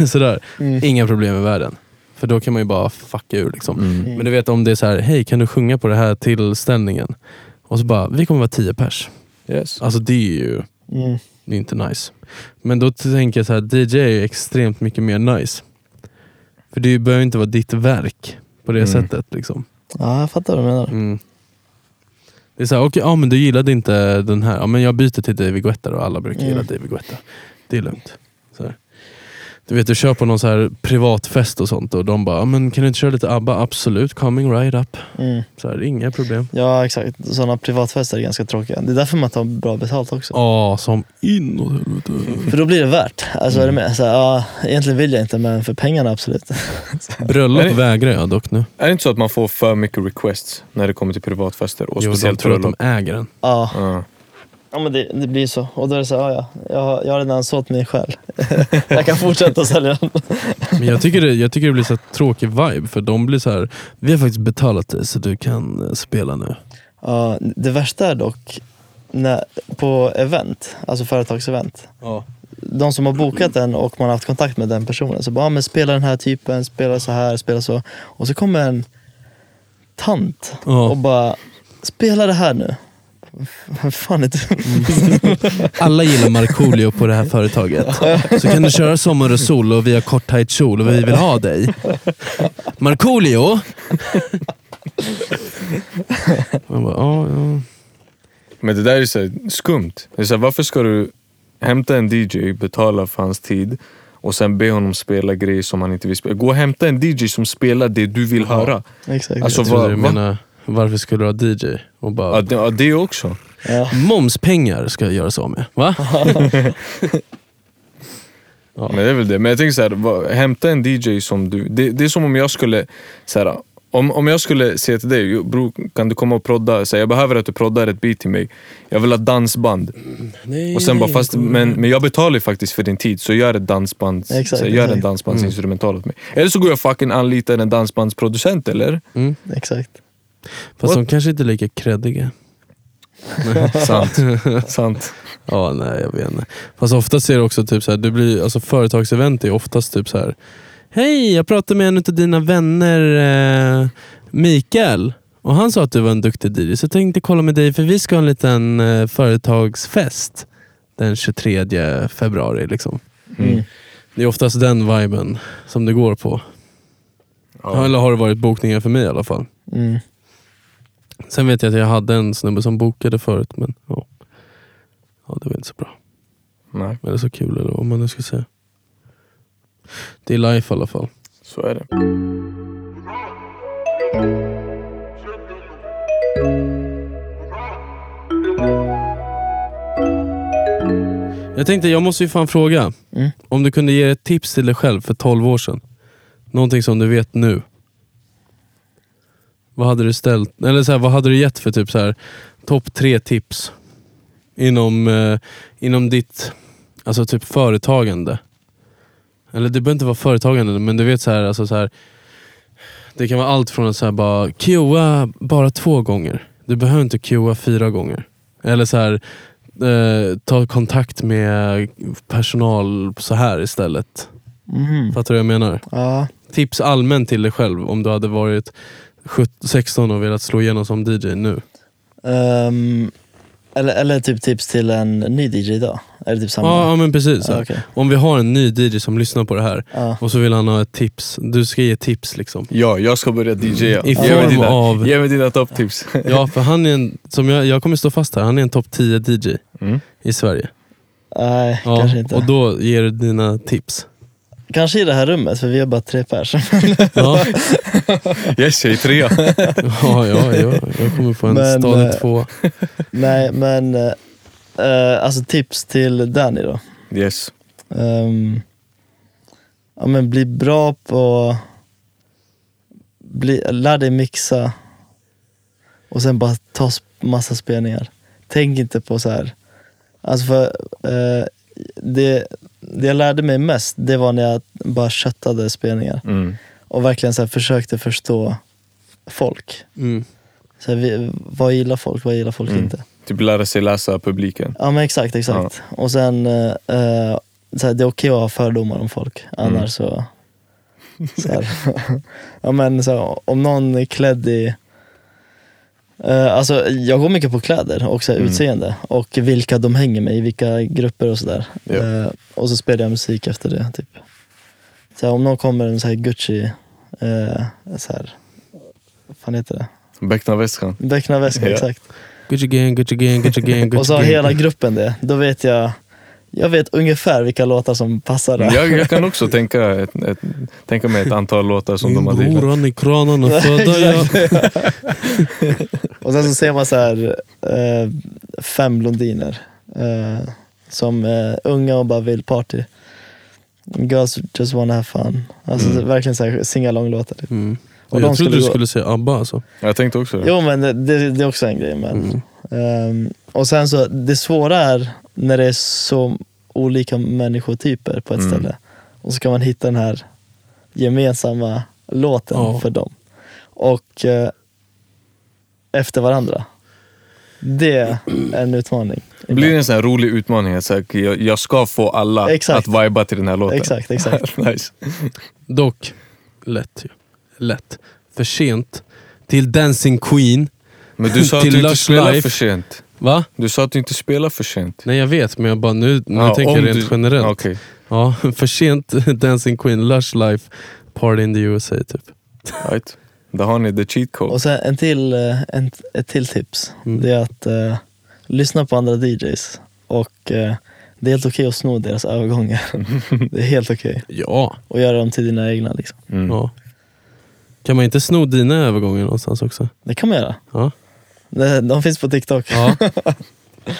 Speaker 4: sådär.
Speaker 3: Mm.
Speaker 4: Inga problem i världen. För då kan man ju bara fucka ur liksom.
Speaker 3: Mm.
Speaker 4: Men du vet om det är så här, hej kan du sjunga på den här tillställningen? Och så bara, vi kommer vara tio pers.
Speaker 3: Yes.
Speaker 4: Alltså det är ju
Speaker 5: Mm.
Speaker 4: det är inte nice. Men då tänker jag så här, DJ är ju extremt mycket mer nice. För det behöver ju inte vara ditt verk på det
Speaker 3: Mm.
Speaker 4: sättet. Liksom.
Speaker 5: Ja, jag fattar vad du menar.
Speaker 4: Mm. Det är såhär, okej, ja men du gillade inte den här. Ja men jag byter till David Guetta då. Alla brukar gilla
Speaker 5: Mm.
Speaker 4: David Guetta. Det är lugnt. Så här. Du vet, du kör på någon så här privatfest och sånt och de bara, ja, men kan du inte köra lite ABBA? Absolut, coming right up.
Speaker 5: Mm.
Speaker 4: Så här, inga problem.
Speaker 5: Ja, exakt. Sådana privatfester är ganska tråkiga. Det är därför man tar bra betalt också.
Speaker 4: Ja, som
Speaker 3: <laughs>
Speaker 4: inåt helvete.
Speaker 5: För då blir det värt. Alltså, är du med? Så här, ja, egentligen vill jag inte, men för pengarna absolut.
Speaker 3: Är det-
Speaker 4: Bröllop vägrar jag dock nu.
Speaker 3: Är det inte så att man får för mycket requests när det kommer till privatfester? Och
Speaker 4: Jo, de
Speaker 3: speciellt
Speaker 4: tror att de
Speaker 3: bröllop?
Speaker 4: äger den.
Speaker 5: <laughs> Ja,
Speaker 3: Ja.
Speaker 5: ja men det, det blir så. Och då är det så här, ja, ja, jag, har- jag har redan sålt min själ. <laughs> jag kan fortsätta sälja den.
Speaker 4: Men jag tycker det, jag tycker det blir så här tråkig vibe för de blir så här. vi har faktiskt betalat dig så du kan eh, spela nu.
Speaker 5: Ja, det värsta är dock när, på event, alltså företagsevent.
Speaker 4: Ja.
Speaker 5: De som har
Speaker 4: Mm.
Speaker 5: bokat den och man har haft kontakt med den personen. Så bara, ja, men spela den här typen, spela så här, spela så. Och så kommer en tant och bara, spela det här nu. <laughs> Vem fan är du?
Speaker 4: Alla gillar Markoolio på det här företaget. Så kan du köra Sommar och sol och vi har kort tajt kjol och vi vill ha dig. Markoolio! Man bara, ja, ja.
Speaker 3: Men det där är så här skumt. Det är så här, varför ska du hämta en DJ, betala för hans tid och sen be honom spela grejer som han inte vill spela? Gå och hämta en DJ som spelar det du vill höra.
Speaker 5: <laughs> Exakt.
Speaker 3: Alltså,
Speaker 4: Jag trodde
Speaker 3: vad-
Speaker 4: du
Speaker 3: va?
Speaker 4: menade, varför skulle du ha DJ? Och
Speaker 3: Ja,
Speaker 4: bara,
Speaker 3: det, ja, det också.
Speaker 5: ja.
Speaker 4: momspengar ska jag göra så med. Va? Ja.
Speaker 3: Men det är väl det. Men jag tänker så här, vad- hämta en DJ som du... Det, det är som om jag skulle... Så här, om, om jag skulle säga till dig, "Jo, bro, kan du komma och prodda? Så här, jag behöver att du proddar ett beat till mig. Jag vill ha dansband. <laughs>
Speaker 4: Nej,
Speaker 3: Och sen bara,
Speaker 4: nej,
Speaker 3: fast, men, men jag betalar ju faktiskt för din tid, så gör ett dansbands,
Speaker 5: Exakt,
Speaker 3: så gör en
Speaker 5: exakt.
Speaker 3: dansbandsinstrumental åt mig. Eller så går jag fucking anlitar en dansbandsproducent eller?
Speaker 5: Exakt.
Speaker 4: Fast de kanske inte är lika kreddiga.
Speaker 3: <laughs> Sant. Sant.
Speaker 4: Ja, nej jag vet inte. Fast oftast är det också typ så här, det blir, alltså företagsevent är oftast typ så här. Hej, jag pratade med en av dina vänner eh, Mikael och han sa att du var en duktig DJ så jag tänkte kolla med dig för vi ska ha en liten eh, företagsfest den 23 februari. Liksom.
Speaker 5: Mm.
Speaker 4: Det är oftast den viben som det går på. Eller har det varit bokningar för mig i alla fall.
Speaker 5: Mm.
Speaker 4: Sen vet jag att jag hade en snubbe som bokade förut men ja, ja det var inte så bra.
Speaker 3: Nej,
Speaker 4: Eller så kul eller vad man nu ska säga. Det är life i alla fall.
Speaker 3: så är det.
Speaker 4: Jag tänkte, jag måste ju fan fråga.
Speaker 5: Mm.
Speaker 4: Om du kunde ge ett tips till dig själv för 12 år sedan. Någonting som du vet nu. Vad hade du ställt, eller så här, vad hade du gett för typ så här topp tre tips? Inom, eh, inom ditt alltså typ företagande. Eller det behöver inte vara företagande, men du vet så här, alltså så här det kan vara allt från att så här bara QA bara två gånger. Du behöver inte QA fyra gånger. Eller så här, eh, ta kontakt med personal så här istället.
Speaker 5: Mhm.
Speaker 4: Fattar du vad jag menar?
Speaker 5: Ja.
Speaker 4: Tips allmänt till dig själv om du hade varit 17, 16 och velat slå igenom som DJ nu.
Speaker 5: Ehm, eller, eller typ tips till en ny DJ idag? Är det typ samma?
Speaker 4: Ja, ja men precis.
Speaker 5: Ja, okej. Ah.
Speaker 4: Om vi har en ny DJ som lyssnar på det här
Speaker 5: Ja.
Speaker 4: och så vill han ha ett tips. Du ska ge tips liksom.
Speaker 3: Ja, jag ska börja DJa.
Speaker 4: I
Speaker 3: ge mig
Speaker 4: form
Speaker 3: dina,
Speaker 4: av-
Speaker 3: Ge mig dina topptips.
Speaker 4: Ja, för han är en, som jag, jag kommer stå fast här, han är en topp 10 DJ
Speaker 3: Mm.
Speaker 4: i Sverige.
Speaker 5: Nej,
Speaker 4: Ja,
Speaker 5: kanske inte.
Speaker 4: och då ger du dina tips.
Speaker 5: Kanske i det här rummet, för vi är bara tre pers. <laughs>
Speaker 4: Ja,
Speaker 3: <laughs> Yes, jag är trea.
Speaker 4: ja, ja, ja. jag kommer på en
Speaker 5: Men,
Speaker 4: stadig
Speaker 5: eh,
Speaker 4: två.
Speaker 5: Nej, men eh, eh, alltså tips till Danny då.
Speaker 3: <laughs> Yes.
Speaker 5: Ehm, ja, men bli bra på bli, lär dig mixa och sen bara ta s- massa spelningar. Tänk inte på så här. Alltså för, eh, det, det jag lärde mig mest, det var när jag bara köttade spelningar
Speaker 3: Mm.
Speaker 5: och verkligen så här försökte förstå folk.
Speaker 4: Mm.
Speaker 5: Så här, vi, vad gillar folk, vad gillar folk
Speaker 3: Mm.
Speaker 5: inte?
Speaker 3: Typ lära sig läsa publiken.
Speaker 5: Ja men exakt, exakt. Och sen, eh, eh, så här, det är okej att ha fördomar om folk, annars
Speaker 3: Mm.
Speaker 5: så... så här, <laughs> ja, men, så här, om någon är klädd i... Eh, alltså, jag går mycket på kläder och så här,
Speaker 3: Mm.
Speaker 5: utseende och vilka de hänger med i, vilka grupper och sådär.
Speaker 3: Ja.
Speaker 5: Eh, och så spelar jag musik efter det. Typ. Så här, om någon kommer med en så här Gucci, eh, så här, vad fan heter det?
Speaker 3: Becknarväskan.
Speaker 5: Becknarväska,
Speaker 3: Ja.
Speaker 5: exakt.
Speaker 4: Gucci gang, Gucci gang, Gucci gang, Gucci
Speaker 5: <laughs> Och så har
Speaker 4: gang.
Speaker 5: hela gruppen det. Då vet jag, jag vet ungefär vilka låtar som passar där.
Speaker 3: Jag, jag kan också tänka, ett, ett, tänka mig ett antal låtar som
Speaker 4: Min
Speaker 3: de har
Speaker 4: bror
Speaker 3: dealat.
Speaker 4: han i <laughs> kranen och födda jag.
Speaker 5: Och sen så ser man så här, eh, fem blondiner eh, som är unga och bara vill party. Girls just wanna have fun. Alltså så- verkligen så här singalong-låtar. Typ.
Speaker 4: Mm.
Speaker 5: Och de
Speaker 4: jag
Speaker 5: skulle
Speaker 4: trodde du
Speaker 5: gå-
Speaker 4: skulle säga ABBA alltså.
Speaker 3: Jag tänkte också det.
Speaker 5: Jo men det, det, det är också en grej. Men, ehm, och sen så, det svåra är när det är så olika människotyper på ett
Speaker 3: Mm.
Speaker 5: ställe. Och så kan man hitta den här gemensamma låten
Speaker 4: Ja.
Speaker 5: för dem. Och eh, efter varandra. Det är en utmaning.
Speaker 3: Det blir en sån här rolig utmaning. Att så här, jag, jag ska få alla
Speaker 5: Exakt.
Speaker 3: att vibea till den här låten.
Speaker 5: Exakt,
Speaker 3: <laughs>
Speaker 5: exakt.
Speaker 3: nice.
Speaker 4: Dock, lätt ju. Lätt. För sent. Till Dancing Queen.
Speaker 3: Men du sa att
Speaker 4: Till
Speaker 3: du inte
Speaker 4: Lush
Speaker 3: spelar
Speaker 4: Life.
Speaker 3: för sent.
Speaker 4: Va?
Speaker 3: Du sa att du inte spelar för sent.
Speaker 4: Nej jag vet, men jag bara nu, nu
Speaker 3: Ja,
Speaker 4: tänker
Speaker 3: om
Speaker 4: jag rent
Speaker 3: du-
Speaker 4: generellt.
Speaker 3: Okej.
Speaker 4: Ja, <laughs> för sent Dancing Queen, Lush Life, Party in the USA typ.
Speaker 3: Right. Där har ni the cheat code.
Speaker 5: Och sen en till, eh, en, ett till tips.
Speaker 4: Mm.
Speaker 5: Det är att eh, lyssna på andra DJs. Och eh, det är helt okej att sno deras övergångar. det är helt okej.
Speaker 4: Ja.
Speaker 5: Och göra dem till dina egna. Liksom.
Speaker 3: Mm.
Speaker 4: ja. Kan man inte sno dina övergångar någonstans också?
Speaker 5: Det kan man göra.
Speaker 4: Ja.
Speaker 5: De, de finns på TikTok. <laughs>
Speaker 4: ja.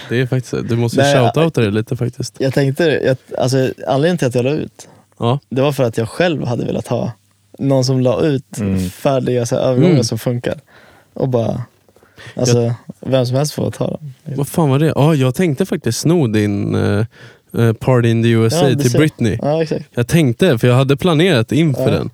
Speaker 4: Det är faktiskt, du måste
Speaker 5: Nej,
Speaker 4: shoutouta det lite faktiskt.
Speaker 5: Jag tänkte, jag, alltså, anledningen till att jag la ut,
Speaker 4: Ja.
Speaker 5: det var för att jag själv hade velat ha någon som la ut
Speaker 3: Mm.
Speaker 5: färdiga så här, övergångar
Speaker 4: Mm.
Speaker 5: som funkar. Och bara, alltså, vem som helst får ta dem.
Speaker 4: Vad fan var det? Ja, jag tänkte faktiskt sno din eh, eh, Party in the USA
Speaker 5: Ja, du
Speaker 4: till
Speaker 5: ser.
Speaker 4: Britney.
Speaker 5: Ja, exakt.
Speaker 4: Jag tänkte, för jag hade planerat inför
Speaker 5: Ja.
Speaker 4: den.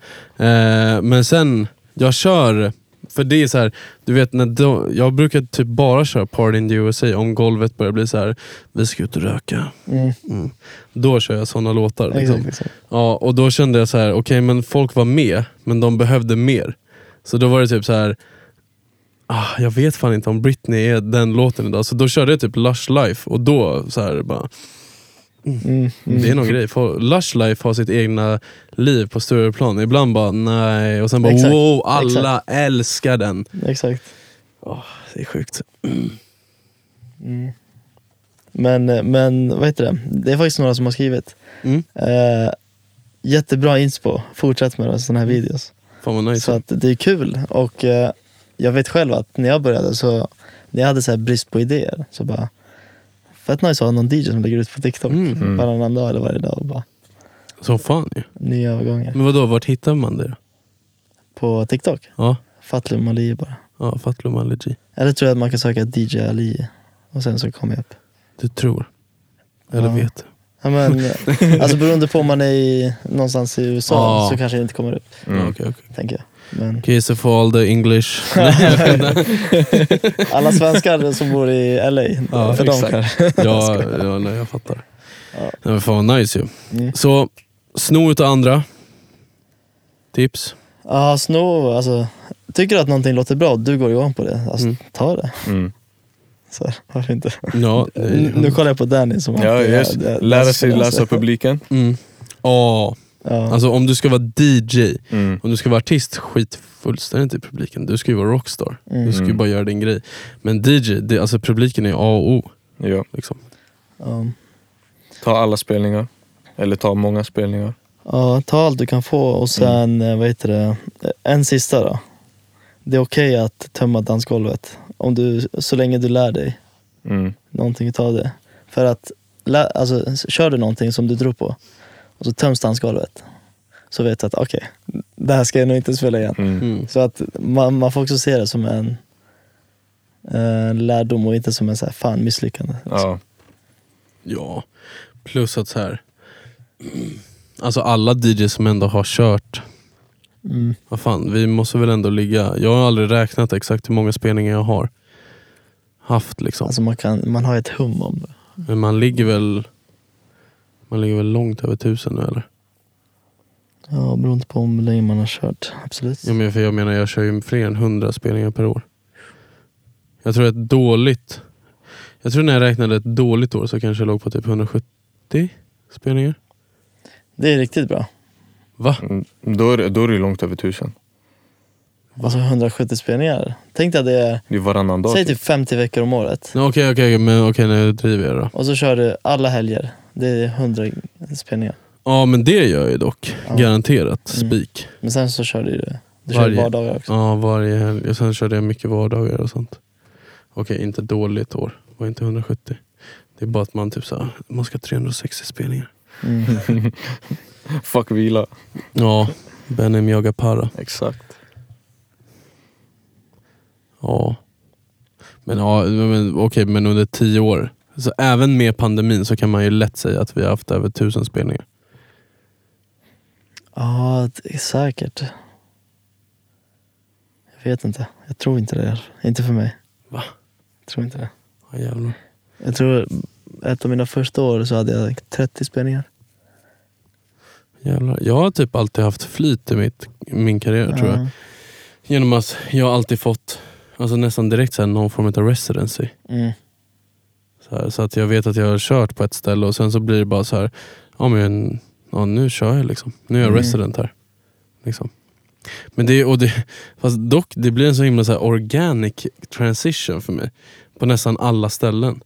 Speaker 4: Eh, men sen, jag kör, för det är så här, du vet, när de, jag brukar typ bara köra Party in the USA om golvet börjar bli så här. vi ska ut och röka.
Speaker 5: Mm.
Speaker 4: Då kör jag såna låtar. Liksom.
Speaker 5: exakt, exakt.
Speaker 4: Ja, och då kände jag så här, okej men folk var med, men de behövde mer. Så då var det typ så här. Ah, jag vet fan inte om Britney är den låten idag. Så då körde jag typ Lush Life och då så här bara,
Speaker 5: Mm. Mm.
Speaker 4: det är någon grej. För Lush Life har sitt egna liv på Stureplan. Ibland bara nej, och sen bara
Speaker 5: Exakt.
Speaker 4: wow, alla älskar den.
Speaker 5: exakt.
Speaker 4: Det är sjukt.
Speaker 5: Mm. Men, men vad heter det? Det är faktiskt några som har skrivit.
Speaker 4: Mm.
Speaker 5: Eh, jättebra inspo. Fortsätt med sådana här
Speaker 4: Mm.
Speaker 5: videos.
Speaker 4: Fan vad nice.
Speaker 5: Så att det är kul och eh, jag vet själv att när jag började så, när jag hade så här brist på idéer så bara, fett nice att ha någon DJ som lägger ut på TikTok
Speaker 4: Mm.
Speaker 5: varannan dag eller varje dag och bara
Speaker 4: Som fan ju.
Speaker 5: nya övergångar.
Speaker 4: Men vadå, vart hittar man det då?
Speaker 5: På TikTok,
Speaker 4: Ja,
Speaker 5: Fatlum Ali bara.
Speaker 4: ja Fatlum Allergy.
Speaker 5: Eller tror jag att man kan söka DJ Ali och sen så kommer jag upp.
Speaker 4: Du tror. Eller
Speaker 5: Ja.
Speaker 4: vet. <laughs>
Speaker 5: Ja, men, eh, alltså beroende på om man är i, någonstans i USA
Speaker 4: Ja.
Speaker 5: så kanske det inte kommer upp,
Speaker 4: Mm.
Speaker 3: Mm.
Speaker 4: Okej, okej.
Speaker 5: tänker jag. Men
Speaker 4: Okay, so for all the English.
Speaker 5: <laughs> alla svenskar som bor i LA,
Speaker 4: Ja,
Speaker 5: för dem
Speaker 3: exakt.
Speaker 5: kanske.
Speaker 4: ja, ja, nej, jag fattar.
Speaker 5: Ja.
Speaker 4: Ja. Men fan vad nice ju.
Speaker 5: Mm.
Speaker 4: Så, sno utav andra. Tips.
Speaker 5: Ja, sno, alltså. Tycker du att någonting låter bra och du går igång på det, alltså,
Speaker 4: Mm.
Speaker 5: ta det.
Speaker 3: Mm.
Speaker 5: Så här, <laughs> varför inte?
Speaker 4: Ja, eh,
Speaker 5: N- Nu
Speaker 4: nej.
Speaker 5: kollar jag på Danny som
Speaker 3: Ja,
Speaker 5: alltid är-
Speaker 3: just.
Speaker 5: det- det-
Speaker 3: Lära sig
Speaker 5: alltså,
Speaker 3: läsa publiken.
Speaker 4: Mm. Ja,
Speaker 5: Ja,
Speaker 4: alltså om du ska vara DJ,
Speaker 3: Mm.
Speaker 4: om du ska vara artist, skit fullständigt i publiken. Du ska ju vara rockstar. Du
Speaker 5: mm,
Speaker 4: ska ju
Speaker 3: Mm.
Speaker 4: bara göra din grej. Men DJ, det, alltså publiken är A och O.
Speaker 3: Ja.
Speaker 4: Liksom.
Speaker 5: ja.
Speaker 3: Ta alla spelningar. Eller ta många spelningar.
Speaker 5: ja, ta allt du kan få
Speaker 3: Mm.
Speaker 5: och sen, eh, vad heter det, en sista då. Det är okej att tömma dansgolvet, om du, så länge du lär dig
Speaker 3: Mm.
Speaker 5: någonting utav det. För att, lä- alltså, kör du någonting som du tror på och så töms dansgolvet, så vet jag att okej, det här ska jag nog inte spela igen.
Speaker 3: Mm.
Speaker 4: Mm.
Speaker 5: Så att man, man får också se det som en eh, lärdom och inte som en så här, fan misslyckande.
Speaker 3: Ja.
Speaker 4: Ja, plus att så här. <clears throat> Alltså alla DJs som ändå har kört.
Speaker 5: Mm.
Speaker 4: Vad fan, vi måste väl ändå ligga. Jag har aldrig räknat exakt hur många spelningar jag har haft liksom.
Speaker 5: Alltså man, kan, man har ett hum om det.
Speaker 4: Men man ligger väl Man ligger väl långt över tusen nu eller?
Speaker 5: Ja, beroende på hur länge man har kört. Absolut.
Speaker 4: Ja, men för jag menar jag kör ju fler än 100 spelningar per år. Jag tror ett dåligt Jag tror när jag räknade ett dåligt år så kanske jag låg på typ 170 spelningar.
Speaker 5: Det är riktigt bra.
Speaker 4: Va?
Speaker 3: Mm. Då, är, det- då är det ju långt över tusen.
Speaker 5: Alltså 170 spelningar. Tänk dig att det är,
Speaker 3: Det är varannan dag.
Speaker 5: säg
Speaker 3: typ.
Speaker 5: typ 50 veckor om året.
Speaker 4: Nej, Okej, okej, men okej nu driver jag då.
Speaker 5: Och så kör du alla helger. Det är 100 spelningar.
Speaker 4: Ja men det gör jag ju dock.
Speaker 5: Ja.
Speaker 4: Garanterat.
Speaker 5: Mm.
Speaker 4: Spik.
Speaker 5: Men sen så kör du ju du kör ju
Speaker 4: Varje-
Speaker 5: vardagar också.
Speaker 4: Ja varje helg. Och sen körde jag mycket vardagar och sånt. Okej, inte dåligt år. Det var inte 170. Det är bara att man typ så här, man ska ha 360 spelningar.
Speaker 5: Mm. typ-
Speaker 3: Fuck vila.
Speaker 4: Ja, Benim jagar para.
Speaker 3: Exakt.
Speaker 4: Ja. Men ja, men, okej, men under tio år. Så även med pandemin så kan man ju lätt säga att vi har haft över tusen spelningar.
Speaker 5: Ja, det är säkert. Jag vet inte. Jag tror inte det. i alla fall. Inte för mig.
Speaker 4: Va?
Speaker 5: Jag tror inte det.
Speaker 4: Ja, jävlar.
Speaker 5: Jag tror ett av mina första år så hade jag 30 spelningar.
Speaker 4: jävlar. Jag har typ alltid haft flyt i mitt, min karriär tror jag. Genom att jag har alltid fått alltså nästan direkt så här, någon form av residency.
Speaker 5: Ja. Mm.
Speaker 4: Så, här, så att jag vet att jag har kört på ett ställe och sen så blir det bara så här, ja men ja, nu kör jag liksom. Nu är jag
Speaker 5: Mm.
Speaker 4: resident här. Liksom. Men det, och det, fast dock, det blir en så himla så här organic transition för mig. På nästan alla ställen.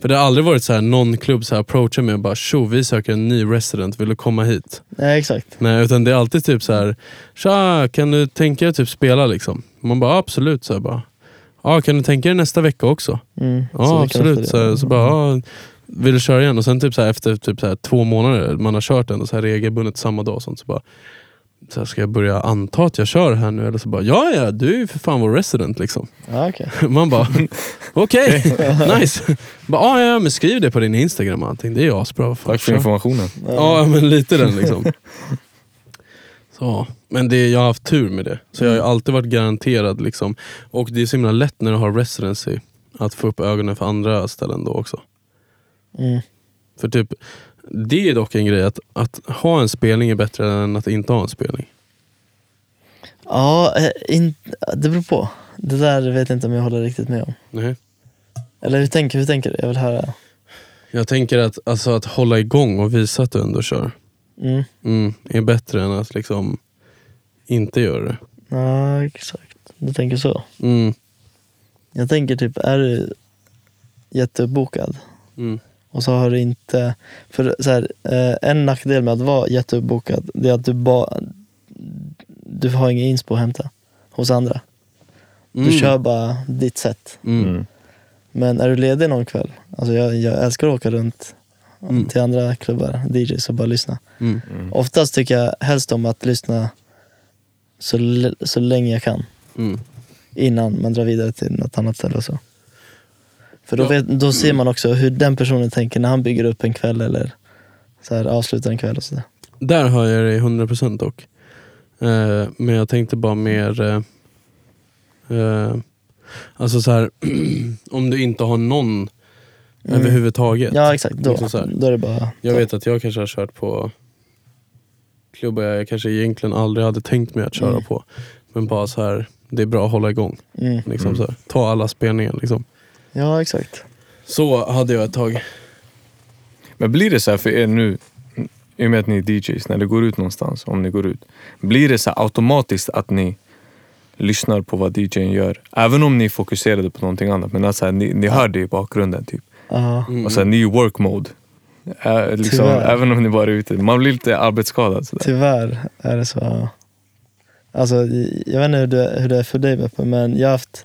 Speaker 4: För det har aldrig varit så här någon klubb så här approachar mig och bara tjo vi söker en ny resident, vill du komma hit?
Speaker 5: Nej, exakt.
Speaker 4: Nej, utan det är alltid typ så här. Tja, kan du tänka dig typ spela liksom? Man bara absolut. Så här, bara, ja, kan du tänka dig nästa vecka också?
Speaker 5: Mm.
Speaker 4: Ja,
Speaker 5: Så vi kan
Speaker 4: absolut.
Speaker 5: efter
Speaker 4: Så,
Speaker 5: det.
Speaker 4: här, så bara, ja, vill du köra igen? Och sen typ så här, efter typ så här, två månader, man har kört ändå så här regelbundet samma dag. Och sånt, så bara, så här, ska jag börja anta att jag kör här nu? Eller så bara, ja ja, du är ju för fan vår resident liksom. <laughs>
Speaker 5: Ja, okej.
Speaker 4: Man bara, okej,
Speaker 5: <laughs>
Speaker 4: nice. Bara, ja, ja, men skriv det på din Instagram och allting. Det är ju asbra. vad fan,
Speaker 3: Tack för
Speaker 4: kör.
Speaker 3: informationen.
Speaker 4: Ja, men lite den liksom. Så. Men det, jag har haft tur med det. Så jag har ju alltid varit garanterad. Liksom. Och det är så himla lätt när du har residency att få upp ögonen för andra ställen då också.
Speaker 5: Mm.
Speaker 4: För typ, det är dock en grej, att, att ha en spelning är bättre än att inte ha en spelning.
Speaker 5: Ja, eh, in, det beror på. Det där vet jag inte om jag håller riktigt med om.
Speaker 4: Nej.
Speaker 5: Eller hur tänker, hur tänker du? Jag vill höra.
Speaker 4: Jag tänker att, alltså, att hålla igång och visa att du ändå kör
Speaker 5: Mm.
Speaker 4: mm, är bättre än att liksom inte göra det.
Speaker 5: Ja, exakt. Du tänker så.
Speaker 4: Mm,
Speaker 5: Jag tänker typ, är du jätteuppbokad
Speaker 4: mm,
Speaker 5: och så har du inte... För så här, eh, en nackdel med att vara jätteuppbokad det är att du bara... Du har ingen inspo att hämta hos andra. Du
Speaker 4: Mm.
Speaker 5: kör bara ditt sätt.
Speaker 4: mm.
Speaker 3: Mm.
Speaker 5: Men är du ledig någon kväll, alltså jag, jag älskar att åka runt
Speaker 4: Mm.
Speaker 5: till andra klubbar, DJs och bara lyssna.
Speaker 4: Mm.
Speaker 5: Oftast tycker jag helst om att lyssna så, l- så länge jag kan.
Speaker 4: Mm.
Speaker 5: innan man drar vidare till något annat ställe och så. För då,
Speaker 4: Ja. Mm.
Speaker 5: vet, då ser man också hur den personen tänker när han bygger upp en kväll eller så här, avslutar en kväll och sådär.
Speaker 4: Där hör jag dig 100% dock. Eh, men jag tänkte bara mer... Eh, eh, alltså så här, <clears throat> om du inte har någon
Speaker 5: Mm.
Speaker 4: överhuvudtaget.
Speaker 5: Ja exakt, då,
Speaker 4: Liksom så här.
Speaker 5: då är det bara...
Speaker 4: Jag vet att jag kanske har kört på klubbar jag kanske egentligen aldrig hade tänkt mig att köra
Speaker 5: Mm.
Speaker 4: på. Men bara så här, det är bra att hålla igång.
Speaker 5: Mm.
Speaker 4: Liksom så här. Ta alla spelningar. Liksom.
Speaker 5: Ja exakt.
Speaker 4: Så hade jag ett tag.
Speaker 5: <laughs>
Speaker 3: Men blir det så här för er nu, i och med att ni är DJs, när det går ut någonstans, om ni går ut. Blir det så här automatiskt att ni lyssnar på vad DJn gör? Även om ni är fokuserade på någonting annat, men att så här, ni, ni hör det i bakgrunden. typ.
Speaker 5: Ja,
Speaker 4: Mm.
Speaker 3: Och så här, ni är i work mode. Ä, liksom,
Speaker 5: Tyvärr.
Speaker 3: även om ni bara är ute. Man blir lite arbetsskadad. Så där.
Speaker 5: tyvärr är det så. Alltså jag vet inte hur det, hur det är för dig Beppe, men jag har haft...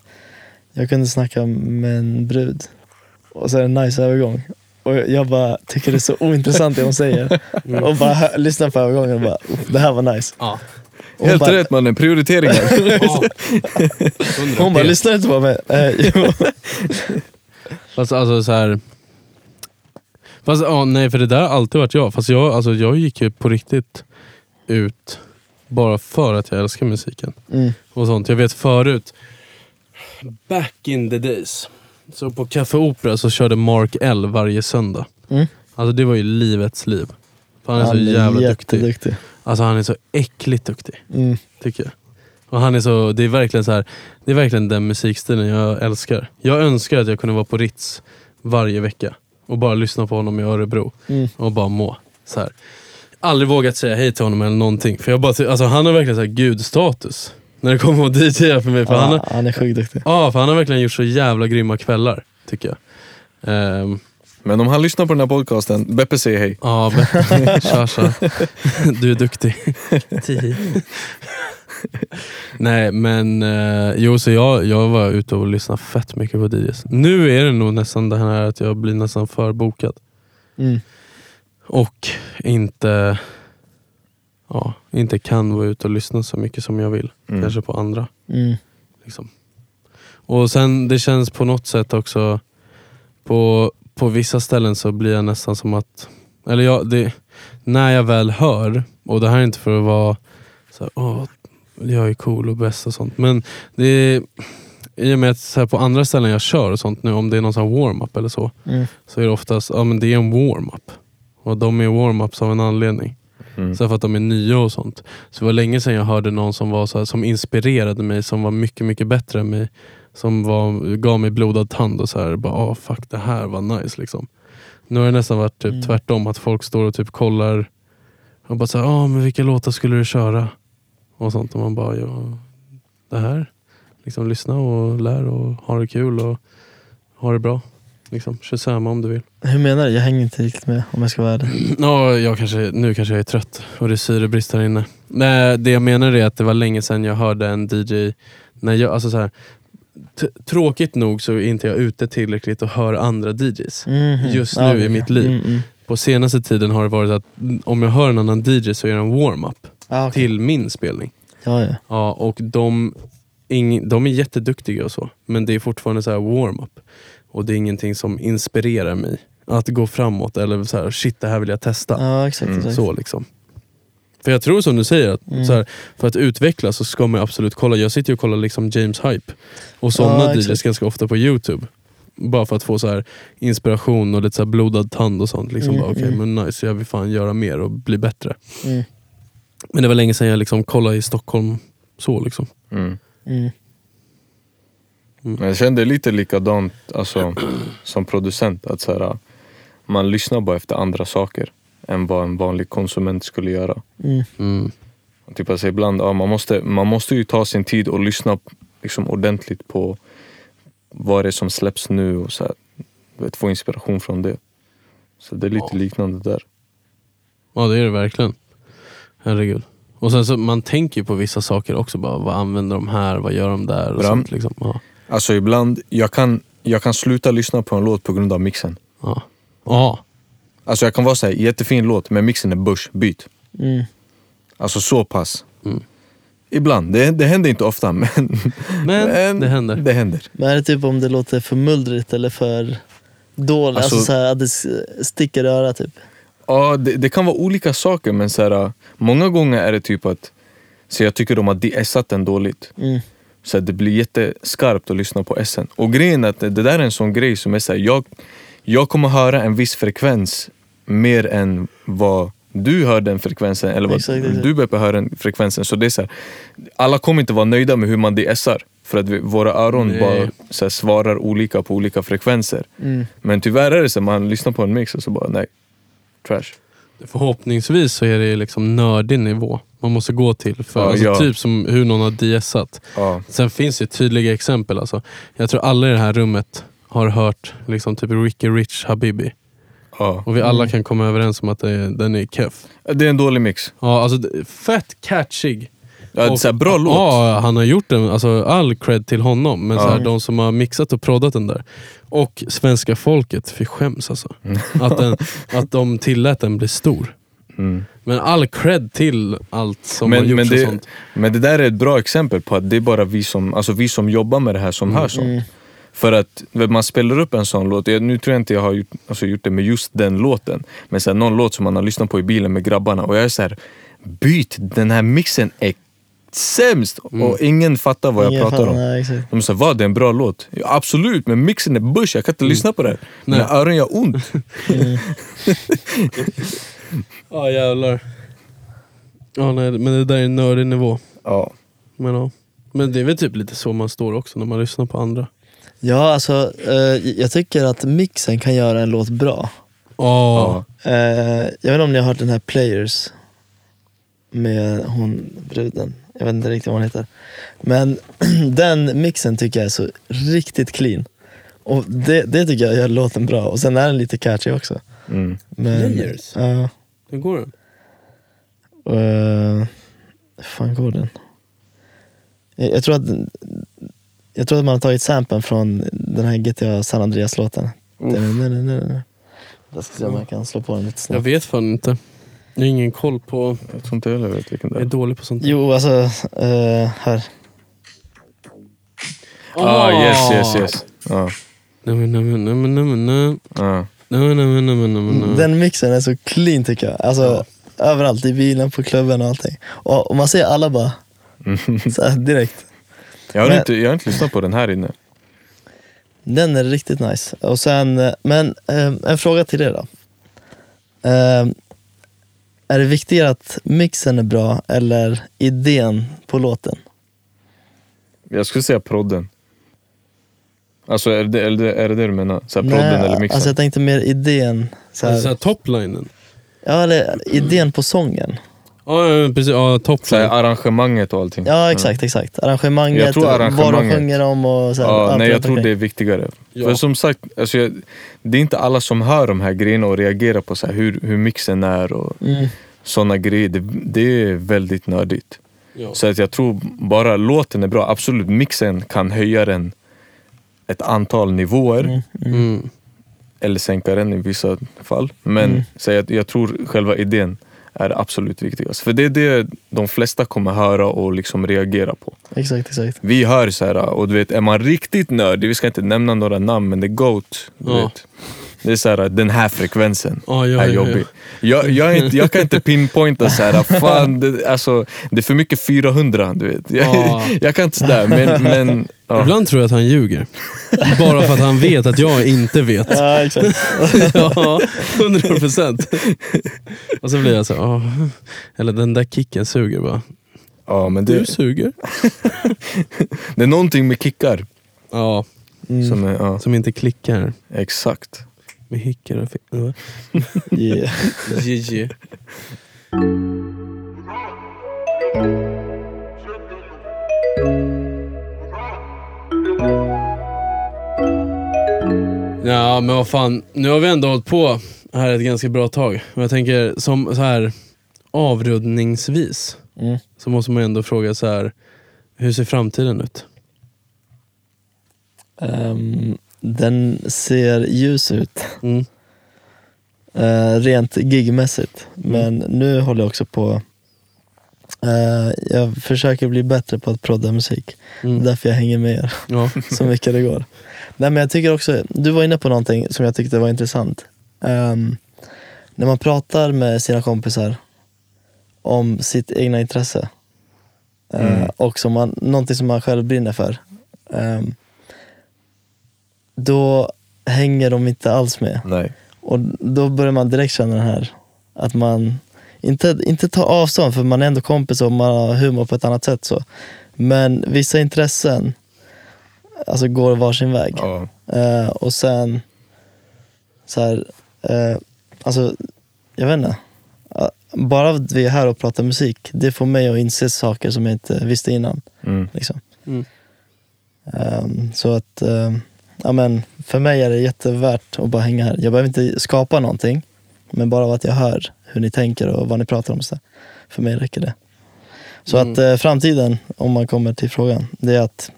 Speaker 5: Jag kunde snacka med en brud och så är det en nice övergång. Och jag bara tycker det är så ointressant det hon säger. Och bara hör, lyssnar på övergången och bara, "Oh, det här var nice.
Speaker 4: Mm. Ja.
Speaker 5: Och hon
Speaker 3: Helt
Speaker 5: bara,
Speaker 3: rätt mannen,
Speaker 5: <laughs>
Speaker 3: prioriteringar.
Speaker 4: Ja. <laughs>
Speaker 5: Hon bara, lyssnar du inte på mig? Eh, jo.
Speaker 4: Fast alltså så här. Fast ja, nej för det där har alltid varit jag. Fast jag, alltså, jag gick ju på riktigt ut bara för att jag älskar musiken.
Speaker 5: Mm.
Speaker 4: Och sånt. Jag vet förut, back in the days, så på Café Opera så körde Mark L varje söndag.
Speaker 5: Mm.
Speaker 4: Alltså det var ju livets liv. För <laughs> han är
Speaker 5: Han
Speaker 4: så
Speaker 5: är
Speaker 4: jävla duktig.
Speaker 5: jätteduktig.
Speaker 4: Alltså han är så äckligt duktig,
Speaker 5: Mm.
Speaker 4: tycker jag. Och han är så, det är verkligen så här, det är verkligen den musikstilen jag älskar. Jag önskar att jag kunde vara på Ritz varje vecka och bara lyssna på honom i Örebro
Speaker 5: Mm.
Speaker 4: och bara må. Så här. Aldrig vågat säga hej till honom eller någonting. För jag bara, ty- alltså, han har verkligen så här gudstatus när det kommer att DJa för mig. För
Speaker 5: Ja,
Speaker 4: han, har,
Speaker 5: han är sjukt duktig.
Speaker 4: ja, för han har verkligen gjort så jävla grymma kvällar, tycker jag. Ehm,
Speaker 3: Men om han lyssnar på den här podcasten, Beppe säger hej.
Speaker 4: Ja, men- tja tja. Du är duktig. Tio. Nej men, eh, jo så jag, jag var ute och lyssnade fett mycket på DJs. Nu är det nog nästan det här att jag blir nästan förbokad.
Speaker 5: Mm.
Speaker 4: Och inte, ja, inte kan vara ute och lyssna så mycket som jag vill.
Speaker 3: Mm.
Speaker 4: Kanske på andra.
Speaker 5: Mm.
Speaker 4: Liksom. Och sen det känns på något sätt också, på, på vissa ställen så blir jag nästan som att, eller jag, det, när jag väl hör, och det här är inte för att vara så här, Åh, jag är cool och bäst och sånt, men det är, i och med att så här, på andra ställen jag kör och sånt nu, om det är någon sån här warm-up eller så,
Speaker 5: Mm.
Speaker 4: så är det oftast, ja men det är en warm-up. Och de är warm-ups av en anledning.
Speaker 3: Mm.
Speaker 4: Så här för att de är nya och sånt. Så det var länge sedan jag hörde någon som, var så här, som inspirerade mig, som var mycket, mycket bättre än mig. Som var, gav mig blodad tand och så här, bara ah fuck det här var nice liksom. Nu har det nästan varit typ
Speaker 5: Mm.
Speaker 4: tvärtom, att folk står och typ kollar och bara såhär, ah men vilka låtar skulle du köra? Och sånt och man bara, ja det här. Liksom lyssna och lär och ha det kul och ha det bra. Liksom, shazama om du vill.
Speaker 5: Hur menar du? Jag hänger inte riktigt med om jag ska vara ärlig.
Speaker 4: <clears throat> Ja, jag kanske, nu kanske jag är trött och det är syrebrist här inne. Nej, det jag menar är att det var länge sedan jag hörde en DJ, när jag, alltså så här, t- tråkigt nog så är inte jag ute tillräckligt och hör andra DJs.
Speaker 5: Mhm.
Speaker 4: Just
Speaker 5: Ja,
Speaker 4: nu i mitt liv.
Speaker 5: Mm, mm.
Speaker 4: På senaste tiden har det varit att mm, om jag hör en annan DJ så är det en warm-up
Speaker 5: Ah, okej.
Speaker 4: till min spelning.
Speaker 5: Ja, ja.
Speaker 4: Ja, och de, ing, de är jätteduktiga och så, men det är fortfarande så här warm-up. Och det är ingenting som inspirerar mig att gå framåt eller så här, shit det här vill jag testa.
Speaker 5: ja exakt.
Speaker 3: Mm.
Speaker 5: exakt.
Speaker 4: Så liksom. För jag tror som du säger, att
Speaker 5: Mm.
Speaker 4: så här, för att utvecklas så ska man ju absolut kolla. Jag sitter ju och kollar liksom James Hype och sådana
Speaker 5: Ja,
Speaker 4: DJs
Speaker 5: exakt.
Speaker 4: ganska ofta på YouTube. Bara för att få så här inspiration och lite så här blodad tand och sånt. Liksom
Speaker 5: Mm,
Speaker 4: bara, Okej
Speaker 5: mm.
Speaker 4: men nice, jag vill fan göra mer och bli bättre.
Speaker 5: Mm.
Speaker 4: Men det var länge sedan jag liksom kollade i Stockholm så. liksom.
Speaker 3: Mm.
Speaker 5: Mm.
Speaker 3: Men Jag kände lite likadant alltså, <clears throat> som producent. Att så här, äh, man lyssnar bara efter andra saker än vad en vanlig konsument skulle göra.
Speaker 5: Mm.
Speaker 4: Mm.
Speaker 3: Typ alltså ibland, ja, man, måste, man måste ju ta sin tid och lyssna liksom, ordentligt på vad det är som släpps nu och så här, du vet, få inspiration från det. Så det är lite liknande där.
Speaker 4: Ja det är det verkligen. Herregud. Och sen så, man tänker ju på vissa saker också. Bara, vad använder de här? Vad gör de där? Och
Speaker 3: Bra.
Speaker 4: sånt, liksom. ja.
Speaker 3: Alltså ibland, jag kan, jag kan sluta lyssna på en låt på grund av mixen.
Speaker 4: Ja. Ja.
Speaker 3: Alltså jag kan vara såhär, jättefin låt men mixen är bush, byt.
Speaker 5: Mm.
Speaker 3: Alltså så pass.
Speaker 4: Mm.
Speaker 3: Ibland, det, det händer inte ofta <laughs> men,
Speaker 4: Men det händer.
Speaker 3: Det händer.
Speaker 5: Men är det typ om det låter för mullrigt eller för dåligt? Alltså,
Speaker 3: Alltså-
Speaker 5: så här, att det s- sticker i örat typ?
Speaker 3: Ja, det, det kan vara olika saker men så här, äh, många gånger är det typ att så jag tycker de har de-essat den dåligt.
Speaker 5: Mm.
Speaker 3: Så att det blir jätteskarpt att lyssna på essen. Och grejen är att det, det där är en sån grej som är såhär, jag, jag kommer höra en viss frekvens mer än vad du hör den frekvensen eller vad
Speaker 5: Exakt, exakt.
Speaker 3: du Beppe hör den frekvensen. Så det är så här, alla kommer inte vara nöjda med hur man de-essar. För att vi, våra öron
Speaker 4: Nej.
Speaker 3: bara så här, svarar olika på olika frekvenser.
Speaker 5: Mm.
Speaker 3: Men tyvärr är det så, man lyssnar på en mix och så bara nej, trash.
Speaker 4: Förhoppningsvis så är det liksom nördig nivå man måste gå till. För
Speaker 3: Ja,
Speaker 4: alltså,
Speaker 3: ja.
Speaker 4: Typ som hur någon har DSat.
Speaker 3: Ja.
Speaker 4: Sen finns det tydliga exempel. Alltså. Jag tror alla i det här rummet har hört liksom, typ Ricky Rich Habibi.
Speaker 3: ja.
Speaker 4: Och vi alla kan komma överens om att det, den är keff.
Speaker 3: Det är en dålig mix.
Speaker 4: Ja, alltså, d- fett catchig.
Speaker 3: Ja,
Speaker 4: Och-
Speaker 3: så här, bra låt.
Speaker 4: Ja, han har gjort den. Alltså, all cred till honom. Men så här, de som har mixat och proddat den där. Och svenska folket, fy skäms alltså. <laughs> Att, den, att de tillät den bli stor.
Speaker 3: Mm.
Speaker 4: Men all cred till allt som har
Speaker 3: men, men,
Speaker 4: gjorts och
Speaker 3: det,
Speaker 4: sånt.
Speaker 3: men det där är ett bra exempel på att det är bara vi som, alltså vi som jobbar med det här som hör sånt. För att när man spelar upp en sån låt, jag, nu tror jag inte jag har gjort, alltså gjort det med just den låten, men så här, någon låt som man har lyssnat på i bilen med grabbarna och jag är så här, byt, den här mixen är sämst! Och ingen fattar vad jag
Speaker 5: Ingen
Speaker 3: pratar
Speaker 5: fan,
Speaker 3: om.
Speaker 5: nej, exakt.
Speaker 3: De sa, vad det är en bra låt? Ja, absolut, men mixen är bush, jag kan inte lyssna på det. här. Mina öron gör ont.
Speaker 4: Ja jävlar. Ja, nej, men det där är nördig nivå.
Speaker 3: ja.
Speaker 4: Men, ja. men det är väl typ lite så man står också när man lyssnar på andra.
Speaker 5: Ja, alltså eh, jag tycker att mixen kan göra en låt bra.
Speaker 4: Ja.
Speaker 3: Ja.
Speaker 5: Eh, jag vet inte om ni har hört den här Players med hon bruden. Jag vet inte riktigt vad hon heter. Men <clears throat> den mixen tycker jag är så riktigt clean. Och det, det tycker jag gör låten bra. Och sen är den lite catchy också.
Speaker 3: Mm.
Speaker 5: Men,
Speaker 4: Players?
Speaker 5: Ja.
Speaker 4: Hur går den?
Speaker 5: Uh, fan går den? Jag, jag tror att jag tror att man har tagit samplen från den här GTA San Andreas-låten. Jag ska se om jag kan slå på den lite
Speaker 4: Jag
Speaker 5: snabbt.
Speaker 4: vet fan inte. Jag har ingen koll på...
Speaker 3: Jag tror inte heller jag vet vilken det
Speaker 4: Jag är
Speaker 3: är.
Speaker 4: dålig på sånt.
Speaker 5: Jo, alltså eh, här.
Speaker 3: Ah, yes, yes, yes. Ja.
Speaker 4: Nej, men, nej, men, nej, men, nej, men, nej.
Speaker 3: Ja.
Speaker 4: Nej, nej, men, nej, men, nej, men, nej.
Speaker 5: Den mixen är så clean tycker jag. Alltså överallt, i bilen, på klubben och allting. Och, och man ser alla <laughs> bara så här, direkt.
Speaker 3: Jag, har
Speaker 5: Men-
Speaker 3: inte, jag har inte lyssnat på den här inne.
Speaker 5: Den är riktigt nice. Och sen, eh, men eh, en fråga till er då. Eh, är det viktigare att mixen är bra eller idén på låten?
Speaker 3: Jag skulle säga prodden. Alltså är det är det, är det, det du menar? Så här, prodden eller mixen?
Speaker 5: Alltså jag tänkte mer idén. Så här,
Speaker 4: Alltså, så här, toplinen.
Speaker 5: ja, eller idén på sången.
Speaker 4: Ja, ja, ja, precis. Ja,
Speaker 3: så här,
Speaker 4: toplinen.
Speaker 3: arrangemanget och allting?
Speaker 5: Ja, exakt, exakt. Arrangemanget,
Speaker 3: Mm. Jag tror
Speaker 5: vad de
Speaker 3: arrangemanget.
Speaker 5: sjunger om och så här,
Speaker 3: Ja,
Speaker 5: allt
Speaker 3: nej, jag
Speaker 5: runt
Speaker 3: tror
Speaker 5: omkring.
Speaker 3: det är viktigare.
Speaker 4: Ja.
Speaker 3: För som sagt, alltså jag, det är inte alla som hör de här grejerna och reagerar på så här hur, hur mixen är och
Speaker 5: Mm.
Speaker 3: sådana grejer. Det, det är väldigt nördigt.
Speaker 4: Ja.
Speaker 3: Så att jag tror bara låten är bra. Absolut, mixen kan höja den ett antal nivåer
Speaker 4: Mm.
Speaker 3: eller sänka den i vissa fall. Men så jag, jag tror själva idén är absolut viktigast. För det är det de flesta kommer höra och liksom reagera på.
Speaker 5: Exakt, exakt.
Speaker 3: Vi hör så här och du vet, är man riktigt nördig, vi ska inte nämna några namn men det är GOAT. Du
Speaker 4: Ja.
Speaker 3: vet. Det är så här, den här frekvensen
Speaker 4: Ja, ja,
Speaker 3: är
Speaker 4: ja,
Speaker 3: jobbig. Jag, jag, är inte, jag kan inte pinpointa så här, fan det, alltså, det är för mycket 400 du vet. Jag,
Speaker 4: Ja.
Speaker 3: <laughs> jag kan inte sådär men, men ja.
Speaker 4: Ibland tror jag att han <laughs> ljuger. Bara för att han vet att jag inte vet.
Speaker 5: Ja, exakt.
Speaker 4: <laughs>
Speaker 3: <laughs>
Speaker 4: Ja, 100 procent. Och så blir jag så här, "Ah." Eller den där kicken suger bara.
Speaker 3: Ja, men
Speaker 4: Du
Speaker 3: det,
Speaker 4: suger.
Speaker 3: det är någonting med kickar
Speaker 4: Ja, Mm.
Speaker 3: som är, ja,
Speaker 4: som inte klickar.
Speaker 3: exakt.
Speaker 4: Med hickar och fi-
Speaker 5: Yeah.
Speaker 4: GG. Ja, men vad fan. Nu har vi ändå hållit på här ett ganska bra tag. Och jag tänker som så här avrundningsvis
Speaker 5: Mm.
Speaker 4: så måste man ändå fråga så här. Hur ser framtiden ut?
Speaker 5: Ehm, den ser ljus ut,
Speaker 4: Mm.
Speaker 5: eh, rent gigmässigt. Men nu håller jag också på... eh, jag försöker bli bättre på att prodda musik.
Speaker 4: Mm.
Speaker 5: därför jag hänger med er
Speaker 4: Ja.
Speaker 5: så mycket det går. Nej, men jag tycker också, du var inne på någonting som jag tyckte var intressant. Ehm, när man pratar med sina kompisar om sitt egna intresse eh, och som man, någonting som man själv brinner för. ehm, då hänger de inte alls med.
Speaker 3: Nej.
Speaker 5: Och då börjar man direkt känna den här, att man inte, inte tar avstånd för man är ändå kompis och man har humor på ett annat sätt. Så. Men vissa intressen alltså, går varsin väg.
Speaker 3: Ja.
Speaker 5: Eh, och sen, så här, eh, alltså, jag vet inte. Ah, Bara att vi är här och pratar musik, det får mig att inse saker som jag inte visste innan.
Speaker 3: Mm.
Speaker 5: Liksom.
Speaker 4: Mm.
Speaker 5: Ehm, så att, ehm, ja men för mig är det jättevärt att bara hänga här. Jag behöver inte skapa någonting, men bara av att jag hör hur ni tänker och vad ni pratar om. Så där. för mig räcker det. Så att eh, framtiden, om man kommer till frågan, det är att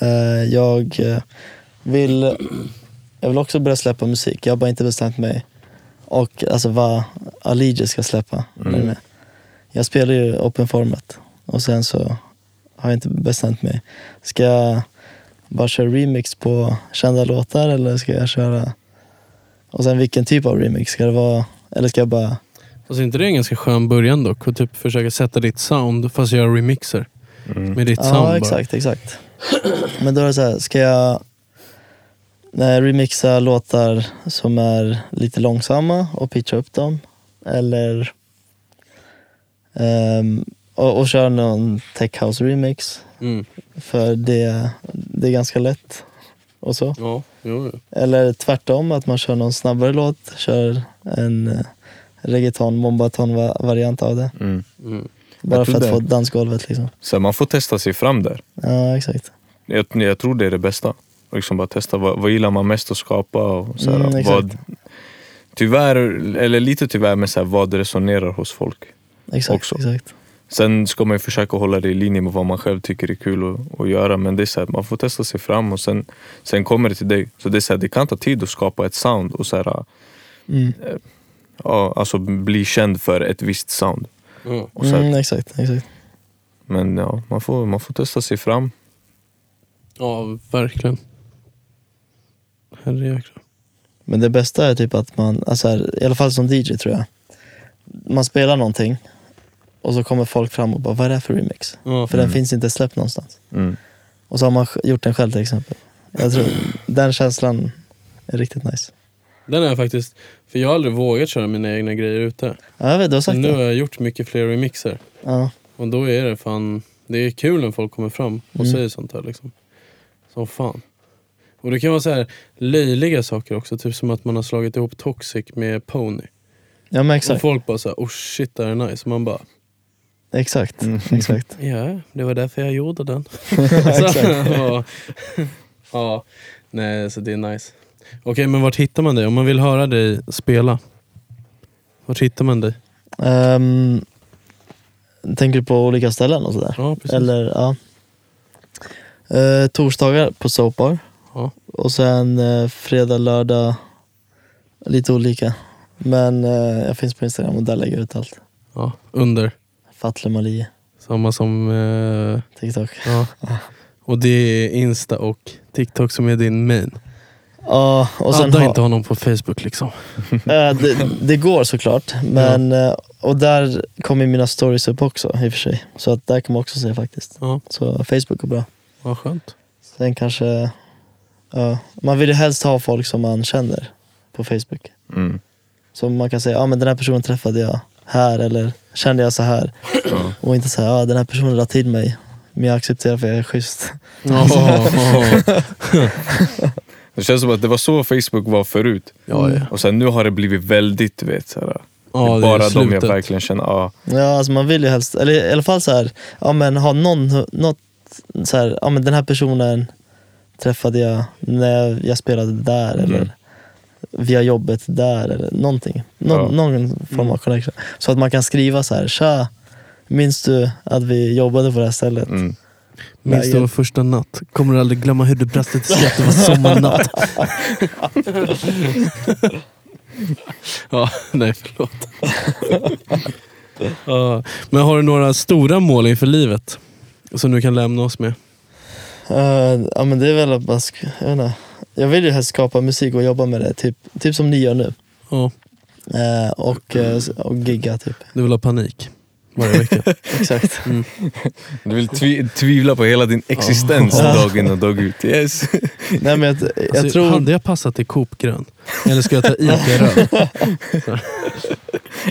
Speaker 5: eh, jag eh, vill, jag vill också börja släppa musik. Jag har bara inte bestämt mig. Och alltså vad Alige ska släppa. Är ni med? Jag spelar ju open format och sen så har jag inte bestämt mig. Ska jag bara köra remix på kända låtar eller ska jag köra... Och sen vilken typ av remix? Ska det vara... Eller ska jag bara...
Speaker 4: Fast är inte det en ganska skön början dock? Att typ försöka sätta ditt sound fast göra remixer. Med ditt sound
Speaker 5: Ja,
Speaker 4: bara.
Speaker 5: exakt, exakt. Men då är det så här, ska jag nej, remixa låtar som är lite långsamma och pitcha upp dem? Eller ehm, och, och köra någon tech house remix,
Speaker 4: Mm.
Speaker 5: för det, det är ganska lätt. Och så.
Speaker 4: Ja, jo, jo.
Speaker 5: Eller tvärtom, att man kör någon snabbare låt, kör en eh, reggaeton, mombaton-variant av det.
Speaker 3: Mm.
Speaker 4: Mm.
Speaker 5: Bara
Speaker 3: Jag
Speaker 5: för
Speaker 3: tror
Speaker 5: att få
Speaker 3: det.
Speaker 5: dansgolvet liksom.
Speaker 3: Så man får testa sig fram där.
Speaker 5: Ja, exakt.
Speaker 3: Jag, jag tror det är det bästa. Liksom bara testa, vad, vad gillar man mest att skapa? Och så här,
Speaker 5: Mm, exakt.
Speaker 3: vad, tyvärr, eller lite tyvärr, men så här, vad resonerar hos folk.
Speaker 5: Exakt,
Speaker 3: Också.
Speaker 5: exakt.
Speaker 3: Sen ska man ju försöka hålla det i linje med vad man själv tycker är kul att, att göra men det är så här, man får testa sig fram och sen, sen kommer det till dig. Så det, är så här, det kan ta tid att skapa ett sound och så här, eh,
Speaker 5: Mm.
Speaker 3: ja, alltså bli känd för ett visst sound.
Speaker 4: Ja.
Speaker 3: Och så här,
Speaker 5: Mm, exakt, exakt.
Speaker 3: Men ja, man får, man får testa sig fram.
Speaker 4: ja, verkligen. Herrejäklar.
Speaker 5: Men det bästa är typ att man, alltså här, i alla fall som DJ tror jag, man spelar någonting och så kommer folk fram och bara, vad är det här för remix?
Speaker 4: Ja,
Speaker 5: För den finns inte släppt någonstans.
Speaker 3: Mm.
Speaker 5: Och så har man sj- gjort den själv till exempel. Jag tror den känslan är riktigt nice.
Speaker 4: Den är faktiskt... För jag har aldrig vågat köra mina egna grejer ute.
Speaker 5: Ja, jag vet, du har sagt
Speaker 4: Men nu
Speaker 5: det.
Speaker 4: har jag gjort mycket fler remixer.
Speaker 5: Ja,
Speaker 4: Och då är det fan... Det är kul när folk kommer fram och
Speaker 5: Mm.
Speaker 4: säger sånt här liksom. Som fan. Och det kan vara så här löjliga saker också. Typ som att man har slagit ihop Toxic med Pony.
Speaker 5: ja men
Speaker 4: Och
Speaker 5: exakt.
Speaker 4: folk bara såhär, oh shit det här är nice. Och man bara,
Speaker 5: Exakt.
Speaker 4: Mm.
Speaker 5: exakt.
Speaker 4: ja det var därför jag gjorde
Speaker 5: <laughs>
Speaker 4: den. <laughs> så, och, ja, nej så det är nice. Okej men vart hittar man dig? Om man vill höra dig spela. Vart hittar man dig?
Speaker 5: Ehm, tänker du på olika ställen och sådär?
Speaker 4: Ja precis.
Speaker 5: Eller, ja. Eh, torsdagar på Soap Bar.
Speaker 4: Ja.
Speaker 5: Och sen eh, fredag, lördag, lite olika. Men eh, jag finns på Instagram och där lägger jag ut allt.
Speaker 4: Ja, under.
Speaker 5: Fatle Mali,
Speaker 4: Samma som, eh,
Speaker 5: TikTok.
Speaker 4: ja. Och det är Insta och TikTok som är din main.
Speaker 5: Ja, och sen
Speaker 4: Adda
Speaker 5: ha,
Speaker 4: inte honom på Facebook liksom.
Speaker 5: eh, det, det
Speaker 4: <laughs>
Speaker 5: går såklart. Men, eh, och där kommer mina stories upp också i och för sig. Så att där kan man också se faktiskt.
Speaker 4: Ja,
Speaker 5: Så Facebook är bra.
Speaker 4: vad
Speaker 5: <laughs>
Speaker 4: skönt.
Speaker 5: Sen kanske, ja, man vill ju helst ha folk som man känner på Facebook.
Speaker 3: Mm.
Speaker 5: Så man kan säga, ja ah, men den här personen träffade jag här eller kände jag så här. Och inte säga, ja ah, den här personen la till mig. Men jag accepterar för jag är schysst.
Speaker 4: Ja,
Speaker 3: Det känns som att det var så Facebook var förut.
Speaker 4: ja, ja.
Speaker 3: Och sen nu har det blivit väldigt, du vet, så här,
Speaker 4: Ja,
Speaker 3: det
Speaker 4: det
Speaker 3: är
Speaker 4: är
Speaker 3: bara de jag
Speaker 4: slutet.
Speaker 3: verkligen känner, ja,
Speaker 5: Ja alltså man vill ju helst, eller i alla fall så här, ja men ha någon, något så här, ja men den här personen träffade jag när jag spelade där
Speaker 3: Mm.
Speaker 5: eller via jobbet där eller någonting. Nå-
Speaker 3: Ja. Mm.
Speaker 5: Någon form av connection. Så att man kan skriva så här, tja, minns du att vi jobbade på det här stället?
Speaker 3: mm.
Speaker 4: Minns du
Speaker 5: Läget.
Speaker 4: vår första natt? Kommer du aldrig glömma hur du brast ett skratt, det var sommarnatt. <laughs> ja, nej förlåt. Ja, men har du några stora mål inför livet? Som du kan lämna oss med?
Speaker 5: Eh, ja men det är väl att man sk- jag, vet inte. jag vill ju helst skapa musik och jobba med det, typ, typ som ni gör nu.
Speaker 4: Ja,
Speaker 5: Eh, och,
Speaker 3: Mm.
Speaker 5: eh, och
Speaker 3: <laughs>
Speaker 5: gigga typ.
Speaker 4: du vill ha panik varje vecka.
Speaker 5: Exakt.
Speaker 3: Mm. Du vill tvi- tvivla på hela din existens dag in och dag ut. Yes.
Speaker 5: Nej men jag, jag
Speaker 4: Alltså,
Speaker 5: tror...
Speaker 4: Hade jag passat i Coop grön? Eller ska jag ta Ica-röd?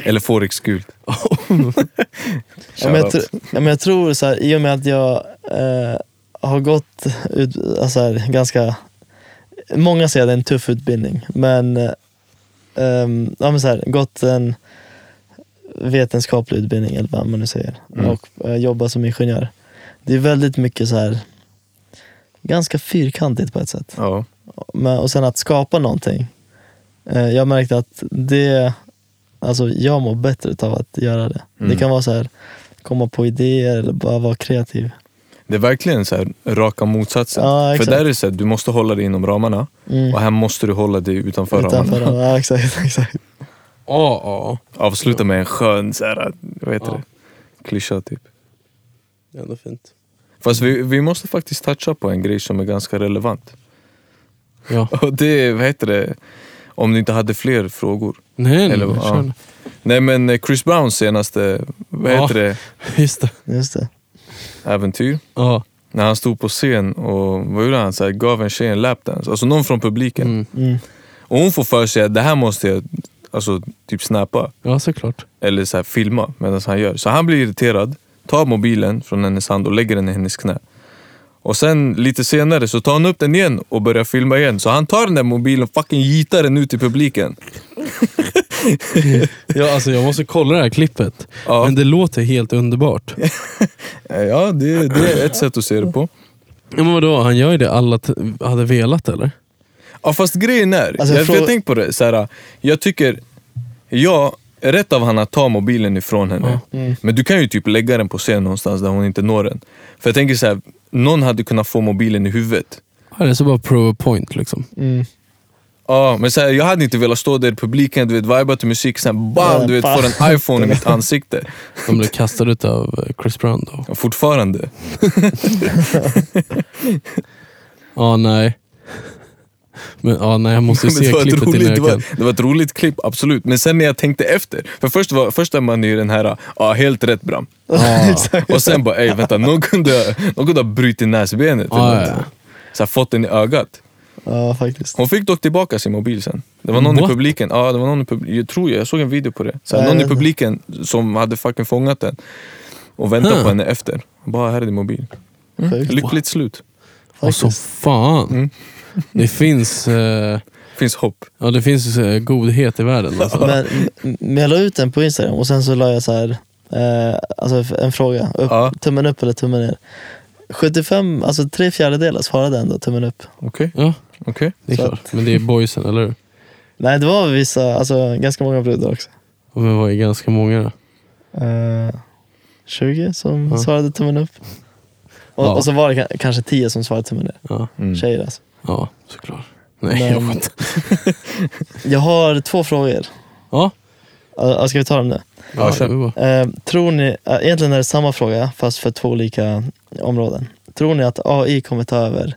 Speaker 3: Eller Forex-gult.
Speaker 5: Ja, men jag, tr- ja, men jag tror så här, i och med att jag eh, har gått ut, alltså här, ganska, många säger att det är en tuff utbildning, men, eh, ehm, ja, men så här, gått en vetenskaplig utbildning eller vad man nu säger och eh, jobbat som ingenjör. Det är väldigt mycket så här, ganska fyrkantigt på ett sätt.
Speaker 3: Ja.
Speaker 5: Men, och sen att skapa någonting. Eh, jag märkte att det, alltså jag mår bättre av att göra det. Det kan vara så här, komma på idéer eller bara vara kreativ.
Speaker 3: Det är verkligen så här, raka motsatsen.
Speaker 5: Ja,
Speaker 3: För
Speaker 5: exakt.
Speaker 3: där är det så här, du måste hålla dig inom ramarna
Speaker 5: Mm.
Speaker 3: och här måste du hålla dig utanför,
Speaker 5: Utanför
Speaker 3: ramarna.
Speaker 5: ramarna. Ja, exakt, <laughs> exakt.
Speaker 4: Ja, ja.
Speaker 3: Avsluta med en skön så här, vad heter
Speaker 4: Ja.
Speaker 3: det? klyscha typ.
Speaker 4: Det är ändå fint.
Speaker 3: Fast vi, vi måste faktiskt toucha på en grej som är ganska relevant.
Speaker 4: Ja.
Speaker 3: Och det är, vad heter det, om du inte hade fler frågor.
Speaker 4: Nej, nej,
Speaker 3: Eller,
Speaker 4: men
Speaker 3: ja.
Speaker 4: Mm, kör.
Speaker 3: Nej men eh, Chris Browns senaste, vad
Speaker 4: Ja.
Speaker 3: heter det,
Speaker 4: Just det.
Speaker 5: Just det.
Speaker 3: äventyr.
Speaker 4: Ja.
Speaker 3: När han stod på scen och vad gjorde han? Så här, gav en tjej en lapdance. Alltså någon från publiken.
Speaker 4: Mm.
Speaker 5: Mm.
Speaker 3: Och hon får för sig att det här måste jag alltså, typ snappa.
Speaker 4: ja, såklart.
Speaker 3: Eller så här, filma medan han gör. Så han blir irriterad, tar mobilen från hennes hand och lägger den i hennes knä. Och sen lite senare så tar han upp den igen och börjar filma igen. Så han tar den där mobilen och fucking gitar den ut i publiken.
Speaker 4: Ja, alltså, jag måste kolla det här klippet.
Speaker 3: Ja.
Speaker 4: Men det låter helt underbart.
Speaker 3: Ja, det, det är ett sätt att se det på.
Speaker 4: Ja, men vadå, han gör ju det alla t- hade velat eller?
Speaker 3: Ja fast grejen är,
Speaker 5: Alltså,
Speaker 3: jag,
Speaker 5: frå-
Speaker 3: jag tänkte på det, så här, jag tycker, ja, rätt av han att ta mobilen ifrån henne. Men du kan ju typ lägga den på scen någonstans där hon inte når den. För jag tänker så här, någon hade kunnat få mobilen i huvudet.
Speaker 4: Ja, det är så bara prove a point liksom.
Speaker 5: Mm.
Speaker 3: Ja, men så här, jag hade inte velat stå där i publiken, du vet, vibea till musik, sen bam,
Speaker 5: Ja,
Speaker 3: du vet,
Speaker 5: bam.
Speaker 3: får en iPhone i mitt ansikte.
Speaker 4: De blev kastade ut av eh, Chris Brown då.
Speaker 3: Och Fortfarande.
Speaker 4: Ja, nej. <laughs> Men ja, nej, jag måste ju se
Speaker 3: <laughs> Men det, var ett
Speaker 4: klippet innan
Speaker 3: roligt, det,
Speaker 4: jag kan.
Speaker 3: var, det var ett roligt klipp, absolut. Men sen när jag tänkte efter, för först, var, först är man ju den här, ja helt rätt Bram.
Speaker 4: Ah.
Speaker 3: <laughs> Och sen bara, ey vänta, någon kunde, någon kunde ha brutit näsbenet. eller
Speaker 4: Ja, ja,
Speaker 3: något.
Speaker 4: Ah, ja.
Speaker 3: Så här, fått den i ögat.
Speaker 5: Ja, faktiskt.
Speaker 3: Hon fick dock tillbaka sin mobil sen. Det var någon
Speaker 4: What?
Speaker 3: i publiken, ja, det var någon i publiken, jag tror jag, jag såg en video på det. Så här,
Speaker 5: Nej,
Speaker 3: någon
Speaker 5: jag
Speaker 3: i
Speaker 5: vet
Speaker 3: publiken som hade fucking fångat den och väntat
Speaker 4: Huh.
Speaker 3: på henne efter. Bara, här är din mobil.
Speaker 5: Sjukt.
Speaker 3: Lyckligt slut.
Speaker 4: Och så
Speaker 5: Faktiskt.
Speaker 4: fan.
Speaker 3: Mm.
Speaker 4: Det finns, eh,
Speaker 3: Finns hopp.
Speaker 4: ja, det finns eh, godhet i världen. Alltså.
Speaker 5: Men, men jag la ut den på Instagram och sen så la jag så här, eh, alltså en fråga. Upp,
Speaker 3: Ja.
Speaker 5: Tummen upp eller tummen ner. 75, alltså tre fjärdedelar svarade ändå tummen upp.
Speaker 3: Okej,
Speaker 4: Ja,
Speaker 3: okej.
Speaker 4: det är
Speaker 5: Så
Speaker 4: klart. Men det är boysen, eller hur?
Speaker 5: Nej, det var vissa, alltså ganska många brudar också.
Speaker 4: Och vi var ju ganska många då.
Speaker 5: Eh, 20 som
Speaker 4: Ja.
Speaker 5: svarade tummen upp. Och,
Speaker 4: Ja.
Speaker 5: och så var det ka- kanske 10 som svarade tummen ner.
Speaker 4: Ja,
Speaker 3: Mm.
Speaker 5: Tjejer alltså.
Speaker 4: ja såklart. Nej,
Speaker 5: Men-
Speaker 4: jag skämtar.
Speaker 5: Jag har två frågor.
Speaker 4: Ja,
Speaker 5: Uh, ska vi ta dem nu?
Speaker 4: ja,
Speaker 3: kör.
Speaker 4: det var bra.
Speaker 5: Eh, tror ni, eh, egentligen är det samma fråga fast för två olika områden. Tror ni att AI kommer ta över?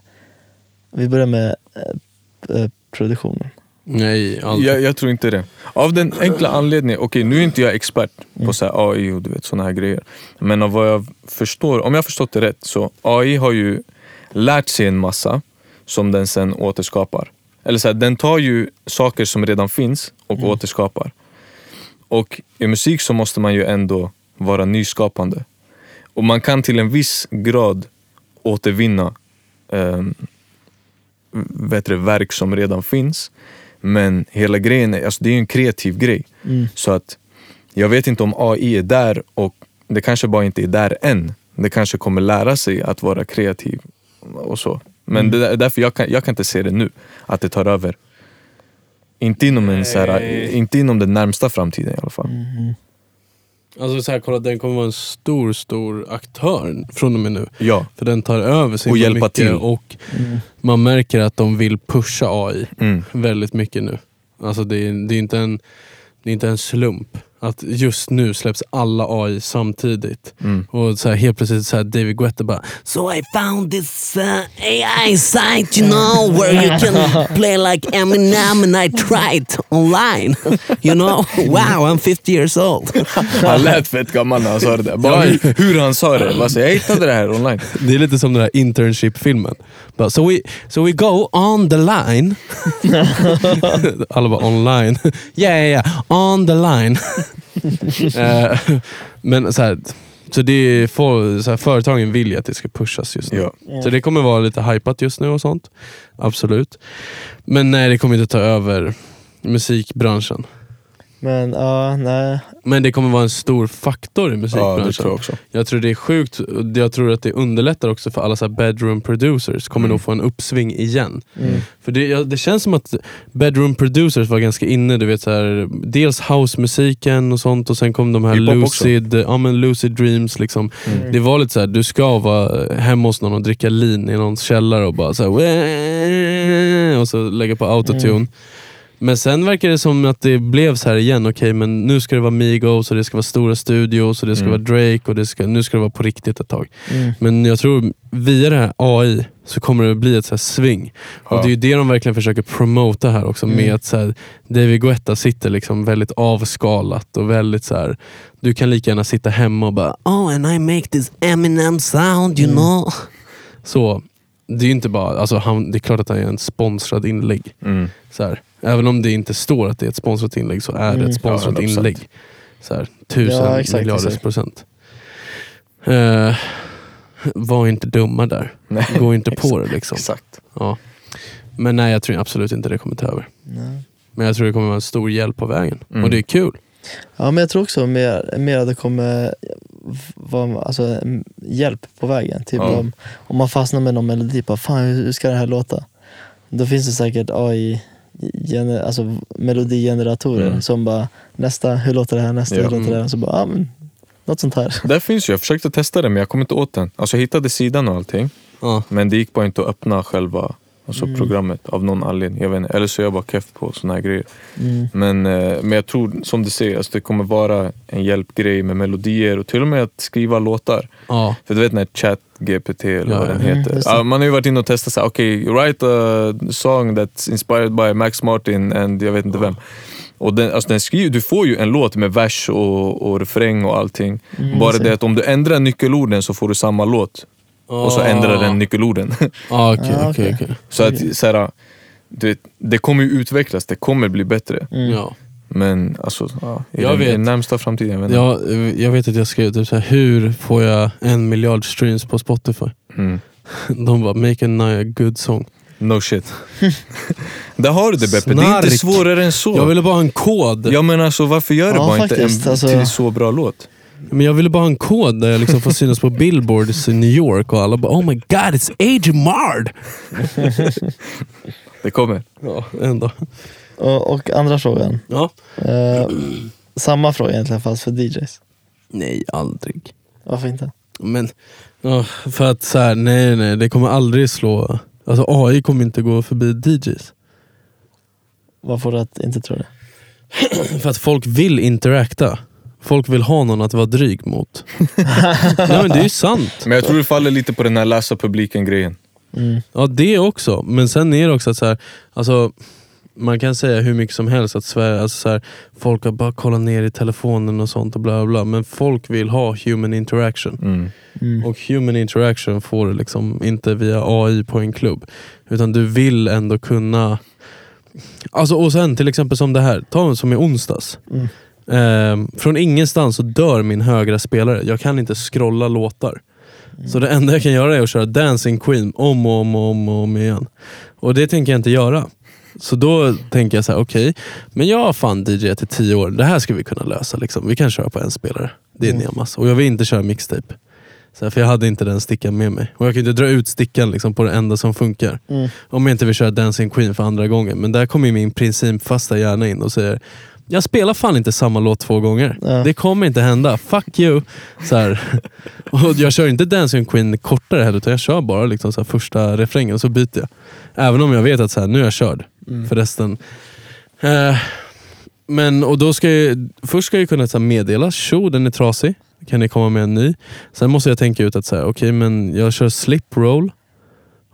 Speaker 5: Vi börjar med eh, eh, produktionen.
Speaker 4: Nej, aldrig.
Speaker 3: Jag, jag tror inte det. Av den enkla anledningen, okej nu är inte jag expert på så här AI och du vet såna här grejer. Men av vad jag förstår, om jag har förstått det rätt så AI har ju lärt sig en massa som den sen återskapar. Eller så här, den tar ju saker som redan finns och återskapar. Och i musik så måste man ju ändå vara nyskapande. Och man kan till en viss grad återvinna ehm, vet du, verk som redan finns. Men hela grejen är, alltså det är ju en kreativ grej. Så att jag vet inte om AI är där och det kanske bara inte är där än. Det kanske kommer lära sig att vara kreativ och så. Men det där- därför jag kan, jag kan inte se det nu, att det tar över. Inte inom, en, så här, inte inom den närmsta framtiden i alla fall.
Speaker 4: Alltså så här, kolla, den kommer vara en stor, stor aktör från och med nu.
Speaker 3: Ja.
Speaker 4: För den tar över sig
Speaker 3: Och hjälpa
Speaker 4: mycket
Speaker 3: till.
Speaker 4: och man märker att de vill pusha AI
Speaker 3: Mm. <laughs>
Speaker 4: väldigt mycket nu. Alltså det är, det, är inte en, det är inte en slump att just nu släpps alla AI samtidigt.
Speaker 3: Mm.
Speaker 4: Och så här, helt plötsligt så här David Guetta bara
Speaker 6: So I found this uh, AI site, you know, where you can play like Eminem, and I tried
Speaker 4: <laughs>
Speaker 6: online. You know, wow, I'm 50 years old.
Speaker 3: Han lät fett gammal när han sa det där. Bara hur, hur han sa det. Bara så, jag hittade det här <laughs> online.
Speaker 4: Det är lite som den här internship-filmen. Bara, So we, so we go on the line. Alla bara online. Yeah, yeah, yeah. On the line. Eh, Men så här, så det är for, så här, företagen vill ju att det ska pushas just nu.
Speaker 3: Ja.
Speaker 4: Så det kommer vara lite hypat just nu och sånt. Absolut. Men nej, det kommer inte ta över musikbranschen.
Speaker 5: Men ja, nej.
Speaker 4: Men det kommer vara en stor faktor i
Speaker 3: Ja,
Speaker 4: musikbranschen.
Speaker 3: det tror jag också.
Speaker 4: Jag tror det är sjukt, jag tror att det underlättar också för alla så här bedroom producers, kommer nog få en uppsving igen. För det, ja, det känns som att bedroom producers var ganska inne, du vet så här, dels housemusiken och sånt och sen kom de här
Speaker 3: Hiphop också. Mm.
Speaker 4: lucid, ja, men lucid dreams. Liksom. Det var lite så här, du ska vara hemma hos någon och dricka lin i någons källare och bara så här, och så lägga på autotune.
Speaker 3: Mm.
Speaker 4: Men sen verkar det som att det blev så här igen, okej men nu ska det vara Migos och det ska vara stora studios och det ska
Speaker 3: Mm.
Speaker 4: vara Drake och det ska, nu ska det vara på riktigt ett tag. Men jag tror via det här AI så kommer det bli ett så här sving.
Speaker 3: Ja.
Speaker 4: Och det är ju det de verkligen försöker promota här också med att så här, David Guetta sitter liksom väldigt avskalat och väldigt så här. du kan lika gärna sitta hemma och bara
Speaker 6: Oh, and I make this Eminem sound, you know.
Speaker 4: så. Det är ju inte bara, alltså han, det är klart att han är en sponsrad inlägg.
Speaker 3: Mm.
Speaker 4: Så här, även om det inte står att det är ett sponsrat inlägg så är det ett sponsrat
Speaker 3: Mm. Ja, 100%.
Speaker 4: inlägg. Så här, tusen
Speaker 5: Ja, exakt,
Speaker 4: miljarders
Speaker 5: exakt.
Speaker 4: procent. Eh, var inte dumma där.
Speaker 3: Nej.
Speaker 4: Gå inte på det liksom.
Speaker 3: Exakt.
Speaker 4: Ja. Men nej, jag tror absolut inte det kommer ta över.
Speaker 5: nej.
Speaker 4: Men jag tror det kommer vara en stor hjälp på vägen.
Speaker 3: Mm.
Speaker 4: Och det är kul.
Speaker 5: Ja, men jag tror också mer, mer att det kommer vara alltså, m- hjälp på vägen. Typ
Speaker 3: Ja.
Speaker 5: om, om man fastnar med någon melodi, bara, fan hur hur ska det här låta? Då finns det säkert AI, gener, alltså melodigeneratorer
Speaker 3: Mm.
Speaker 5: som bara, nästa, hur låter det här, nästa,
Speaker 3: Ja. Mm.
Speaker 5: hur låter det här? Så bara, ah, men, något sånt här.
Speaker 3: Där finns ju, jag försökte testa det men jag kom inte åt den. Alltså jag hittade sidan och allting.
Speaker 4: Ja.
Speaker 3: Men det gick bara inte att öppna själva alltså
Speaker 4: Mm.
Speaker 3: programmet av någon anledning. Jag vet inte. Eller så är jag bara keff på såna här grejer.
Speaker 4: Mm.
Speaker 3: Men, eh, men jag tror, som du säger, alltså det kommer vara en hjälpgrej med melodier och till och med att skriva låtar.
Speaker 4: Ja.
Speaker 3: För du vet när ChatGPT eller
Speaker 4: Ja,
Speaker 3: vad
Speaker 4: ja.
Speaker 3: den
Speaker 5: Mm,
Speaker 3: heter.
Speaker 5: just det.
Speaker 3: Ja, man har ju varit inne och testat så här, okej, write a song that's inspired by Max Martin and jag vet inte vem. Och den, alltså den skriver, du får ju en låt med vers och, och refräng och allting.
Speaker 4: Mm,
Speaker 3: Bara det att om du ändrar nyckelorden så får du samma låt. Och så ändrar den nyckelorden. <laughs>
Speaker 4: Ja, okej, okej,
Speaker 5: Ja, okej.
Speaker 4: Ah. okej.
Speaker 3: så att så här, du vet, det kommer ju utvecklas, det kommer bli bättre.
Speaker 4: Ja.
Speaker 3: Men alltså, ja, i
Speaker 4: Mm. Jag
Speaker 3: den, i
Speaker 4: vet.
Speaker 3: den närmsta framtiden, jag vet inte.
Speaker 4: Jag, jag vet att jag skrev typ så här, hur får jag en miljard streams på Spotify? <laughs>
Speaker 3: Mm.
Speaker 4: De bara, make a Naya good song.
Speaker 3: No shit.
Speaker 4: <laughs>
Speaker 3: Där har du det Beppe, det är inte
Speaker 4: Snark.
Speaker 3: svårare än så.
Speaker 4: Jag ville bara ha en kod.
Speaker 3: Ja men alltså varför gör du
Speaker 5: Ja,
Speaker 3: bara
Speaker 5: faktiskt,
Speaker 3: inte en
Speaker 5: alltså.
Speaker 3: till så bra låt?
Speaker 4: Men jag ville bara ha en kod där jag liksom får synas <laughs> på billboards i New York och alla bara oh my god it's Agent Mard.
Speaker 3: Det kommer.
Speaker 4: Ja, ändå.
Speaker 5: Och, och andra frågan,
Speaker 4: Ja.
Speaker 3: <clears throat>
Speaker 5: eh, samma fråga egentligen fast för DJs.
Speaker 4: Nej, aldrig.
Speaker 5: Varför inte?
Speaker 4: Men ja, för att så här, nej nej, det kommer aldrig slå. Alltså AI kommer inte gå förbi DJs.
Speaker 5: Vad får du att inte tro det?
Speaker 4: För att folk vill interakta. Folk vill ha någon att vara dryg mot. <laughs> nej men det är ju sant.
Speaker 3: Men jag tror det faller lite på den här läsa publiken grejen.
Speaker 4: Ja, det också. Men sen är det också att så här, alltså, man kan säga hur mycket som helst att Sverige, alltså så här, folk har bara kollat ner i telefonen och sånt och bla bla, bla. Men folk vill ha human interaction.
Speaker 3: Mm.
Speaker 4: Och human interaction får du liksom inte via AI på en klubb. Utan du vill ändå kunna... Alltså, och sen till exempel som det här, ta som i onsdags.
Speaker 5: Mm.
Speaker 4: Ehm, från ingenstans så dör min högra spelare. Jag kan inte scrolla låtar. Så det enda jag kan göra är att köra Dancing Queen om och om och om, och om igen. Och det tänker jag inte göra. Så då tänker jag så här, okej, men jag har fan DJat i tio år. Det här ska vi kunna lösa. Liksom. Vi kan köra på en spelare. Det är Nemas. Och jag vill inte köra mixtape. Så här, för jag hade inte den stickan med mig. Och jag kan ju inte dra ut stickan liksom, på det enda som funkar. Om jag inte vill köra Dancing Queen för andra gången. Men där kommer ju min principfasta hjärna in och säger jag spelar fan inte samma låt två gånger.
Speaker 5: Ja.
Speaker 4: Det kommer inte hända. Fuck you. Så här. <laughs> Och jag kör inte Dancing Queen kortare heller, utan jag kör bara liksom så här första refrängen och så byter jag. Även om jag vet att så här, nu är jag körd för resten. Eh, men, och då ska jag, först ska jag kunna så här, meddela, tjo den är trasig, kan ni komma med en ny? Sen måste jag tänka ut att så här, okej, men jag kör slip roll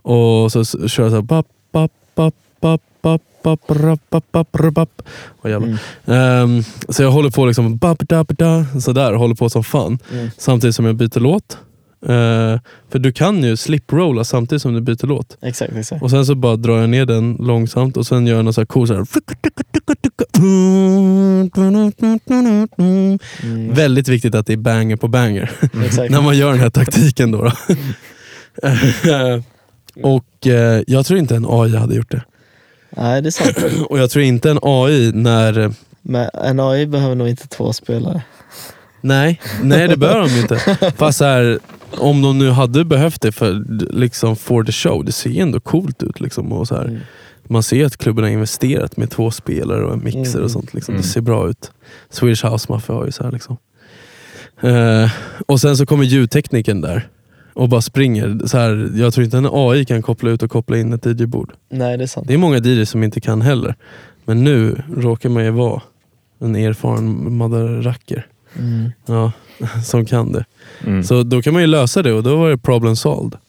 Speaker 4: och så s- kör jag så här, bap, bap, bap, bap, bap, bap, rap, bap, bap, rap, bap. Åh, jävlar. Ehm, så jag håller på liksom bap, da, da, sådär, håller på som fan.
Speaker 3: Mm.
Speaker 4: Samtidigt som jag byter låt. Eh, för du kan ju slip-rolla samtidigt som du byter låt.
Speaker 5: Exakt, exakt.
Speaker 3: <laughs>
Speaker 4: Och sen så bara drar jag ner den långsamt och sen gör jag någon sån här cool så här.
Speaker 5: Mm.
Speaker 4: Väldigt viktigt att det är banger på banger.
Speaker 5: <laughs> exakt.
Speaker 4: när man gör den här taktiken
Speaker 5: <laughs>
Speaker 4: då. <laughs> då. Eh, och eh, jag tror inte en AI hade gjort det.
Speaker 5: Nej, det är sant.
Speaker 4: Och jag tror inte en AI när eh,
Speaker 5: Men NAI behöver nog inte två spelare.
Speaker 4: Nej, nej det behöver de inte. Fast så här, om de nu hade behövt det för, liksom, for the show, det ser ju ändå coolt ut. Liksom, och så här.
Speaker 5: Mm.
Speaker 4: Man ser ju att klubben har investerat med två spelare och en mixer
Speaker 5: Mm.
Speaker 4: och sånt. Liksom.
Speaker 3: Mm.
Speaker 4: Det ser bra ut. Swedish House Mafia har ju så här liksom. Eh, och sen så kommer ljudtekniken där och bara springer. Så här, jag tror inte en AI kan koppla ut och koppla in ett DJ-bord.
Speaker 5: Nej, det är sant.
Speaker 4: Det är många DJs som inte kan heller. Men nu råkar man ju vara en erfaren madracker.
Speaker 5: Mm.
Speaker 4: Ja, <laughs> som kan det.
Speaker 3: Mm.
Speaker 4: Så då kan man ju lösa det och då var det problem solved.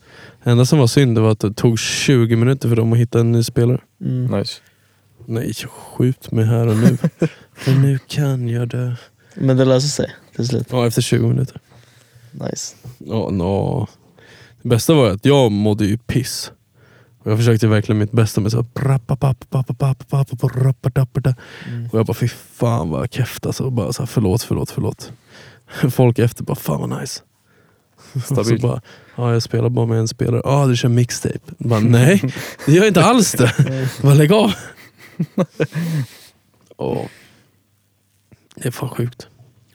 Speaker 4: Det enda som var synd det var att det tog 20 minuter för dem att hitta en ny spelare.
Speaker 5: Mm.
Speaker 3: Nice.
Speaker 4: Nej, skjut mig här och nu. för nu kan jag dö.
Speaker 5: Men det löser sig till slut.
Speaker 4: Ja, efter 20 minuter.
Speaker 5: Nice.
Speaker 4: Ja, nå. Det bästa var ju att jag mådde ju piss. Och jag försökte verkligen mitt bästa med såhär... Och jag bara, fy fan vad keft alltså. Och bara så här, förlåt, förlåt, förlåt. <laughs> Folk efter bara, fan vad nice. <laughs> Och Så
Speaker 3: Stabilt.
Speaker 4: bara, ja jag spelar bara med en spelare. Ja, du kör mixtape. Jag Bara, nej, det gör jag inte alls det. Jag Bara, lägg av. Ja. Det är fan sjukt.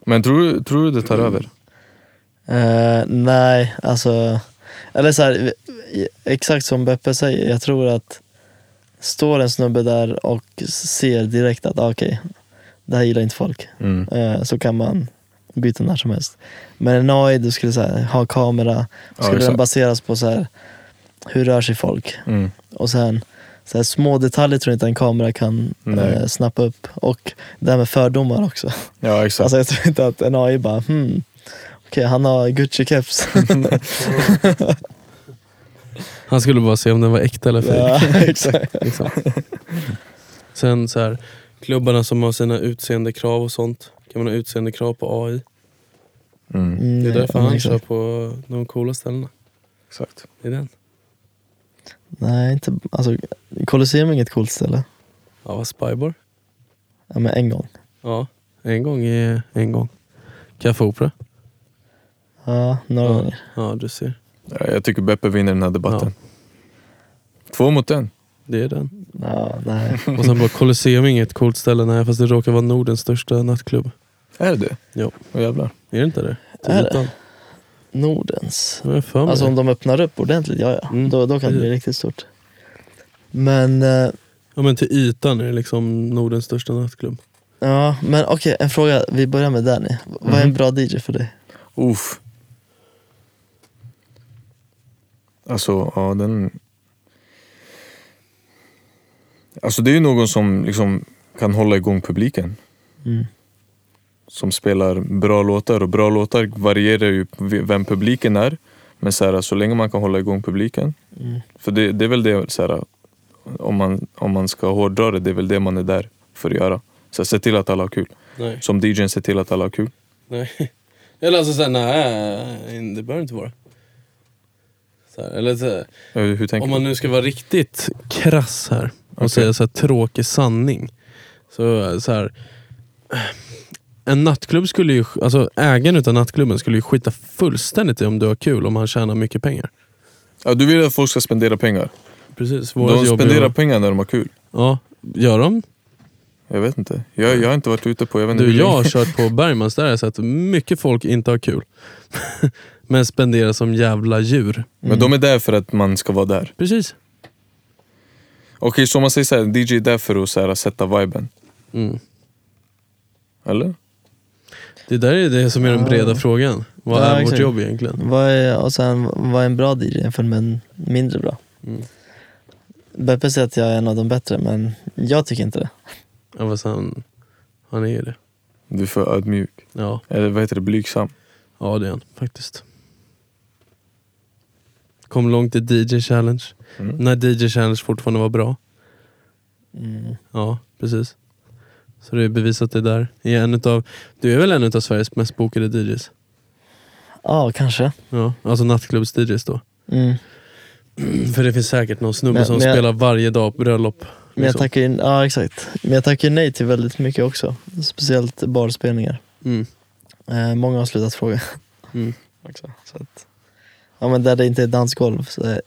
Speaker 3: Men tror, du- tror du det
Speaker 4: Mm.
Speaker 3: tar över?
Speaker 5: Eh, nej, alltså... Eller så här, exakt som Beppe säger, jag tror att står en snubbe där och ser direkt att ah, okej, det här gillar inte folk.
Speaker 3: Mm.
Speaker 5: Eh, så kan man byta när som helst. Men en AI, du skulle så här, ha kamera,
Speaker 3: Ja,
Speaker 5: skulle den
Speaker 3: exakt.
Speaker 5: baseras på så här, hur rör sig folk?
Speaker 3: Mm.
Speaker 5: Och sen så här, små detaljer tror jag inte en kamera kan
Speaker 3: Nej.
Speaker 5: eh, snappa upp. Och det här med fördomar också.
Speaker 3: Ja, exakt.
Speaker 5: Alltså jag tror inte att en AI bara, hmm, okej han har <laughs> Gucci-keps.
Speaker 4: Han skulle bara se om den var äkta eller fejk.
Speaker 5: ja, <laughs> exakt.
Speaker 4: Liksom. Sen så här, klubbarna som har sina utseendekrav och sånt. Kan man ha utseendekrav på AI?
Speaker 3: Mm.
Speaker 5: Mm,
Speaker 4: Det är därför
Speaker 5: ja,
Speaker 4: han
Speaker 5: exakt.
Speaker 4: kör på de coola ställena.
Speaker 3: exakt.
Speaker 4: Det är den.
Speaker 5: Nej, inte, alltså Colosseum är inget coolt ställe.
Speaker 4: Ja, vad Spybar.
Speaker 5: Ja, men en gång.
Speaker 4: Ja, en gång är en gång. Café Opera.
Speaker 5: Ja, några
Speaker 4: Ja,
Speaker 5: gånger.
Speaker 4: ja, du ser.
Speaker 3: Ja, jag tycker Beppe vinner den här debatten. Två mot en.
Speaker 4: Det är den.
Speaker 5: Ja, <laughs> nej.
Speaker 4: Och sen bara Colosseum är inget coolt ställe. Nej, fast det råkar vara Nordens största nattklubb.
Speaker 3: Är det det?
Speaker 4: Ja.
Speaker 3: Åh jävlar.
Speaker 4: Är det inte det?
Speaker 5: Är det?
Speaker 4: Utan.
Speaker 5: Nordens.
Speaker 4: Jag har för mig
Speaker 5: Äh. Alltså om
Speaker 4: det.
Speaker 5: de öppnar upp ordentligt, ja ja.
Speaker 4: Mm.
Speaker 5: Då, då kan det bli riktigt stort. Men, eh,
Speaker 4: Ja, men till ytan är det liksom Nordens största nattklubb.
Speaker 5: ja, men okej, en fråga. Vi börjar med Danny. V- Vad är en bra DJ för dig?
Speaker 3: Uff. Alltså, ja den... Alltså det är ju någon som liksom kan hålla igång publiken.
Speaker 5: Mm.
Speaker 3: Som spelar bra låtar och bra låtar varierar ju v- vem publiken är. Men så, här, alltså, så länge man kan hålla igång publiken. För det, det är väl det, så här, om, man, om man ska hårdra det, det är väl det man är där för att göra. Så här, se till att alla har kul.
Speaker 4: Nej.
Speaker 3: Som DJn, se till att alla har kul.
Speaker 4: Nej. <laughs> Eller alltså såhär, nej, det behöver inte vara. Så här, eller så här,
Speaker 3: Eh, Hur tänker
Speaker 4: om man nu ska vara riktigt krass här och säga så här tråkig sanning. Så, så här, <sighs> en nattklubb skulle ju, alltså ägaren utav nattklubben skulle ju skita fullständigt i om du har kul om han tjänar mycket pengar.
Speaker 3: Ja, du vill att folk ska spendera pengar.
Speaker 4: Precis, vårt
Speaker 3: De
Speaker 4: jobb är
Speaker 3: spenderar
Speaker 4: att-
Speaker 3: pengar när de har kul.
Speaker 4: Ja, gör de? Jag
Speaker 3: vet inte. Jag, jag har inte varit ute på... Jag vet inte
Speaker 4: Du,
Speaker 3: hur
Speaker 4: jag
Speaker 3: länge. <laughs>
Speaker 4: har kört på Bergmans där jag har sett mycket folk inte har kul. <laughs> Men spenderar som jävla djur.
Speaker 3: Men de är där för att man ska vara där.
Speaker 4: Precis.
Speaker 3: Okej, så om man säger såhär, DJ är där för att så här, sätta viben.
Speaker 4: Mm.
Speaker 3: Eller?
Speaker 4: Det där är det som är den breda frågan. Vad
Speaker 5: Ja,
Speaker 4: är vårt
Speaker 5: exakt.
Speaker 4: jobb egentligen?
Speaker 5: Vad är, och sen, vad är en bra DJ jämfört med en mindre bra?
Speaker 4: Mm.
Speaker 5: Beppe säger att jag är en av de bättre, men jag tycker inte det.
Speaker 4: Ja, fast han, han är ju det.
Speaker 3: Du är för ödmjuk.
Speaker 4: Ja,
Speaker 3: Eller vad heter det? Blygsam.
Speaker 4: ja det är han faktiskt. Kom långt i DJ Challenge.
Speaker 5: Mm.
Speaker 4: När DJ Challenge fortfarande var bra. Mm. Ja, precis. Så det är bevisat det där. Är en utav, du är väl en av Sveriges mest bokade DJs?
Speaker 5: Ja, kanske.
Speaker 4: Ja, alltså nattklubbs-DJs då.
Speaker 5: Mm.
Speaker 4: För det finns säkert någon snubbe
Speaker 5: Men-
Speaker 4: som
Speaker 5: men jag-
Speaker 4: spelar varje dag på bröllop.
Speaker 5: Men jag
Speaker 4: liksom.
Speaker 5: tackar ju, ja, exakt. Men jag tackar ju nej till väldigt mycket också. Speciellt barspelningar.
Speaker 4: Mm.
Speaker 5: Eh, många har slutat fråga.
Speaker 4: Mm.
Speaker 5: <laughs> också, så att, ja, men där det inte är dansgolv. Så, eh,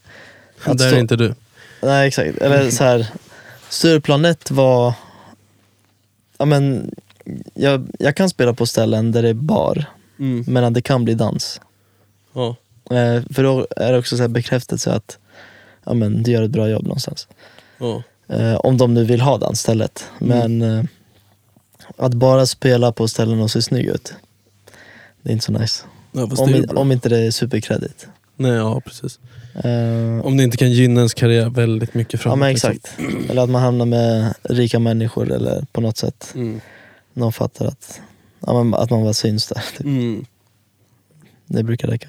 Speaker 5: att
Speaker 4: Där
Speaker 5: stå-
Speaker 4: är inte du.
Speaker 5: Nej, exakt. Eller så här, Stureplan 1 var ja, men, jag, jag kan spela på ställen där det är bar,
Speaker 4: Mm.
Speaker 5: men att det kan bli dans.
Speaker 4: Ja.
Speaker 5: Eh, för då är det också så här bekräftelse att ja, men, du gör ett bra jobb någonstans.
Speaker 4: Ja.
Speaker 5: Eh, om de nu vill ha dansstället.
Speaker 4: Mm.
Speaker 5: Men eh, att bara spela på ställen och se snygg ut, det är inte så nice.
Speaker 4: Ja, fast det är
Speaker 5: Om,
Speaker 4: ju bra.
Speaker 5: om inte det är superkredit.
Speaker 4: Nej, ja, precis.
Speaker 5: Eh,
Speaker 4: Om det inte kan gynna ens karriär väldigt mycket
Speaker 5: ja
Speaker 4: framåt.
Speaker 5: men
Speaker 4: liksom.
Speaker 5: exakt. Eller att man hamnar med rika människor eller på något sätt.
Speaker 4: Mm.
Speaker 5: Någon fattar att, ja, men, att man bara syns där. <laughs> Typ.
Speaker 4: Mm.
Speaker 5: Det brukar räcka.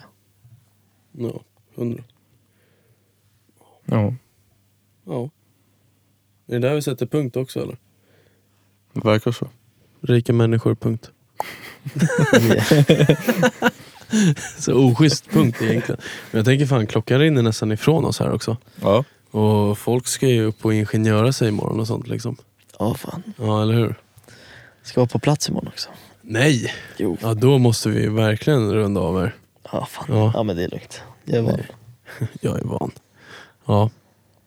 Speaker 4: Ja, hundra.
Speaker 3: Ja,
Speaker 4: Ja. Det är där vi sätter punkt också eller?
Speaker 3: det verkar så.
Speaker 4: Rika människor, punkt. <laughs> Så oschysst punkt egentligen. Men jag tänker fan klockan rinner nästan ifrån oss här också.
Speaker 3: Ja.
Speaker 4: Och folk ska ju upp och ingenjöra sig imorgon och sånt liksom.
Speaker 5: Ja fan.
Speaker 4: Ja, eller hur?
Speaker 5: Ska vara på plats imorgon också.
Speaker 4: Nej!
Speaker 5: Jo.
Speaker 4: Ja, då måste vi ju verkligen runda av här.
Speaker 5: Ja fan.
Speaker 4: Ja.
Speaker 5: Ja, men det är lugnt. Jag är van.
Speaker 4: Jag är van. Ja.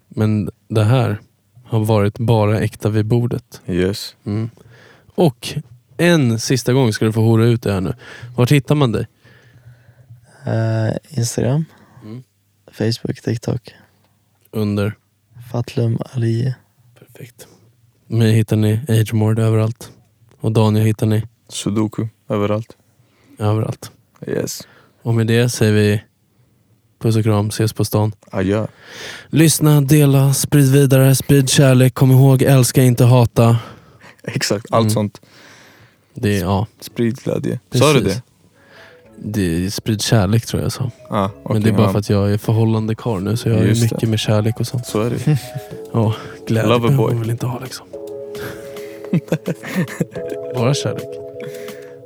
Speaker 4: Men det här har varit bara äkta vid bordet.
Speaker 3: Yes.
Speaker 4: Mm. Och en sista gång ska du få hora ut det här nu. Vart hittar man dig?
Speaker 5: Eh, Instagram,
Speaker 4: Mm.
Speaker 5: Facebook, TikTok.
Speaker 4: Under.
Speaker 5: Fatlum Ali.
Speaker 4: Perfekt. Mig hittar ni Agemord överallt. Och Daniel hittar ni
Speaker 3: Sudoku överallt.
Speaker 4: överallt.
Speaker 3: Yes.
Speaker 4: Och med det säger vi puss och kram, ses på stan.
Speaker 3: Adjö.
Speaker 4: Lyssna, dela, sprid vidare, sprid kärlek. Kom ihåg, älska, inte hata.
Speaker 3: Exakt, allt
Speaker 4: Mm.
Speaker 3: sånt.
Speaker 4: Det är, ja,
Speaker 3: Sprid glädje. Sa du
Speaker 4: Precis.
Speaker 3: det?
Speaker 4: det är sprid kärlek tror jag jag sa.
Speaker 3: Ah,
Speaker 4: Men det är bara för att jag är förhållande kar nu så jag har ju
Speaker 3: Just
Speaker 4: mycket
Speaker 3: det.
Speaker 4: med kärlek och sånt.
Speaker 3: Så är det
Speaker 4: Ja, glädje
Speaker 3: Loverboy.
Speaker 4: behöver man väl inte ha liksom. <laughs> bara kärlek.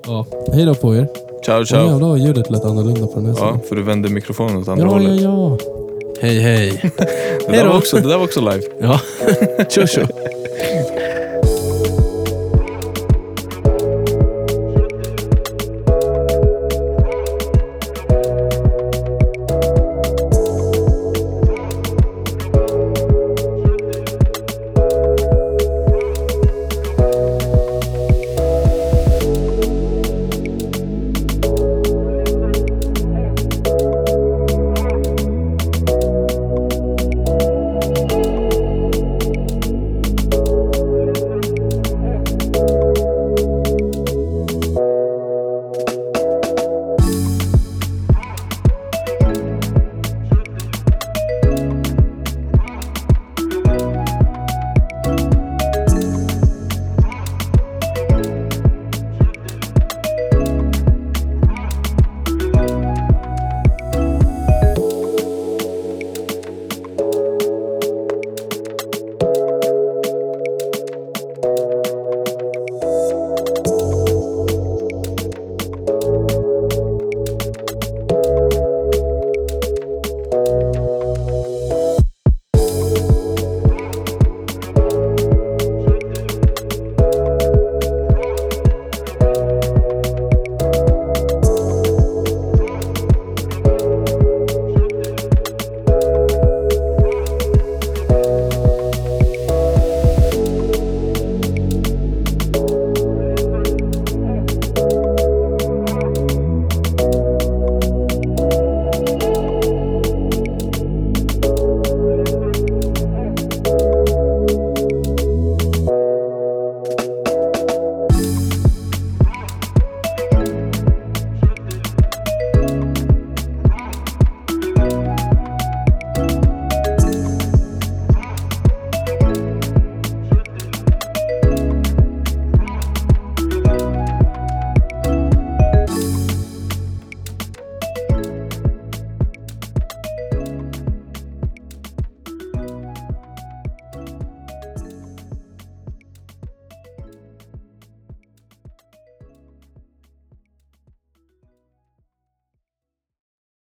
Speaker 4: Ja, hej då på er.
Speaker 3: Ciao,
Speaker 4: Åh, <laughs>
Speaker 3: ciao.
Speaker 4: jävlar vad ljudet lät annorlunda på den här
Speaker 3: Ja,
Speaker 4: sidan.
Speaker 3: för du vände mikrofonen åt andra
Speaker 4: Ja, ja,
Speaker 3: hållet.
Speaker 4: ja. Hej, hej.
Speaker 3: Det, där var också, det där var också live.
Speaker 4: Ja, tjo tjo.